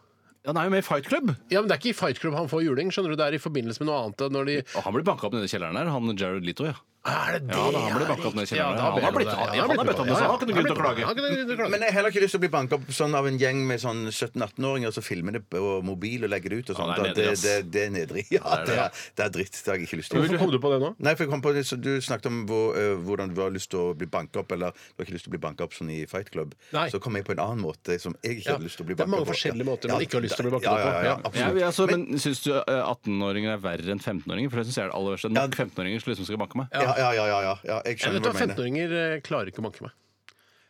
Speaker 3: Han er jo med i Fight Club!
Speaker 1: Ja, men Det er ikke i Fight Club han får juling. skjønner du, Det er i forbindelse med noe annet. Når de
Speaker 3: Og han blir banka opp nede i kjelleren her, han Jared Lito, ja.
Speaker 1: Er det det?
Speaker 9: Ja, da, han ble banka opp ned i kjelleren. Han har blitt- han har blitt bøtta ned, så han har ikke noen grunn til å klage.
Speaker 2: Men jeg har heller ikke lyst til å bli banka opp sånn av en gjeng med sånn 17-18-åringer som filmer det på mobil og legger det ut. og sånt.
Speaker 3: Ja, det er
Speaker 2: det,
Speaker 3: nedrig, ass.
Speaker 2: det, det er nedrig. Ja, det er, det er dritt. Det har jeg ikke lyst til.
Speaker 1: Hvorfor kom du på det nå?
Speaker 2: Nei, for jeg kom på det, så Du snakket om hvor, eh, hvordan du har lyst til å bli banka opp, eller du har ikke lyst til å bli banka opp sånn i Fight Club.
Speaker 1: Nei.
Speaker 2: Så kom jeg på en annen måte som jeg ikke
Speaker 1: Ja,
Speaker 2: hadde lyst til å bli
Speaker 1: det er
Speaker 2: banka
Speaker 1: mange
Speaker 2: opp. på.
Speaker 1: forskjellige måter man ikke har lyst til å bli banket
Speaker 2: ja,
Speaker 1: opp på.
Speaker 2: Ja, ja,
Speaker 1: Ja.
Speaker 2: ja, absolutt.
Speaker 3: Jeg- jeg- altså, men Syns du eh, 18-åringer er verre enn 15-åringer? For det syns jeg er det aller verste. Nok 15-åringer som liksom skal banke meg.
Speaker 2: ja, ja, ja, ja, ja, ja, jeg
Speaker 1: Jeg
Speaker 2: skjønner
Speaker 1: vet
Speaker 2: hva
Speaker 1: at
Speaker 2: du mener.
Speaker 1: 15-åringer eh, klarer ikke å banke meg.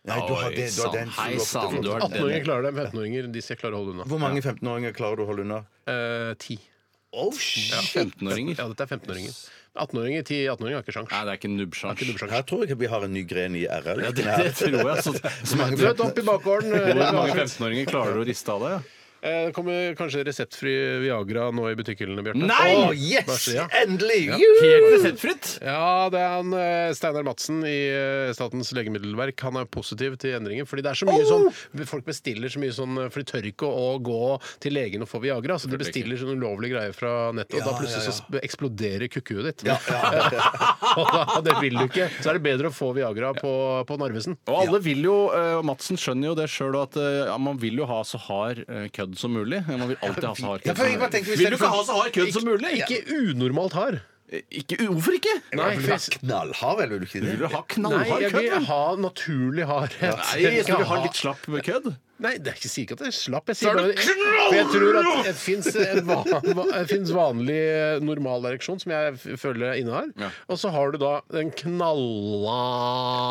Speaker 2: Nei, du
Speaker 3: Oi,
Speaker 2: har det, du har
Speaker 1: sånn.
Speaker 3: sann.
Speaker 2: den,
Speaker 3: Hei,
Speaker 2: du har-
Speaker 3: sann, du har-
Speaker 1: 18-åringer klarer det, men 15-åringer de skal jeg klare å holde unna.
Speaker 2: Hvor mange 15-åringer klarer du å holde unna?
Speaker 1: Eh, Ti.
Speaker 2: Oh, shit!
Speaker 3: 15-åringer?
Speaker 1: ja, dette er 15-åringer. 18-åringer 10, 18-åringer har ikke sjans.
Speaker 3: Nei, det er ikke nubbsjans.
Speaker 2: Her tror jeg vi har en ny gren i RL.
Speaker 3: Ja, det, det tror jeg. Så, som er,
Speaker 1: Møt opp i bakgården. eh,
Speaker 3: hvor mange
Speaker 1: Lars.
Speaker 3: 15-åringer klarer du å riste av deg? Ja?
Speaker 1: Eh, Det kommer kanskje reseptfri Viagra nå i butikkhyllene, Bjarte.
Speaker 3: Nei!
Speaker 1: Åh,
Speaker 2: Å,
Speaker 1: vær
Speaker 2: yes!
Speaker 1: så ja.
Speaker 2: Endelig!
Speaker 1: Ja.
Speaker 2: Juhu!
Speaker 3: Helt reseptfritt!
Speaker 1: Ja, det er han eh, Steinar Madsen i eh, Statens legemiddelverk. Han er positiv til endringer. Fordi det er så mye sånn Folk bestiller så mye sånn eh, For de tør ikke å, å gå til legen og få Viagra. Så de bestiller sånne ulovlige greier fra nettet, og da plutselig så sp- eksploderer kukkuet ditt. og da, det vil du ikke. Så er det bedre å få Viagra på, på Narvesen.
Speaker 3: Og alle vil jo, eh, Madsen skjønner jo det sjøl, at eh, ja, man vil jo ha så hard eh, kødd som mulig. Man vil alltid ha så hard
Speaker 2: Ja,
Speaker 3: kødd
Speaker 2: for jeg
Speaker 3: som
Speaker 2: bare
Speaker 3: mulig.
Speaker 2: tenkte, hvis
Speaker 3: Vil du
Speaker 2: det-
Speaker 3: ikke ha så hard kødd som mulig? Ikke,
Speaker 1: Ikke unormalt hard.
Speaker 3: ikke, hvorfor ikke?
Speaker 1: Nei, for jeg-
Speaker 2: Knallhard, vel, vil du ikke
Speaker 3: Vil
Speaker 2: det?
Speaker 3: du ha
Speaker 1: Nei,
Speaker 3: knallhard
Speaker 1: jeg
Speaker 3: kødd?
Speaker 1: vil
Speaker 3: da?
Speaker 1: ha naturlig hardhet.
Speaker 3: Nei,
Speaker 1: Jeg vil
Speaker 3: jeg
Speaker 1: ikke
Speaker 3: skal vi ha
Speaker 1: ha-
Speaker 3: litt slapp kødd?
Speaker 1: Nei, det er ikke sikkert at det er slapp. Jeg sier bare For jeg tror at det fins en van, va- det finnes vanlig eh, normal ereksjon, som jeg f- føler jeg inne har.
Speaker 3: Ja.
Speaker 1: Og så har du da den knalla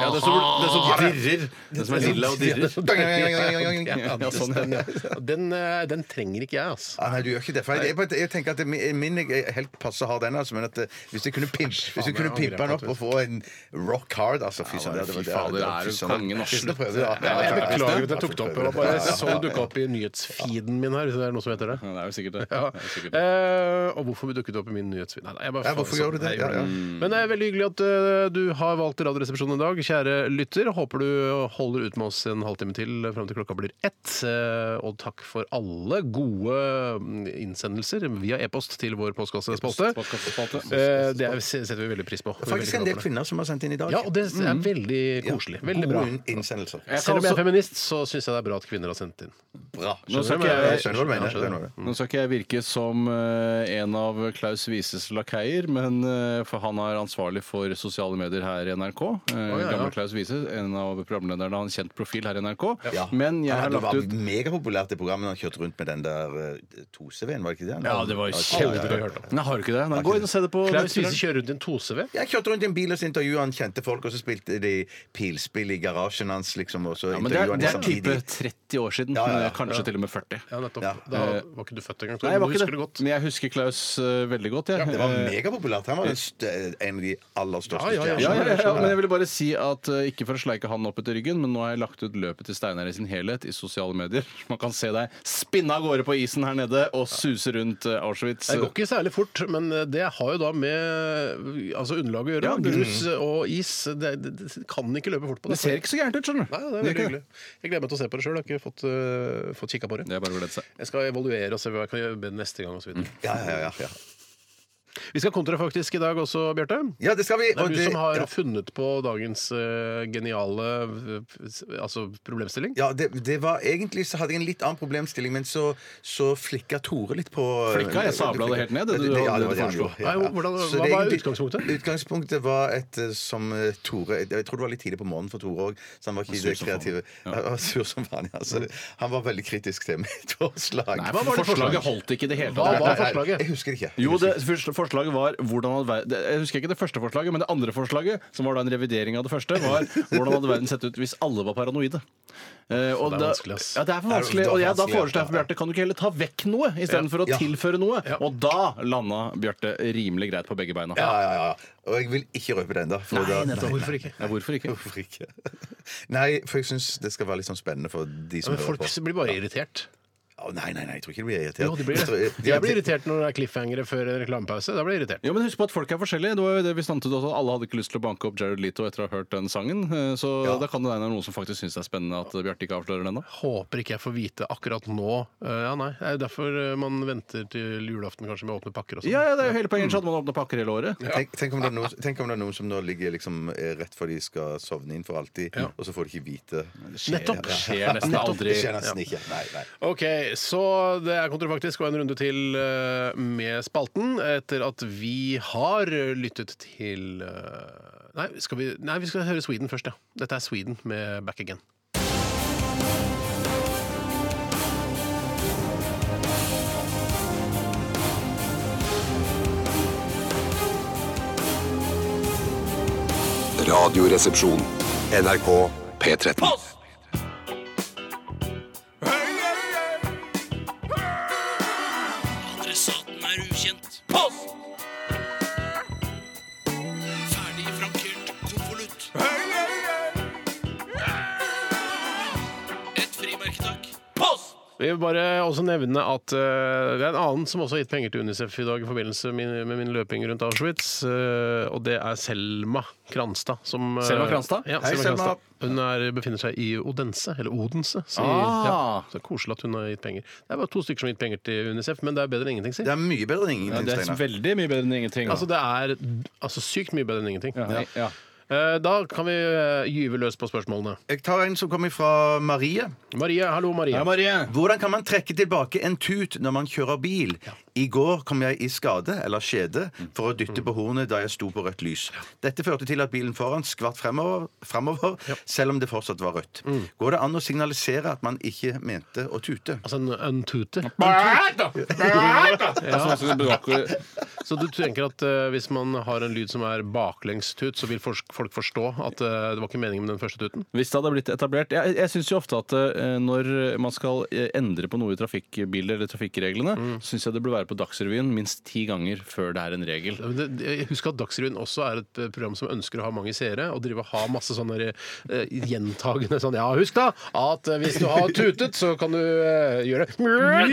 Speaker 3: Ja, det som, det som dirrer. Det som er lilla og dirrer.
Speaker 1: Ja,
Speaker 3: Ja, sånn, ja.
Speaker 1: den, ja. den, eh, den trenger ikke jeg, altså.
Speaker 2: Ah, nei, du gjør ikke det. For jeg, jeg, bare- jeg tenker at min- min er helt passe hard, den. Altså, men at eh, hvis jeg kunne, pimp, hvis jeg kunne
Speaker 1: jeg
Speaker 2: pimpe
Speaker 1: angrer
Speaker 2: den
Speaker 1: på
Speaker 2: opp og få en rock hard altså, Fy søren.
Speaker 3: fy fader, er du kongen av slutt.
Speaker 1: Ja, jeg beklager at jeg tok det opp. Det var bare jeg så det dukka opp i nyhetsfeeden min her. Hvis det er noe som heter det.
Speaker 3: Ja, det er jo sikkert det.
Speaker 1: Ja.
Speaker 3: det, er sikkert det.
Speaker 1: Eh, og hvorfor dukket det opp i min nyhetsfeed? Nei, nei, jeg bare
Speaker 2: Ja, hvorfor
Speaker 1: faen,
Speaker 2: gjør du det?
Speaker 1: jeg gjorde
Speaker 2: Ja, ja.
Speaker 3: Mm.
Speaker 1: Men det er veldig hyggelig at eh, du har valgt Radioresepsjonen i dag, kjære lytter. Håper du holder ut med oss en halvtime til eh, fram til klokka blir ett. Eh, og takk for alle gode mm, innsendelser via e-post til vår postkassespalte.
Speaker 3: Postkassespalte.
Speaker 1: Eh, det er, setter vi veldig pris på. Vi er
Speaker 2: Faktisk en
Speaker 1: veldig
Speaker 2: del
Speaker 1: glad for det.
Speaker 2: kvinner som har sendt inn i dag.
Speaker 1: Ja, og det
Speaker 3: Mm.
Speaker 1: er veldig koselig. Veldig bra.
Speaker 2: Gode innsendelser.
Speaker 1: Selv om jeg er feminist, så syns jeg det er bra at kvinner har sendt inn.
Speaker 2: Bra.
Speaker 3: Nå skal
Speaker 1: Skjønner du
Speaker 3: ikke
Speaker 1: hva
Speaker 2: Jeg
Speaker 3: jeg
Speaker 2: skjønner hva du mener.
Speaker 1: Ja, skjønner.
Speaker 2: skjønner hva du mener.
Speaker 3: Nå skal ikke jeg virke som eh, en av Klaus Wieses lakeier, men eh, for han er ansvarlig for sosiale medier her i NRK. Eh,
Speaker 1: ja.
Speaker 3: Gamle Klaus Wiese, en av programlederne, har en kjent profil her i NRK.
Speaker 2: Ja.
Speaker 3: Men jeg har
Speaker 2: Han
Speaker 3: lagt
Speaker 2: var
Speaker 3: ut
Speaker 2: megapopulært i programmet da han kjørte rundt med den der eh, 2CV-en, var det ikke det?
Speaker 3: Ja, det var
Speaker 2: ja, ja, ja.
Speaker 1: Aldri hørt om.
Speaker 3: Nei, har du ikke det? Nei, gå inn og se det på
Speaker 1: Klaus Wiese kjører rundt i en 2CV.
Speaker 2: Jeg kjørte rundt i en bil og så intervjua han kjente folk, og så spilte de pilspill i garasjen hans. liksom, og så
Speaker 3: Ja, men det er,
Speaker 2: intervjuet
Speaker 3: det er
Speaker 2: han
Speaker 3: type
Speaker 2: samtidig.
Speaker 3: 30 år siden.
Speaker 2: ja, ja.
Speaker 3: Kanskje til og med 40.
Speaker 1: Ja, nettopp.
Speaker 2: Ja.
Speaker 1: Da var ikke du født engang. Tore,
Speaker 3: Eh, Nei, jeg
Speaker 1: men
Speaker 3: var
Speaker 1: du
Speaker 3: ikke
Speaker 1: husker det
Speaker 3: det.
Speaker 1: godt.
Speaker 3: Men jeg husker Klaus eh, veldig godt. jeg.
Speaker 2: Det var
Speaker 3: Eh,
Speaker 2: megapopulært. Han var den st- en av de aller største
Speaker 1: Ja, ja, ja.
Speaker 3: Ja, ja,
Speaker 2: stjernene.
Speaker 3: ja, ja, men jeg ville bare si at eh, Ikke for å sleike han opp etter ryggen, men nå har jeg lagt ut løpet til Steinar i sin helhet i sosiale medier. Man kan se deg spinne av gårde på isen her nede og suse rundt eh, Auschwitz.
Speaker 1: Det går ikke særlig fort, men eh, det har jo da med altså underlaget å gjøre.
Speaker 3: Ja, det-
Speaker 1: Grus og is. Det, det, det kan ikke løpe fort på
Speaker 3: Det
Speaker 1: det.
Speaker 3: ser ikke så gærent ut, skjønner du.
Speaker 1: Nei, det er
Speaker 3: gjør
Speaker 1: veldig
Speaker 3: ikke
Speaker 1: hyggelig. Jeg gleder meg til å se på det sjøl. Har ikke fått, uh, fått kikka på
Speaker 3: Det
Speaker 1: det.
Speaker 3: er bare å glede seg.
Speaker 1: Jeg skal evaluere og se hva jeg kan gjøre bedre neste gang. Og så videre.
Speaker 3: Mm.
Speaker 2: Ja, ja, ja, ja.
Speaker 1: Vi skal kontra faktisk i dag også, Bjarte.
Speaker 2: ja, det skal vi.
Speaker 1: Det er
Speaker 2: og
Speaker 1: du
Speaker 2: det-
Speaker 1: som har
Speaker 2: ja.
Speaker 1: funnet på dagens eh, geniale eh, altså problemstilling.
Speaker 2: Ja, det, det var Egentlig så hadde jeg en litt annen problemstilling, men så, så flikka Tore litt på
Speaker 3: Flikka? Jeg sabla det helt ned, det du-
Speaker 2: ja,
Speaker 3: det
Speaker 2: det var
Speaker 3: du
Speaker 2: det jeg
Speaker 3: foreslo.
Speaker 2: gjorde, ja, ja.
Speaker 1: Nei, hvordan-
Speaker 2: Så
Speaker 1: hva
Speaker 2: det
Speaker 1: var
Speaker 2: egentlig-
Speaker 1: utgangspunktet?
Speaker 2: Utgangspunktet var et eh, som eh, Tore Jeg tror det var litt tidlig på morgenen for Tore òg, så han var ikke
Speaker 3: Sur
Speaker 2: det
Speaker 3: som faen.
Speaker 2: kreative. Han var sur som faen, ja. Så han var veldig kritisk til mitt forslag.
Speaker 3: Nei, hva var det forslaget holdt ikke i det hele
Speaker 1: Hva
Speaker 3: tatt.
Speaker 1: var
Speaker 2: Nei, nei,
Speaker 1: forslaget?
Speaker 2: Jeg husker det ikke. Jeg
Speaker 3: Jo,
Speaker 2: husker
Speaker 3: det første forslaget var hvordan hadde ver- det- Jeg husker ikke det første forslaget, men det andre forslaget, som var da en revidering av det første, var hvordan hadde verden sett ut hvis alle var paranoide? Eh, og
Speaker 1: Det er
Speaker 3: da-
Speaker 1: vanskelig, ass.
Speaker 3: Ja, det er for vanskelig.
Speaker 2: Det er
Speaker 3: Og jeg, da
Speaker 2: vanskelig, ja.
Speaker 3: foreslår jeg for Bjarte, kan du ikke heller ta vekk noe istedenfor å
Speaker 2: Ja.
Speaker 3: tilføre noe? Og da landa Bjarte rimelig greit på begge beina.
Speaker 2: Ja, ja, ja. Og jeg vil ikke røpe det ennå.
Speaker 1: Hvorfor ikke?
Speaker 3: Ja, hvorfor ikke?
Speaker 2: Hvorfor ikke? Nei, for jeg syns det skal være litt sånn spennende for de
Speaker 1: Ja,
Speaker 2: som
Speaker 1: men
Speaker 2: hører
Speaker 1: folk
Speaker 2: på.
Speaker 1: blir bare irritert.
Speaker 2: Å, nei, nei, nei, jeg tror ikke de blir irritert.
Speaker 1: Jo, de blir
Speaker 2: Jeg tror-
Speaker 1: det. Jeg blir irritert når det er cliffhangere før en reklamepause. Da blir jeg irritert.
Speaker 3: Jo, men Husk på at folk er forskjellige. Det var jo det vi stuntet også. Alle hadde ikke lyst til å banke opp Jared Leto etter å ha hørt den sangen. eh, Så da kan det være noen som faktisk syns det er spennende at Bjarte ikke avslører den ennå.
Speaker 1: Håper ikke jeg får vite akkurat nå. Eh, ja, nei. Det er jo derfor eh, man venter til julaften kanskje med å åpne pakker og sånn.
Speaker 3: Ja, ja, det er jo hele poenget. sånn at Man åpner pakker hele året.
Speaker 2: Tenk, tenk, om det er noen, tenk om det er noen som nå ligger liksom eh, rett før de skal sovne inn for alltid, og så får de ikke vite.
Speaker 1: Nettopp.
Speaker 3: Det skjer nesten aldri.
Speaker 2: Det skjer nesten ikke. Nei, nei.
Speaker 1: Ok, så det er kontrafaktisk og en runde til eh, med spalten etter at vi har lyttet til eh, Nei, skal vi, nei, vi skal høre Sweden først, ja. Dette er Sweden med Back Again.
Speaker 4: Radioresepsjon. NRK P13.
Speaker 10: Adressaten er ukjent. Post! Ferdig frankert konvolutt. Et frimerke, takk. Post!
Speaker 1: Vi vil bare også nevne at eh, det er en annen som også har gitt penger til Unicef i dag i forbindelse med min, med min løping rundt Auschwitz, eh, og det er Selma Kranstad. Som, eh,
Speaker 3: Selma Kranstad?
Speaker 1: Ja,
Speaker 2: Hei,
Speaker 1: Selma
Speaker 2: Selma.
Speaker 1: Kranstad. Hun er, befinner seg i Odense, eller Odense. Sier,
Speaker 3: Ah.
Speaker 1: ja. Så koselig at hun har gitt penger. Det er bare to stykker som har gitt penger til Unicef, men det er bedre enn ingenting, si.
Speaker 2: Det er mye bedre enn ingenting,
Speaker 3: Ja, det er
Speaker 2: Steinar.
Speaker 3: veldig mye bedre enn ingenting. da.
Speaker 1: Altså, det er altså, sykt mye bedre enn ingenting.
Speaker 3: ja. Ja.
Speaker 1: Eh, Da kan vi eh, gyve løs på spørsmålene.
Speaker 2: Jeg tar en som kommer fra Marie.
Speaker 1: Marie, hallo Marie.
Speaker 3: Ja, Marie.
Speaker 2: Hvordan kan man trekke tilbake en tut når man kjører bil? I går kom jeg i skade, eller skjede, for å dytte på hornet da jeg sto på rødt lys. Dette førte til at bilen foran skvatt fremover, fremover selv om det fortsatt var rødt. Går det an å signalisere at man ikke mente å tute?
Speaker 1: Altså en, en tute.
Speaker 3: Sånn som det bak-
Speaker 1: Så du tenker at eh, hvis man har en lyd som er baklengstut, så vil forsk- folk forstå at eh, det var ikke meningen med den første tuten?
Speaker 3: Hvis det hadde blitt etablert Jeg, jeg syns jo ofte at eh, når man skal eh, endre på noe i trafikkbildet eller trafikkreglene, så syns jeg det burde være på Dagsrevyen minst ti ganger før det er en regel.
Speaker 1: Men det- det- Husk at Dagsrevyen også er et eh, program som ønsker å ha mange seere, og drive og ha masse sånne der, eh, gjentagende sånn Ja, husk da at eh, hvis du har tutet, så kan du eh, gjøre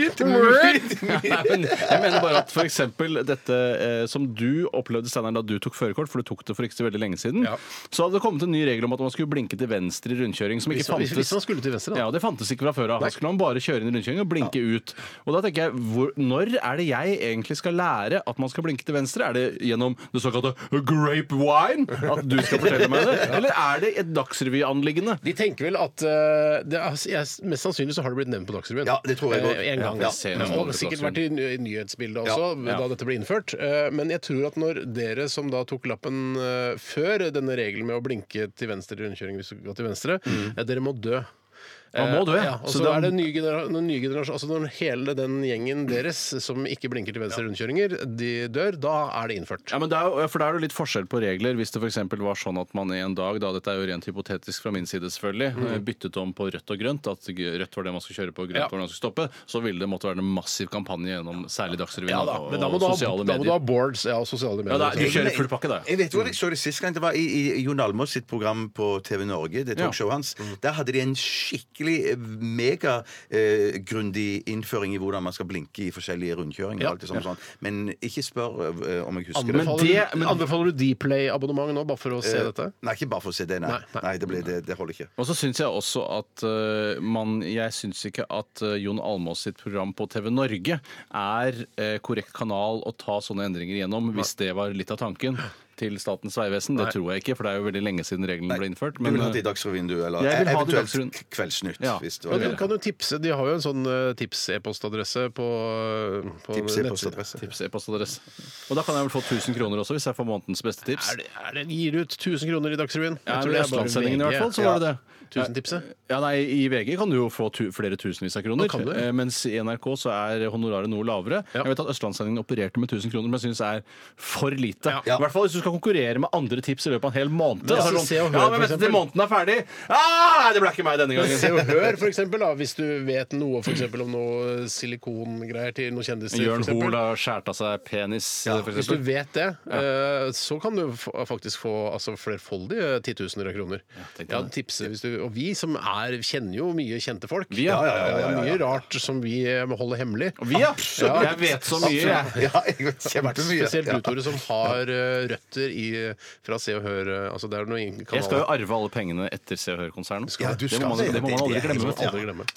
Speaker 1: det.
Speaker 3: Nei, men jeg mener bare at f.eks. dette eh, som du opplevde Steinar, da du tok førerkort, for du tok det for ikke så veldig lenge siden,
Speaker 1: Ja.
Speaker 3: så hadde det kommet en ny regel om at man skulle blinke til venstre i rundkjøring, som
Speaker 1: Hvis,
Speaker 3: ikke
Speaker 1: hvis, hvis
Speaker 3: fantes.
Speaker 1: man skulle til venstre, da.
Speaker 3: Ja, Det fantes ikke fra før av. Da skulle man bare kjøre inn i rundkjøringen og blinke ut. Og da tenker jeg, hvor, Når er det jeg egentlig skal lære at man skal blinke til venstre? Er det gjennom det såkalte grape wine? At du skal fortelle meg det? Eller er det et dagsrevyanliggende?
Speaker 1: De tenker vel at eh, det er, jeg, Mest sannsynlig så har det blitt nevnt på Dagsrevyen.
Speaker 2: Ja, det tror jeg
Speaker 1: Eh,
Speaker 2: også.
Speaker 1: En gang. Ja,
Speaker 2: Ja,
Speaker 3: jeg ser det
Speaker 1: Og
Speaker 3: på
Speaker 1: sikkert vært i,
Speaker 3: Dagsrevyen.
Speaker 1: ny- i nyhetsbildet også
Speaker 3: Ja, ja.
Speaker 1: da dette ble innført. Eh, Men jeg tror at når dere som da tok lappen eh, før denne regelen med å blinke til venstre i rundkjøring hvis du går til venstre, eh, dere må dø.
Speaker 3: Man Mm. må dø,
Speaker 1: Eh,
Speaker 3: ja.
Speaker 1: og
Speaker 3: Så
Speaker 1: så
Speaker 3: da-
Speaker 1: er det nye genera- noen nye generasjon, altså Når hele den gjengen deres som ikke blinker til venstre i rundkjøringer, de dør, da er det innført.
Speaker 3: Ja, men det er, jo- for Da er det jo litt forskjell på regler. Hvis det for eksempel var sånn at man en dag da, dette er jo rent hypotetisk fra min side selvfølgelig, eh, byttet om på rødt og grønt, at g- rødt var det man skulle kjøre på, grønt
Speaker 1: Mm. Ja.
Speaker 3: var det man skulle stoppe, så ville det måtte være en massiv kampanje gjennom særlig Dagsrevyen
Speaker 1: Ja da,
Speaker 3: og,
Speaker 1: men da må,
Speaker 3: og
Speaker 1: du ha,
Speaker 3: sosiale
Speaker 1: da må du ha
Speaker 3: medier.
Speaker 1: boards ja, og sosiale medier.
Speaker 3: da-
Speaker 1: og
Speaker 3: du
Speaker 1: sånt.
Speaker 3: kjører full pakke, da, Mm. ja.
Speaker 2: Jeg vet hvor jeg så det sist gang. Det var i, i Jon Almaas sitt program på TV Norge. Det
Speaker 3: Ja. Mm.
Speaker 2: talkshowet hans. Der hadde de en skikkelig megagrundig eh, grundig innføring i hvordan man skal blinke i forskjellige rundkjøringer. og Alt det sånn, sånn. Men ikke spør eh, om jeg husker
Speaker 1: Anbefaler,
Speaker 2: det.
Speaker 3: det-
Speaker 1: du-
Speaker 3: men- Eh,
Speaker 1: anbefaler du Dplay-abonnement nå, bare for å se dette?
Speaker 2: Nei, ikke bare for å se det. Nei,
Speaker 1: Nei, nei.
Speaker 2: nei. det, ble, det, det holder ikke.
Speaker 3: Og så syns jeg også at eh, man Jeg syns ikke at eh, Jon Almaas sitt program på TV Norge er eh, korrekt kanal å ta sånne endringer gjennom, hvis det var litt av tanken til Statens vegvesen. Det tror jeg ikke, for det er jo veldig lenge siden reglene ble innført.
Speaker 2: du vil ha
Speaker 3: eh,
Speaker 2: det i Dagsrevyen, du? Eller
Speaker 3: Jeg vil ha det i
Speaker 2: eventuelt
Speaker 3: Dagsrevyen.
Speaker 2: k- Kveldsnytt.
Speaker 3: Ja.
Speaker 2: Hvis det
Speaker 1: Men
Speaker 2: var
Speaker 1: du
Speaker 2: det.
Speaker 1: kan jo tipse, De har jo en sånn eh, tips-e-postadresse på, eh, på
Speaker 2: Tips
Speaker 1: nettsiden.
Speaker 2: e-postadresse.
Speaker 3: Tips, e-postadresse. E Og da kan jeg vel få 1000 kroner også, hvis jeg får månedens beste tips.
Speaker 1: Er det, er det gir ut 1000 kroner i Dagsrevyen?
Speaker 3: Ja,
Speaker 1: Jeg tror
Speaker 3: men I
Speaker 1: det er bare
Speaker 3: Østlandssendingen i
Speaker 1: VG.
Speaker 3: hvert fall, så var det det.
Speaker 1: Tusentipset?
Speaker 3: Ja, nei, I VG kan du jo få tu flere tusenvis av kroner,
Speaker 1: Nå kan du, ja.
Speaker 3: eh, mens i NRK så er honoraret noe lavere.
Speaker 1: Ja.
Speaker 3: Jeg vet at Østlandssendingen opererte med 1000 kroner, men jeg syns er for lite.
Speaker 1: Ja.
Speaker 3: I hvert fall hvis du skal konkurrere med andre tips i løpet av en hel måned.
Speaker 1: Ja,
Speaker 3: så er det
Speaker 1: så Se og Hør,
Speaker 3: ja, men
Speaker 1: for
Speaker 3: vent til
Speaker 1: eksempel.
Speaker 3: måneden er ferdig! Ah, nei, det ble ikke meg denne
Speaker 1: Men Se
Speaker 3: gangen.
Speaker 1: og Hør, for eksempel, da, hvis du vet noe for eksempel, om noe silikongreier til noen kjendiser. for
Speaker 3: Jørn
Speaker 1: eksempel.
Speaker 3: Hoel har skåret av seg penis, for
Speaker 1: Hvis du
Speaker 3: eksempel.
Speaker 1: vet det, eh, så kan du fa- faktisk få altså, flerfoldige titusener av kroner.
Speaker 3: tenk deg
Speaker 1: Ja,
Speaker 3: det.
Speaker 1: tipse hvis du, Og vi som er, kjenner jo mye kjente folk.
Speaker 3: Vi, ja.
Speaker 1: Ja, ja, ja, ja, ja. Det er mye rart som vi eh, må holde hemmelig.
Speaker 3: Vi, ja. Jeg vet så mye, jeg.
Speaker 2: Ja, jeg vet kjempemye.
Speaker 1: Spesielt du, Tore, som har eh, røtter i, fra Se og Hør. eh, Altså, det er noe ingen
Speaker 3: Jeg skal jo
Speaker 1: kanaler.
Speaker 3: arve alle pengene etter Se og Hør-konsernet.
Speaker 2: Ja, du
Speaker 3: Det
Speaker 2: skal
Speaker 3: må man,
Speaker 2: det.
Speaker 3: det må man aldri
Speaker 2: Det er
Speaker 1: Det
Speaker 3: glemme.
Speaker 1: må man aldri glemme.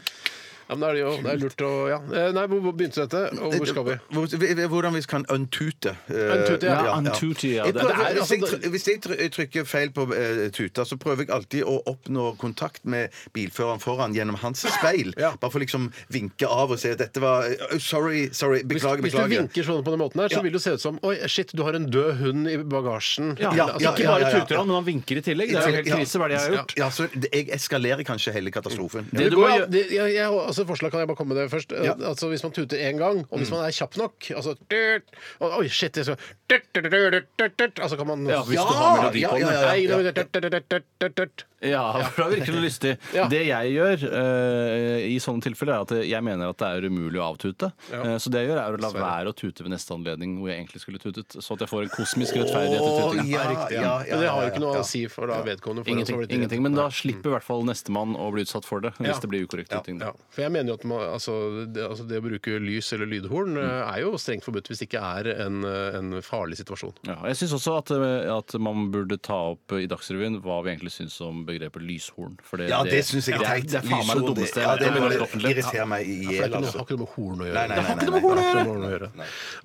Speaker 1: Ja, men da er det jo det er lurt å ja. Eh, Nei, hvor hvor begynte dette, og hvor skal vi?
Speaker 2: Eh, Hvor- Hvordan vi kan untute. eh,
Speaker 1: Untute, ja.
Speaker 3: untute, ja. Det-
Speaker 1: det
Speaker 2: Jeg prøver-
Speaker 1: er
Speaker 2: hvis, jeg,
Speaker 1: altså-
Speaker 2: try- hvis jeg try- trykker feil på eh, tuta, så prøver jeg alltid å oppnå kontakt med bilføreren foran gjennom hans speil.
Speaker 1: Ja.
Speaker 2: Bare for liksom vinke av og si at dette var eh, Sorry, sorry.
Speaker 1: Hvis,
Speaker 2: Beklager,
Speaker 1: hvis du
Speaker 2: beklager.
Speaker 1: vinker sånn på den måten her, så
Speaker 2: Ja.
Speaker 1: vil det se ut som Oi, shit, du har en død hund i bagasjen.
Speaker 3: Ja,
Speaker 2: Ja,
Speaker 3: altså,
Speaker 2: ja,
Speaker 3: ikke
Speaker 2: ja,
Speaker 3: bare
Speaker 2: ja, ja.
Speaker 3: tuter han, men han vinker i tillegg. Det er jo helt
Speaker 2: Ja.
Speaker 3: krise, hva er det jeg har gjort?
Speaker 2: Ja, så det- jeg eskalerer kanskje hele katastrofen.
Speaker 3: Det
Speaker 1: Det
Speaker 3: du må
Speaker 1: går, ja,
Speaker 3: gjøre-
Speaker 1: det, jeg, jeg, altså forslag kan jeg bare komme med det først. Eh,
Speaker 2: Ja.
Speaker 1: Altså Hvis man tuter én gang, og hvis man er kjapp nok altså, tut, og, Oi, shit! Jeg skal, tut, tut, tut, tut, tut, tut, altså kan man
Speaker 3: Ja, hvis du har melodi
Speaker 2: ja,
Speaker 3: på
Speaker 2: ja,
Speaker 3: den.
Speaker 2: ja.
Speaker 1: Nei, det var- tut, tut, tut, tut, tut.
Speaker 3: Ja, for da virker det lystig.
Speaker 1: Ja.
Speaker 3: Det jeg gjør eh, i sånne tilfeller, er at jeg mener at det er umulig å avtute. Eh, så det jeg gjør, er å la være å tute ved neste anledning hvor jeg egentlig skulle tutet. Så at jeg får en kosmisk rettferdighet til
Speaker 2: Å,
Speaker 3: tuting.
Speaker 2: ja, ja, ja,
Speaker 1: Men det har jo
Speaker 2: ja,
Speaker 1: ikke noe
Speaker 2: ja.
Speaker 1: å si for da vedkommende. For
Speaker 3: Ingenting, ingenting, men da slipper i hvert fall nestemann å bli utsatt for det. Hvis det blir ukorrekt tuting. da.
Speaker 1: Ja, for jeg mener jo at man, altså, det, altså det å bruke lys eller lydhorn eh, er jo strengt forbudt hvis det ikke er en, eh, en farlig situasjon.
Speaker 3: Ja, jeg syns også at, eh, at man burde ta opp i Dagsrevyen hva vi egentlig syns om begrepet lyshorn. For det,
Speaker 2: Ja, det syns jeg er
Speaker 3: det
Speaker 2: teit.
Speaker 3: Det er faen meg det
Speaker 2: Lyshorn,
Speaker 3: dummeste
Speaker 2: ja,
Speaker 3: jeg
Speaker 2: det,
Speaker 3: vet om i norsk
Speaker 2: det,
Speaker 3: offentlighet.
Speaker 2: irriterer meg i
Speaker 1: For det er
Speaker 2: hjel,
Speaker 1: ikke noe,
Speaker 2: altså.
Speaker 1: har ikke noe med horn å gjøre.
Speaker 2: Nei, nei,
Speaker 1: Det har
Speaker 2: nei,
Speaker 1: ikke
Speaker 2: nei,
Speaker 1: noe med
Speaker 2: nei,
Speaker 1: horn å gjøre.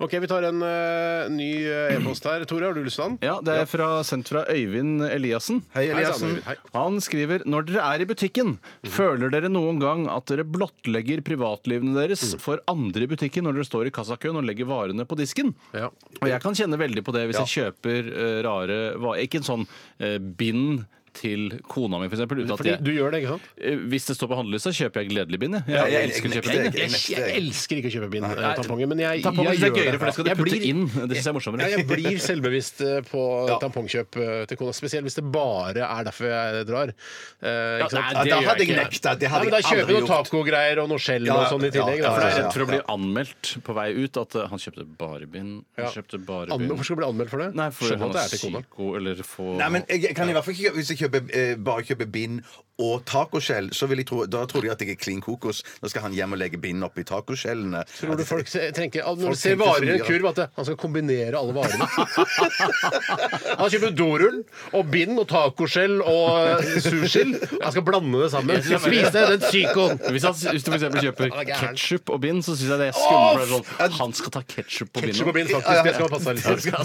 Speaker 1: Ok, Vi tar en eh, ny eh, e-post her. Tore, har du lyst til den?
Speaker 3: Ja, Det er fra, sendt fra Øyvind Eliassen.
Speaker 2: Hei,
Speaker 1: Hei, sann,
Speaker 2: Eliassen. Mhm.
Speaker 1: Øyvind. Hei.
Speaker 3: Han skriver når dere er i butikken, føler dere noen gang at dere blottlegger privatlivene deres
Speaker 2: Mhm.
Speaker 3: for andre i butikken når dere står i kassakøen og legger varene på disken?
Speaker 1: Ja.
Speaker 3: Og jeg kan kjenne veldig på det hvis jeg kjøper eh, rare varer. Ikke en sånn eh, bind til kona mi, for eksempel. Uten at
Speaker 1: Fordi
Speaker 3: jeg,
Speaker 1: du gjør det, ikke sant?
Speaker 3: Eh, Hvis det står på handlelista, kjøper jeg gledelig bind. Jeg,
Speaker 2: jeg-
Speaker 3: jeg,
Speaker 2: jeg
Speaker 3: elsker å
Speaker 2: nekter
Speaker 3: kjøpe bind.
Speaker 2: det.
Speaker 1: Jeg, jeg elsker ikke å kjøpe bind, eh, tamponger, men jeg,
Speaker 3: Tampong
Speaker 1: jeg
Speaker 3: synes jeg er gøyere, for det skal du
Speaker 1: Jeg
Speaker 3: putte
Speaker 1: blir-
Speaker 3: inn. Det syns jeg er
Speaker 1: Ja,
Speaker 3: morsommere.
Speaker 1: jeg blir selvbevisst eh, på tampongkjøp eh, til kona, spesielt hvis det bare er derfor jeg drar. Eh,
Speaker 3: nei, det gjør
Speaker 1: ikke sant?
Speaker 2: Ja, da hadde
Speaker 3: jeg ikke.
Speaker 2: jeg nekta. Det
Speaker 1: Nei,
Speaker 2: hadde
Speaker 1: men da
Speaker 2: jeg
Speaker 1: kjøper
Speaker 2: aldri
Speaker 1: vi noe
Speaker 2: gjort.
Speaker 1: tacogreier og noe skjell og
Speaker 2: Ja,
Speaker 1: sånn i
Speaker 2: ja,
Speaker 1: tillegg.
Speaker 2: ja,
Speaker 1: Da.
Speaker 3: For
Speaker 1: For det
Speaker 3: jeg er
Speaker 1: er rett.
Speaker 3: redd for å bli anmeldt på vei ut. At eh, han kjøpte bare bind.
Speaker 1: Ja.
Speaker 3: Han kjøpte bare
Speaker 1: Anme-
Speaker 3: bind.
Speaker 1: Hvorfor skal du bli anmeldt for det?
Speaker 3: Nei, for
Speaker 1: Skjønner
Speaker 3: han
Speaker 1: at det
Speaker 3: er
Speaker 1: er til kona.
Speaker 3: psyko eller for
Speaker 2: Nei, men jeg kan i hvert fall ikke kjøpe, Hvis jeg kjøper, eh, bare kjøper bind og tacoskjell, så vil jeg tro, da tror de at jeg er klin kokos. Nå skal han hjem og legge bind oppi tacoskjellene.
Speaker 1: Tror du folk se- tenker al- Når
Speaker 2: Folk
Speaker 1: du ser
Speaker 2: tenker så
Speaker 1: varer i
Speaker 2: mye
Speaker 1: en kurv, at det- han skal kombinere alle varene? Han kjøper dorull og bind og tacoskjell og eh, sursild. Han skal blande det sammen. Spis det, den psykoen!
Speaker 3: Hvis, han, hvis du for eksempel kjøper
Speaker 1: Han er gæren.
Speaker 3: ketsjup og bind, så syns jeg det er skummelt. for det er Sånn, han skal ta ketsjup på
Speaker 1: Ketchup og
Speaker 3: bindet.
Speaker 1: bind, faktisk. Det skal passe
Speaker 3: Han
Speaker 1: deg litt.
Speaker 3: skal-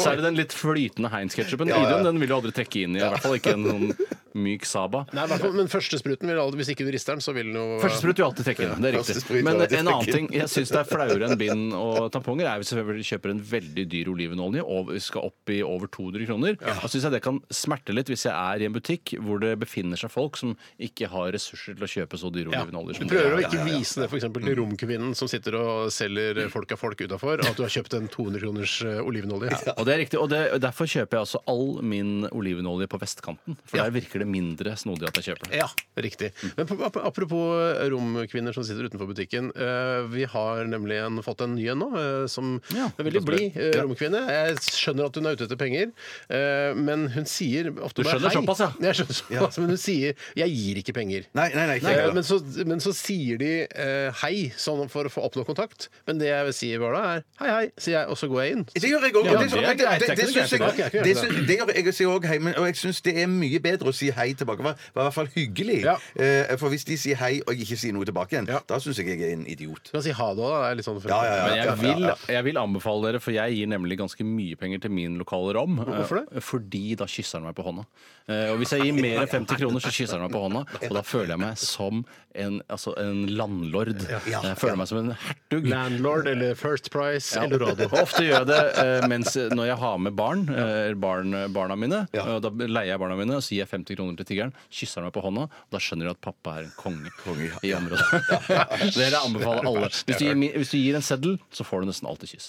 Speaker 3: Så er det den litt flytende Heinz-ketsjupen.
Speaker 2: Ja, ja.
Speaker 3: Idun den vil du aldri trekke inn i. I hvert fall ikke en sånn myk Saba.
Speaker 1: Nei, i hvert fall, men første spruten vil aldri, Hvis ikke du rister den, så vil den jo eh,
Speaker 3: Første sprut vil alltid trekke inn. Det er
Speaker 2: første
Speaker 3: riktig.
Speaker 2: sprut
Speaker 3: Men eh,
Speaker 2: vil alltid
Speaker 3: en
Speaker 2: trekke
Speaker 3: annen
Speaker 2: inn.
Speaker 3: ting jeg syns det er flauere enn bind og tamponger, er hvis jeg kjøper en veldig dyr olivenolje og skal opp i over 200 kroner. Da syns jeg det kan smerte litt hvis jeg er i en butikk hvor det befinner seg folk som ikke har ressurser til å kjøpe så dyre
Speaker 1: Ja.
Speaker 3: olivenoljer.
Speaker 1: Du
Speaker 3: som
Speaker 1: prøver å
Speaker 3: det er.
Speaker 1: ikke vise det for eksempel til romkvinnen som sitter og selger folk av folk utafor, at du har kjøpt en 200 kroners eh, olivenolje.
Speaker 3: Og det er riktig, og det, og Derfor kjøper jeg altså all min olivenolje på vestkanten. For der virker det mindre snodig at jeg kjøper det.
Speaker 1: Ja, riktig. Men på- ap- apropos romkvinner som sitter utenfor butikken. eh, Vi har nemlig en, fått en ny en nå, eh, som
Speaker 3: Ja,
Speaker 1: er veldig blid eh, romkvinne. Jeg skjønner at hun er ute etter penger, eh, men hun sier ofte
Speaker 3: Du
Speaker 1: bare
Speaker 3: skjønner
Speaker 1: hei.
Speaker 3: såpass, ja.
Speaker 1: Jeg skjønner såpass, men hun sier 'jeg gir ikke penger'.
Speaker 2: Nei, nei, nei, ikke
Speaker 1: Eh,
Speaker 2: heller.
Speaker 1: Men så, men så sier de eh, hei sånn for å få oppnå kontakt. Men det jeg vil si bare da, er hei, hei, sier jeg, og så går jeg inn.
Speaker 2: Det gjør jeg òg.
Speaker 3: Ja, det
Speaker 2: Det
Speaker 3: er greit, det er ikke noe
Speaker 2: syns jeg
Speaker 1: greit, det er ikke
Speaker 2: det syns- det gjør jeg også, jeg også, hei, men- og jeg syns det er mye bedre å si hei tilbake. Vær vær i hvert fall hyggelig.
Speaker 1: Ja.
Speaker 2: Eh, For hvis de sier hei og jeg ikke sier noe tilbake igjen,
Speaker 1: Ja.
Speaker 2: da syns jeg jeg er en idiot.
Speaker 1: Du kan si ha det òg, da. er Litt sånn
Speaker 2: Ja, ja, ja.
Speaker 3: Men jeg
Speaker 2: ja,
Speaker 3: vil,
Speaker 2: ja.
Speaker 3: jeg vil anbefale dere, for jeg gir nemlig ganske mye penger til min lokale rom.
Speaker 1: Hvorfor det?
Speaker 3: Eh, Fordi da kysser han meg på hånda. Eh, Og hvis jeg gir mer enn 50 kroner, så kysser han meg på hånda. Og da føler jeg meg som en, altså en landlord. Eh,
Speaker 2: Ja.
Speaker 3: Jeg føler meg som en hertug.
Speaker 1: Landlord eller First Price
Speaker 3: Ja.
Speaker 1: eller Eldorado.
Speaker 3: Og ofte gjør jeg det eh, mens, når jeg har med barn, eh, barn barna mine.
Speaker 2: Ja.
Speaker 3: og Da leier jeg barna mine, og så gir jeg 50 kroner til tiggeren. Kysser han meg på hånda, og da skjønner de at pappa er en konge, i området. Dere anbefaler alle. Hvis du, gir, mi- hvis du gir en seddel, så får du nesten alltid kyss.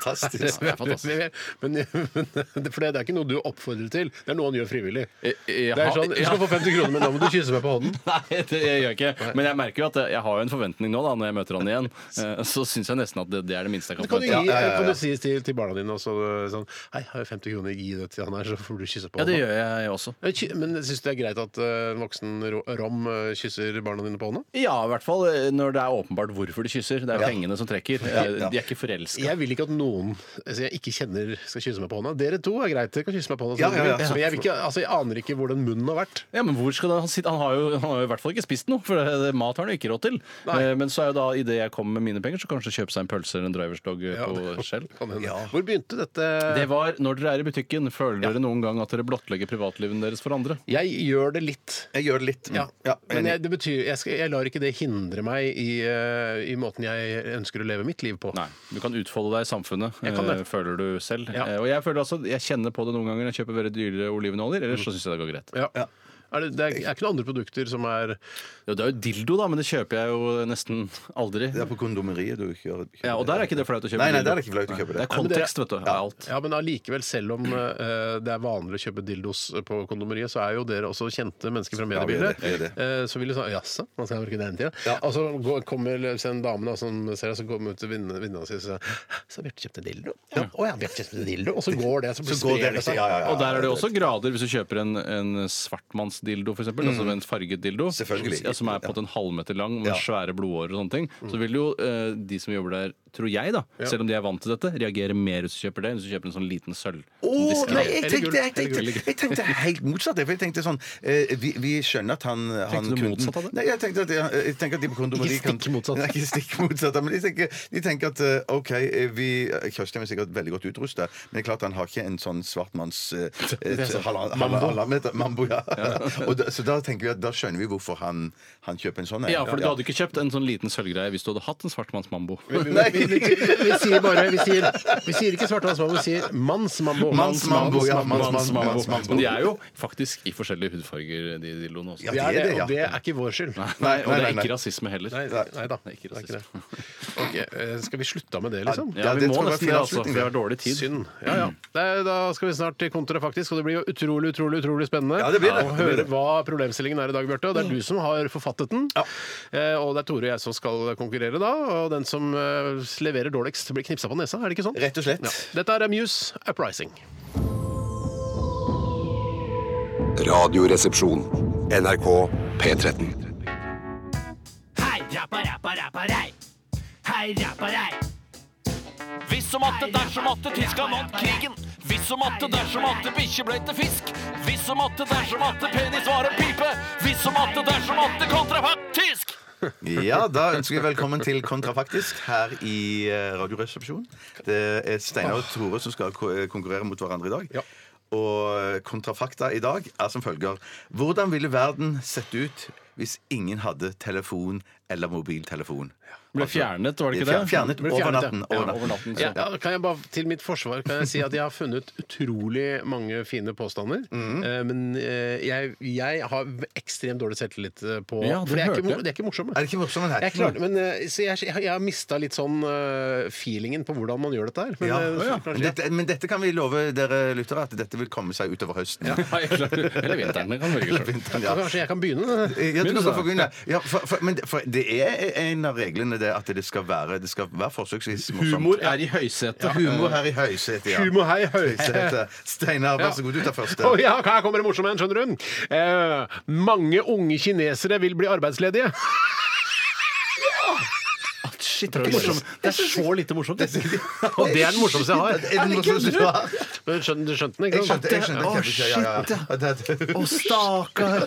Speaker 2: Fantastisk.
Speaker 1: Det er fantastisk. Men, men, men for det, det er ikke noe du oppfordrer til. Det er noe han gjør frivillig.
Speaker 3: Eh,
Speaker 12: Jeg- jeg
Speaker 1: det er
Speaker 12: har-
Speaker 1: sånn, Du skal få 50 kroner, men da må du kysse meg på hånden.
Speaker 3: Nei, det gjør jeg ikke. Men jeg merker jo at jeg har jo en forventning nå, da, når jeg møter han igjen. Eh, Så syns jeg nesten at det, det er det minste jeg
Speaker 1: Det
Speaker 3: kan
Speaker 1: kan du, gi,
Speaker 3: forvente. Ja,
Speaker 1: det kan du si til, til barna dine også. Sånn, Hei, har jeg 50 kroner, gi det til han her, så får du kysse på
Speaker 3: ja, det
Speaker 1: hånda.
Speaker 3: gjør jeg også.
Speaker 1: Men ky- Men syns du det er greit at eh, en voksen ro- rom eh, kysser barna dine på hånda?
Speaker 3: Ja, i hvert fall eh, når det er åpenbart hvorfor de kysser. Det er pengene som trekker. Eh, De er ikke forelska.
Speaker 1: Jeg vil ikke at noen altså jeg ikke kjenner, skal kysse meg på hånda. Dere to er greit, dere kan kysse meg på hånda. så
Speaker 2: Ja,
Speaker 1: dere
Speaker 2: ja,
Speaker 1: vil.
Speaker 2: ja.
Speaker 1: Men jeg, vil ikke, altså, jeg aner ikke hvor den munnen har vært.
Speaker 3: Ja, men hvor skal det, han, sitte? han, har jo, han har jo i hvert fall ikke spist noe, for det, det, mat har han jo ikke råd til.
Speaker 1: Nei.
Speaker 3: Eh, Men så er jo da, idet jeg kommer med mine penger, så kanskje kjøpe seg en pølse eller en driverstog eh, på Shell.
Speaker 1: Kan hende. Hvor begynte dette?
Speaker 3: Det var når dere er i butikken. Føler dere noen gang at dere blottlegger privatlivet deres for andre?
Speaker 1: Jeg gjør det litt.
Speaker 2: Jeg gjør det litt. mm.
Speaker 1: Ja,
Speaker 2: Ja,
Speaker 1: men
Speaker 2: enig.
Speaker 1: jeg, det betyr, jeg, skal, jeg lar ikke det hindre meg i, eh, i måten jeg ønsker å leve mitt liv på.
Speaker 3: Nei. Du kan utfolde deg i samfunnet,
Speaker 1: Jeg kan det.
Speaker 3: eh, føler du selv.
Speaker 1: Ja.
Speaker 3: Eh, Og jeg føler altså, jeg kjenner på det noen ganger når jeg kjøper veldig dyre olivenoljer, ellers så syns jeg det går greit.
Speaker 1: Ja. Er det, det er, er ikke noen andre produkter som er
Speaker 3: Jo, det er jo dildo, da, men det kjøper jeg jo nesten aldri.
Speaker 2: Det er på kondomeriet du kjører.
Speaker 3: Ja, og der er ikke det flaut å kjøpe
Speaker 2: Nei, nei,
Speaker 3: dildo.
Speaker 2: der er det ikke flaut å kjøpe det.
Speaker 3: Det er kontekst, vet du. av Alt.
Speaker 1: Ja, men allikevel, selv om eh, det er vanlig å kjøpe dildos på kondomeriet, så er jo dere også kjente mennesker fra
Speaker 2: Ja, vi er
Speaker 1: mediebildet.
Speaker 2: det, vi er det.
Speaker 1: Eh, så vil du sånn Jaså, man skal bruke den tida? Og så går, kommer sen damen da, som ser deg, så kommer hun til vinne- vinneren og sier sånn Så Bjarte kjøpte dildo? Ja. Å ja, Bjarte kjøpte dildo. Og så går det, så blir
Speaker 2: Så går det
Speaker 1: sprer det sånn.
Speaker 2: riktig.
Speaker 1: seg.
Speaker 2: Ja, ja, ja.
Speaker 3: Og der er det jo også grader hvis du kjøper en, en svartmannsdildo, f.eks. eksempel Altså en farget dildo.
Speaker 2: Mm. Selvfølgelig.
Speaker 3: Ja, som er på en måte en halvmeter lang med
Speaker 2: Ja. Mm.
Speaker 3: svære blodårer og sånne ting. Så vil jo eh, de som jobber der, tror jeg, da, selv om de er vant til dette, reagere mer hvis du kjøper det enn hvis du kjøper en sånn liten sølv.
Speaker 2: Å,
Speaker 3: Diskret.
Speaker 2: nei, jeg
Speaker 1: Eller
Speaker 2: tenkte,
Speaker 1: gull.
Speaker 2: jeg,
Speaker 1: Eller
Speaker 2: tenkte,
Speaker 1: gull.
Speaker 2: jeg tenkte helt motsatt. jeg, For jeg tenkte sånn eh, vi, vi skjønner at han, han
Speaker 3: du
Speaker 2: kunden-
Speaker 3: motsatt av det?
Speaker 2: Nei, jeg tenkte at, jeg, jeg tenker at de på kondomeriet
Speaker 1: Ikke stikk motsatt.
Speaker 2: Nei, ikke stikk motsatt. Men de tenker, de tenker at eh, OK, eh, vi Kjøstheim er sikkert veldig godt utrusta, men det er klart han har ikke en sånn svartmanns eh, et halvann-
Speaker 1: Mambo.
Speaker 2: halvann meter- Mambo, ja. Og da, så da tenker vi at da skjønner vi hvorfor han, han kjøper en sånn.
Speaker 3: Ja, for du hadde ikke kjøpt en sånn liten sølvgreie hvis du hadde hatt en svartmannsmambo.
Speaker 1: Vi, vi, vi, vi, vi sier bare Vi sier, vi sier ikke svartmannsmambo, vi sier mannsmambo.
Speaker 2: Mannsmambo, ja.
Speaker 3: Mannsmambo.
Speaker 2: mannsmambo.
Speaker 3: Men de er jo faktisk i forskjellige hudfarger, de dildoene også.
Speaker 2: Ja,
Speaker 1: Det er det,
Speaker 2: ja.
Speaker 1: og det er ikke vår skyld.
Speaker 3: Nei, og
Speaker 2: nei,
Speaker 3: det er
Speaker 2: nei,
Speaker 3: ikke
Speaker 2: nei.
Speaker 3: rasisme heller.
Speaker 1: Nei, nei da.
Speaker 3: Det er ikke
Speaker 1: det er ikke
Speaker 3: rasisme.
Speaker 1: det. Ok, eh, Skal vi slutte av med det, liksom?
Speaker 3: Ja,
Speaker 2: Ja,
Speaker 3: vi
Speaker 2: det
Speaker 3: må
Speaker 2: tror jeg var
Speaker 3: nesten
Speaker 2: fin
Speaker 3: det, altså.
Speaker 2: avslutning,
Speaker 3: For vi har dårlig tid.
Speaker 1: Synd. Ja, ja. Det er, da skal vi snart til kontra, faktisk. Og det blir jo utrolig utrolig, utrolig spennende
Speaker 2: Ja, det blir det.
Speaker 1: å
Speaker 2: Det blir
Speaker 1: høre
Speaker 2: det.
Speaker 1: hva problemstillingen er i dag, Bjarte. Og det er du som har forfattet den. Eh, og det er Tore og jeg som skal konkurrere da. Og den som eh, leverer dårligst, blir knipsa på nesa. Er det ikke sånn?
Speaker 2: Rett og slett.
Speaker 1: Ja. Dette er Muse Uprising.
Speaker 4: Radioresepsjon. NRK P13.
Speaker 10: Hei, rappa, rappa, rappa, rei. Hei, rappa, rei. Hvis som atte, dersom atte, tyska vant krigen. Hvis som atte, dersom atte, bikkje ble til fisk. Hvis som atte, dersom atte, penis var en pipe. Hvis som atte, dersom atte, kontrafaktisk.
Speaker 2: Ja, da ønsker vi velkommen til Kontrafaktisk her i eh, Radioresepsjonen. Det er Steinar og Tore som skal ko- eh, konkurrere mot hverandre i dag.
Speaker 1: Ja.
Speaker 2: Og eh, kontrafakta i dag er som følger. Hvordan ville verden sett ut hvis ingen hadde telefon eller mobiltelefon?
Speaker 3: Ble fjernet, var det ikke
Speaker 2: Fjer-
Speaker 3: det?
Speaker 2: Fjernet
Speaker 1: Ble
Speaker 2: over
Speaker 1: fjernet,
Speaker 2: natten.
Speaker 1: ja.
Speaker 2: Over
Speaker 3: Ja, over
Speaker 2: natten.
Speaker 3: natten.
Speaker 1: Ja, ja, kan jeg bare, til mitt forsvar kan jeg si at jeg har funnet utrolig mange fine påstander.
Speaker 2: Mhm.
Speaker 1: eh, men eh, jeg, jeg har v- ekstremt dårlig selvtillit eh, på
Speaker 3: Ja, det
Speaker 1: For jeg er ikke,
Speaker 3: hørte
Speaker 1: mo-
Speaker 3: jeg.
Speaker 1: det er ikke morsomt.
Speaker 2: Er det ikke morsomt? Nei.
Speaker 1: Jeg klarte, men, eh, så jeg, jeg, jeg har mista litt sånn eh, feelingen på hvordan man gjør dette her. Men,
Speaker 2: Ja.
Speaker 1: eh, så
Speaker 2: Men,
Speaker 1: kanskje-
Speaker 2: dette, men dette kan vi love dere lyttere, at dette vil komme seg utover høsten. Ja.
Speaker 3: Nei, klart. Eller vinteren. Det kan velge selv.
Speaker 2: Vinteren,
Speaker 1: så
Speaker 2: ja.
Speaker 1: Kanskje jeg kan begynne?
Speaker 2: Jeg tror
Speaker 3: Men
Speaker 2: du
Speaker 3: du
Speaker 2: skal
Speaker 3: sa-
Speaker 2: få begynne. Ja, for, for, men det- for det er en av reglene det at det skal være, det skal være forsøksvis morsomt.
Speaker 3: Humor er i høysetet.
Speaker 2: Ja, humor her i høysetet, ja.
Speaker 1: Humor her i høysetet.
Speaker 2: høysetet. Steinar, vær så god, du tar første.
Speaker 1: Å ja, her kommer det morsomme en, skjønner du. Eh, mange unge kinesere vil bli arbeidsledige.
Speaker 3: Shit, det er ikke morsomt. Det er så lite morsomt.
Speaker 1: Og det er den morsomste jeg har.
Speaker 2: Er det noe som du har?
Speaker 1: Men skjønner- Du skjønte den,
Speaker 2: Jeg
Speaker 1: ikke sant?
Speaker 2: skjønte, jeg skjønte.
Speaker 3: Å,
Speaker 2: kjempekjø, ja, ja, ja. Og det-
Speaker 3: Å, stakkar!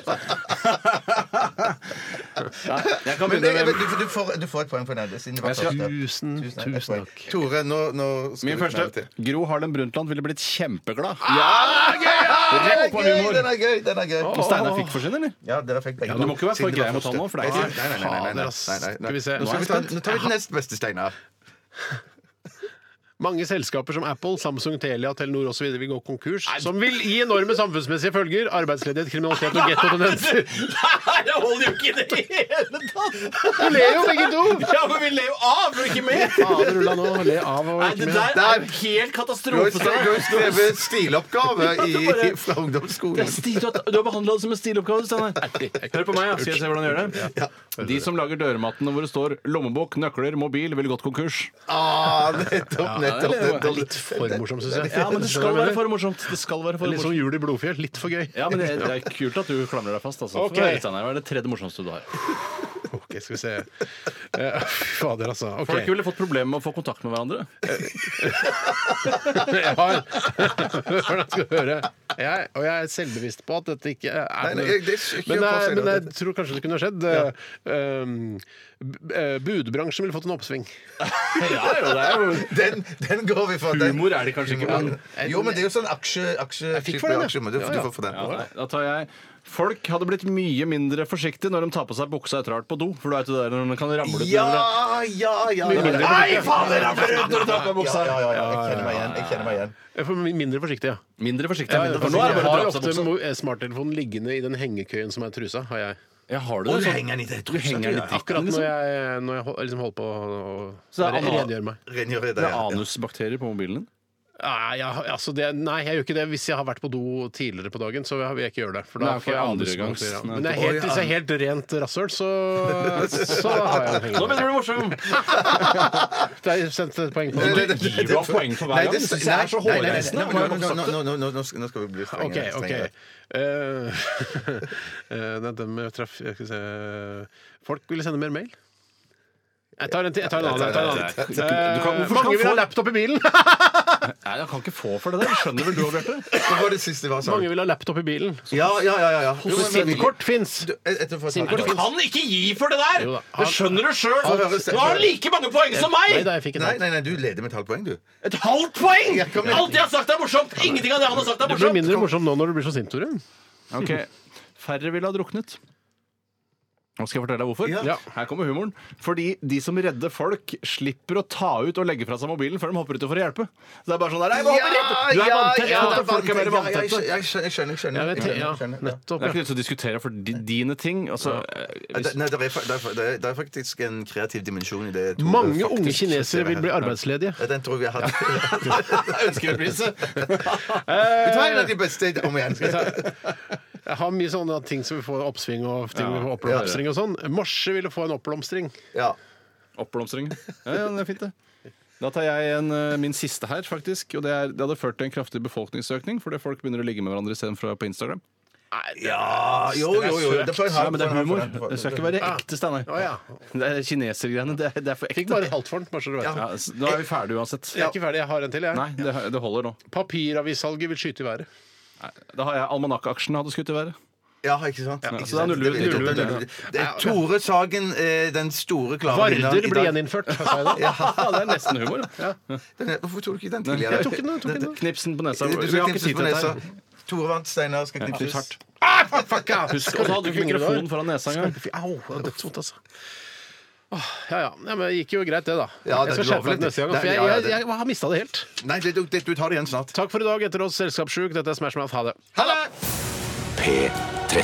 Speaker 3: Nei, jeg kan
Speaker 2: Men jeg,
Speaker 3: begynne
Speaker 2: jeg,
Speaker 3: med
Speaker 2: du, du, får, du får et poeng for det. Siden det var
Speaker 3: Jeg skal-
Speaker 2: første.
Speaker 1: Tusen,
Speaker 2: Et
Speaker 1: tusen
Speaker 2: poeng.
Speaker 1: takk.
Speaker 2: Tore, nå, nå skal
Speaker 3: min
Speaker 2: du knelle
Speaker 3: første.
Speaker 2: til.
Speaker 3: Gro Harlem Brundtland ville blitt kjempeglad.
Speaker 2: Den er
Speaker 3: Rett på
Speaker 2: gøy!
Speaker 3: humor.
Speaker 2: Den er gøy! Den er gøy.
Speaker 3: Og Steinar fikk for sin, eller?
Speaker 2: Ja, dere fikk begge.
Speaker 3: Ja, du må ikke være for
Speaker 2: Siden det var
Speaker 3: grei mot han
Speaker 2: første.
Speaker 3: nå, for det er
Speaker 2: Nei,
Speaker 3: ikke-
Speaker 2: Nei, nei, nei. nei, nei,
Speaker 1: Fader,
Speaker 2: nei,
Speaker 1: ass.
Speaker 2: nei, nei.
Speaker 1: Skal vi se.
Speaker 2: Nå, skal vi ta, nå tar vi den nest beste, Steinar.
Speaker 1: Mange selskaper som Apple, Samsung, Telia, Telenor osv. vil gå konkurs, som vil gi enorme samfunnsmessige følger. Arbeidsledighet, kriminalitet og gettotendenser.
Speaker 3: Nei, det holder jo ikke i det hele tatt!
Speaker 1: Du ler jo begge to!
Speaker 3: Ja, men vi ler jo av, men ikke med!
Speaker 1: Fader ulla nå. Le av og
Speaker 3: Nei,
Speaker 1: ikke
Speaker 3: det
Speaker 1: med.
Speaker 3: der er helt
Speaker 2: Du har jo
Speaker 3: katastrofe.
Speaker 2: skrevet- du har jo skrevet stiloppgave i, i, fra
Speaker 3: Det
Speaker 2: ungdomsskolen.
Speaker 3: er stil, du har- du har behandla det som en stiloppgave, Steinar. Hør på meg, ja. skal jeg se hvordan du gjør det. De som lager dørmattene hvor det står 'lommebok, nøkler, mobil' ville gått konkurs.
Speaker 2: Ah, nettopp, nettopp,
Speaker 1: Det er
Speaker 2: nettopp.
Speaker 1: litt for morsom, syns jeg.
Speaker 3: Ja, men det skal
Speaker 1: Skjønner
Speaker 3: være
Speaker 1: du hva jeg mener?
Speaker 3: for morsomt. Det skal være for
Speaker 1: Litt som
Speaker 3: morsomt.
Speaker 1: jul i blodfjell. Litt for gøy.
Speaker 3: Ja, men det, det er kult at du klamrer deg fast. Altså. For
Speaker 1: Ok.
Speaker 3: å være litt, Steinar, Hva er det tredje morsomste du har?
Speaker 1: Ok, skal vi se. Eh, Fy fader, altså. Ok.
Speaker 3: Folk ville fått problemer med å få kontakt med hverandre.
Speaker 1: Jeg har Hvordan skal du høre? Jeg, og jeg er selvbevisst på at dette ikke er
Speaker 2: Nei, nei,
Speaker 1: noe-
Speaker 2: jeg- det er ikke
Speaker 1: men,
Speaker 2: å
Speaker 1: jeg,
Speaker 2: påstå
Speaker 1: men
Speaker 2: det.
Speaker 1: jeg tror kanskje det kunne ha skjedd. Um, b- eh, budbransjen ville fått en oppsving.
Speaker 3: Ja, jo, det er jo
Speaker 2: Den, den går vi for. Den.
Speaker 3: Humor er det kanskje ikke, men
Speaker 2: Jo, men det er jo sånn aksje... aksje
Speaker 1: fikk for den, ja.
Speaker 2: aksje, men du,
Speaker 1: Ja,
Speaker 2: du
Speaker 1: ja.
Speaker 2: får for den.
Speaker 3: ja, nei, Da tar jeg Folk hadde blitt mye mindre forsiktige når de tar på seg buksa etter å ha vært på do. For du vet jo det der når den kan ramle ut.
Speaker 2: Ja,
Speaker 3: med
Speaker 2: ja, ja. ja.
Speaker 3: hverandre. Nei, faen, det ramler ut når du tar på deg
Speaker 2: Ja,
Speaker 3: buksa!
Speaker 2: ja, ja, ja. Jeg kjenner meg igjen. Jeg kjenner meg igjen.
Speaker 1: Jeg får mindre forsiktig, ja.
Speaker 3: Mindre forsiktig.
Speaker 1: Jeg,
Speaker 3: mindre forsiktig.
Speaker 1: for nå er
Speaker 3: Jeg
Speaker 1: det bare
Speaker 3: har
Speaker 1: å dra
Speaker 3: ofte
Speaker 1: på sånn. mo- eh, smarttelefonen liggende i den hengekøyen som er trusa, har jeg.
Speaker 3: Ja, har du
Speaker 2: Og
Speaker 3: det?
Speaker 2: du
Speaker 3: Sånn-
Speaker 2: henger den i det
Speaker 3: Du henger den i dritten,
Speaker 1: Akkurat når
Speaker 3: liksom?
Speaker 1: jeg, når jeg hol- liksom holder på å å
Speaker 3: Så det er
Speaker 1: re-
Speaker 3: anal-
Speaker 1: redegjøre meg.
Speaker 2: Rengjør i
Speaker 3: Det
Speaker 2: det.
Speaker 3: er
Speaker 2: ja.
Speaker 3: anusbakterier på mobilen din?
Speaker 1: Nei, jeg, altså det, nei, jeg gjør ikke det. Hvis jeg har vært på do tidligere på dagen, så vil jeg ikke gjøre det. For da
Speaker 3: Nei, ok,
Speaker 1: får jeg
Speaker 3: andre
Speaker 1: andre
Speaker 3: gangs.
Speaker 1: gangs.
Speaker 3: Nei,
Speaker 1: Men jeg er
Speaker 2: ok.
Speaker 1: helt, hvis jeg er helt rent rasshøl, så, så har jeg en
Speaker 3: Nå
Speaker 1: penge.
Speaker 3: begynner du å bli morsom!
Speaker 1: Det er sendt et poeng på
Speaker 2: Nei,
Speaker 1: det.
Speaker 2: nei, nei,
Speaker 3: Gir du ham poeng for hver
Speaker 2: Nei,
Speaker 3: gang?
Speaker 2: det-
Speaker 3: Jeg synes det er så
Speaker 2: nei, nei, nei,
Speaker 3: hårreisende.
Speaker 2: nei, men nå- nå- nå- nå- nå- nå skal- Nå skal vi bli
Speaker 1: OK,
Speaker 2: strengere.
Speaker 1: OK.
Speaker 2: strengere.
Speaker 1: Uh, den jeg traff jeg skal se. Folk ville sende mer mail. Jeg tar en til. Jeg tar en annen. Jeg tar en annen.
Speaker 3: Du kan-
Speaker 1: Eh,
Speaker 3: hvorfor skal
Speaker 1: mange
Speaker 3: han
Speaker 1: vil ha
Speaker 3: få-
Speaker 1: laptop i bilen!
Speaker 3: Nei, jeg kan ikke få for det der. Skjønner vel du òg, Bjarte?
Speaker 2: Hva var det siste? Hva sa
Speaker 1: Mange
Speaker 2: du?
Speaker 1: vil ha laptop i bilen.
Speaker 2: Ja, ja, ja. ja, ja. Jo, men-
Speaker 1: SIM-kort fins!
Speaker 2: Du, et- etter for-
Speaker 1: SIM-kort
Speaker 2: Nei,
Speaker 1: finnes.
Speaker 3: Kan ikke gi for det der!
Speaker 1: Jo da.
Speaker 3: Det skjønner du sjøl!
Speaker 2: Han høres-
Speaker 3: Nå har han like mange poeng som
Speaker 1: Nei
Speaker 3: meg!
Speaker 1: da, jeg fikk en
Speaker 2: Nei,
Speaker 1: halv.
Speaker 2: nei, nei, du leder med et halvt poeng, du.
Speaker 3: Et halvt poeng!
Speaker 2: Jeg kan-
Speaker 3: Alt jeg har sagt, er morsomt! Ingenting av det han har sagt, er
Speaker 1: Det blir
Speaker 3: morsomt!
Speaker 1: mindre morsomt nå når du blir så sint, Tore.
Speaker 3: Ok, Færre ville ha druknet. Nå skal jeg fortelle deg hvorfor.
Speaker 2: Ja.
Speaker 1: Ja.
Speaker 3: Her kommer humoren. Fordi de som redder folk, slipper å ta ut og legge fra seg mobilen før de hopper uti for å hjelpe. Så det er bare sånn der, Nei, hopper rett! Du er vanntett!
Speaker 2: ja,
Speaker 3: og folk er mer
Speaker 2: ja, ja, jeg
Speaker 3: vanntette.
Speaker 2: skjønner, jeg skjønner. jeg skjønner,
Speaker 1: Ja, vet,
Speaker 2: jeg skjønner,
Speaker 1: ja,
Speaker 2: jeg skjønner, ja.
Speaker 1: nettopp.
Speaker 3: Det er
Speaker 1: Ja.
Speaker 3: ikke vits å diskutere for di- dine ting. Altså, eh,
Speaker 2: Nei,
Speaker 3: hvis-
Speaker 2: det er, fa- det, er, fa- det er- det er faktisk en kreativ dimensjon i det. Tore
Speaker 1: Mange
Speaker 2: faktisk
Speaker 1: unge kinesere
Speaker 2: skjer
Speaker 1: vil bli
Speaker 2: her.
Speaker 1: arbeidsledige.
Speaker 2: Ja, Den tror jeg hadde
Speaker 3: Ønskereprise.
Speaker 2: Vet du hva, en av de beste om igjen.
Speaker 1: Jeg har mye sånne ting som vil få oppsving og ting vil få oppblomstring og sånn. Morse ville få en oppblomstring.
Speaker 2: Ja.
Speaker 3: Oppblomstring. Ja, ja, det er fint, det. Da tar jeg en, eh, min siste her, faktisk. Og det, er, det hadde ført til en kraftig befolkningsøkning, fordi folk begynner å ligge med hverandre istedenfor på Instagram.
Speaker 2: ja Jo, jo, jo. Det får en
Speaker 3: Ja,
Speaker 2: halv.
Speaker 3: men det er
Speaker 2: får en halv,
Speaker 3: humor.
Speaker 2: får en halv.
Speaker 3: Det skal ikke være ekte, Steinar.
Speaker 1: Ah. Å, ja.
Speaker 3: Det er kinesergreiene. Det, er- det er for
Speaker 1: Fikk
Speaker 3: ekte.
Speaker 1: bare halvt for den. bare så du vet.
Speaker 3: Ja, s- nå er vi ferdige uansett.
Speaker 1: Jeg er ikke ferdig, jeg har en til. jeg.
Speaker 3: Nei, det, det holder nå.
Speaker 1: Papiravissalget vil skyte i været.
Speaker 3: Da har jeg almanakkaksjen hadde skutt i været.
Speaker 2: Ja, ikke sant?
Speaker 3: så
Speaker 2: Ikke
Speaker 3: det er
Speaker 2: sant?
Speaker 3: null-
Speaker 2: Det- det-
Speaker 3: null-
Speaker 2: det-
Speaker 3: null-
Speaker 2: det- det er Tore Sagen, eh, den store klare vinneren i
Speaker 1: Varder
Speaker 2: dag.
Speaker 1: blir gjeninnført. sa jeg da.
Speaker 3: Ja, det er nesten humor. da.
Speaker 2: Den er- Hvorfor tok du ikke den tidligere?
Speaker 3: Jeg
Speaker 1: tok den, jeg tok den.
Speaker 3: Knipsen på nesa.
Speaker 2: Du
Speaker 3: Vi
Speaker 2: skal
Speaker 3: har ikke
Speaker 2: knipses
Speaker 3: tid
Speaker 2: på
Speaker 3: til dette.
Speaker 2: nesa.
Speaker 3: her.
Speaker 2: Tore vant, Steinar skal knipses.
Speaker 3: Knips hardt.
Speaker 1: Fuck, ja.
Speaker 3: Husk, og så hadde du ikke mikrofon foran nesa engang.
Speaker 1: Au, det er dødsvondt, altså. Åh, Ja, ja. Nei, men det gikk jo greit, det, da.
Speaker 2: Ja, det-
Speaker 1: Jeg skal
Speaker 2: du
Speaker 1: skjerpe meg
Speaker 2: overlevde.
Speaker 1: neste gang. For
Speaker 2: Det-
Speaker 1: jeg,
Speaker 2: ja, ja,
Speaker 1: jeg,
Speaker 2: det-
Speaker 1: jeg har mista det helt.
Speaker 2: Nei, det, du, det, du tar det igjen snart.
Speaker 1: Takk for i dag. Etter oss Selskapssjuk. Dette er Smash Mouth. Ha det.
Speaker 4: P13.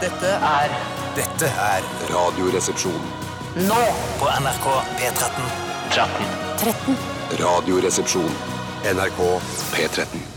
Speaker 13: Dette er Dette er
Speaker 4: Radioresepsjon.
Speaker 13: Nå på NRK P13. 13.
Speaker 4: Radioresepsjon. NRK P13.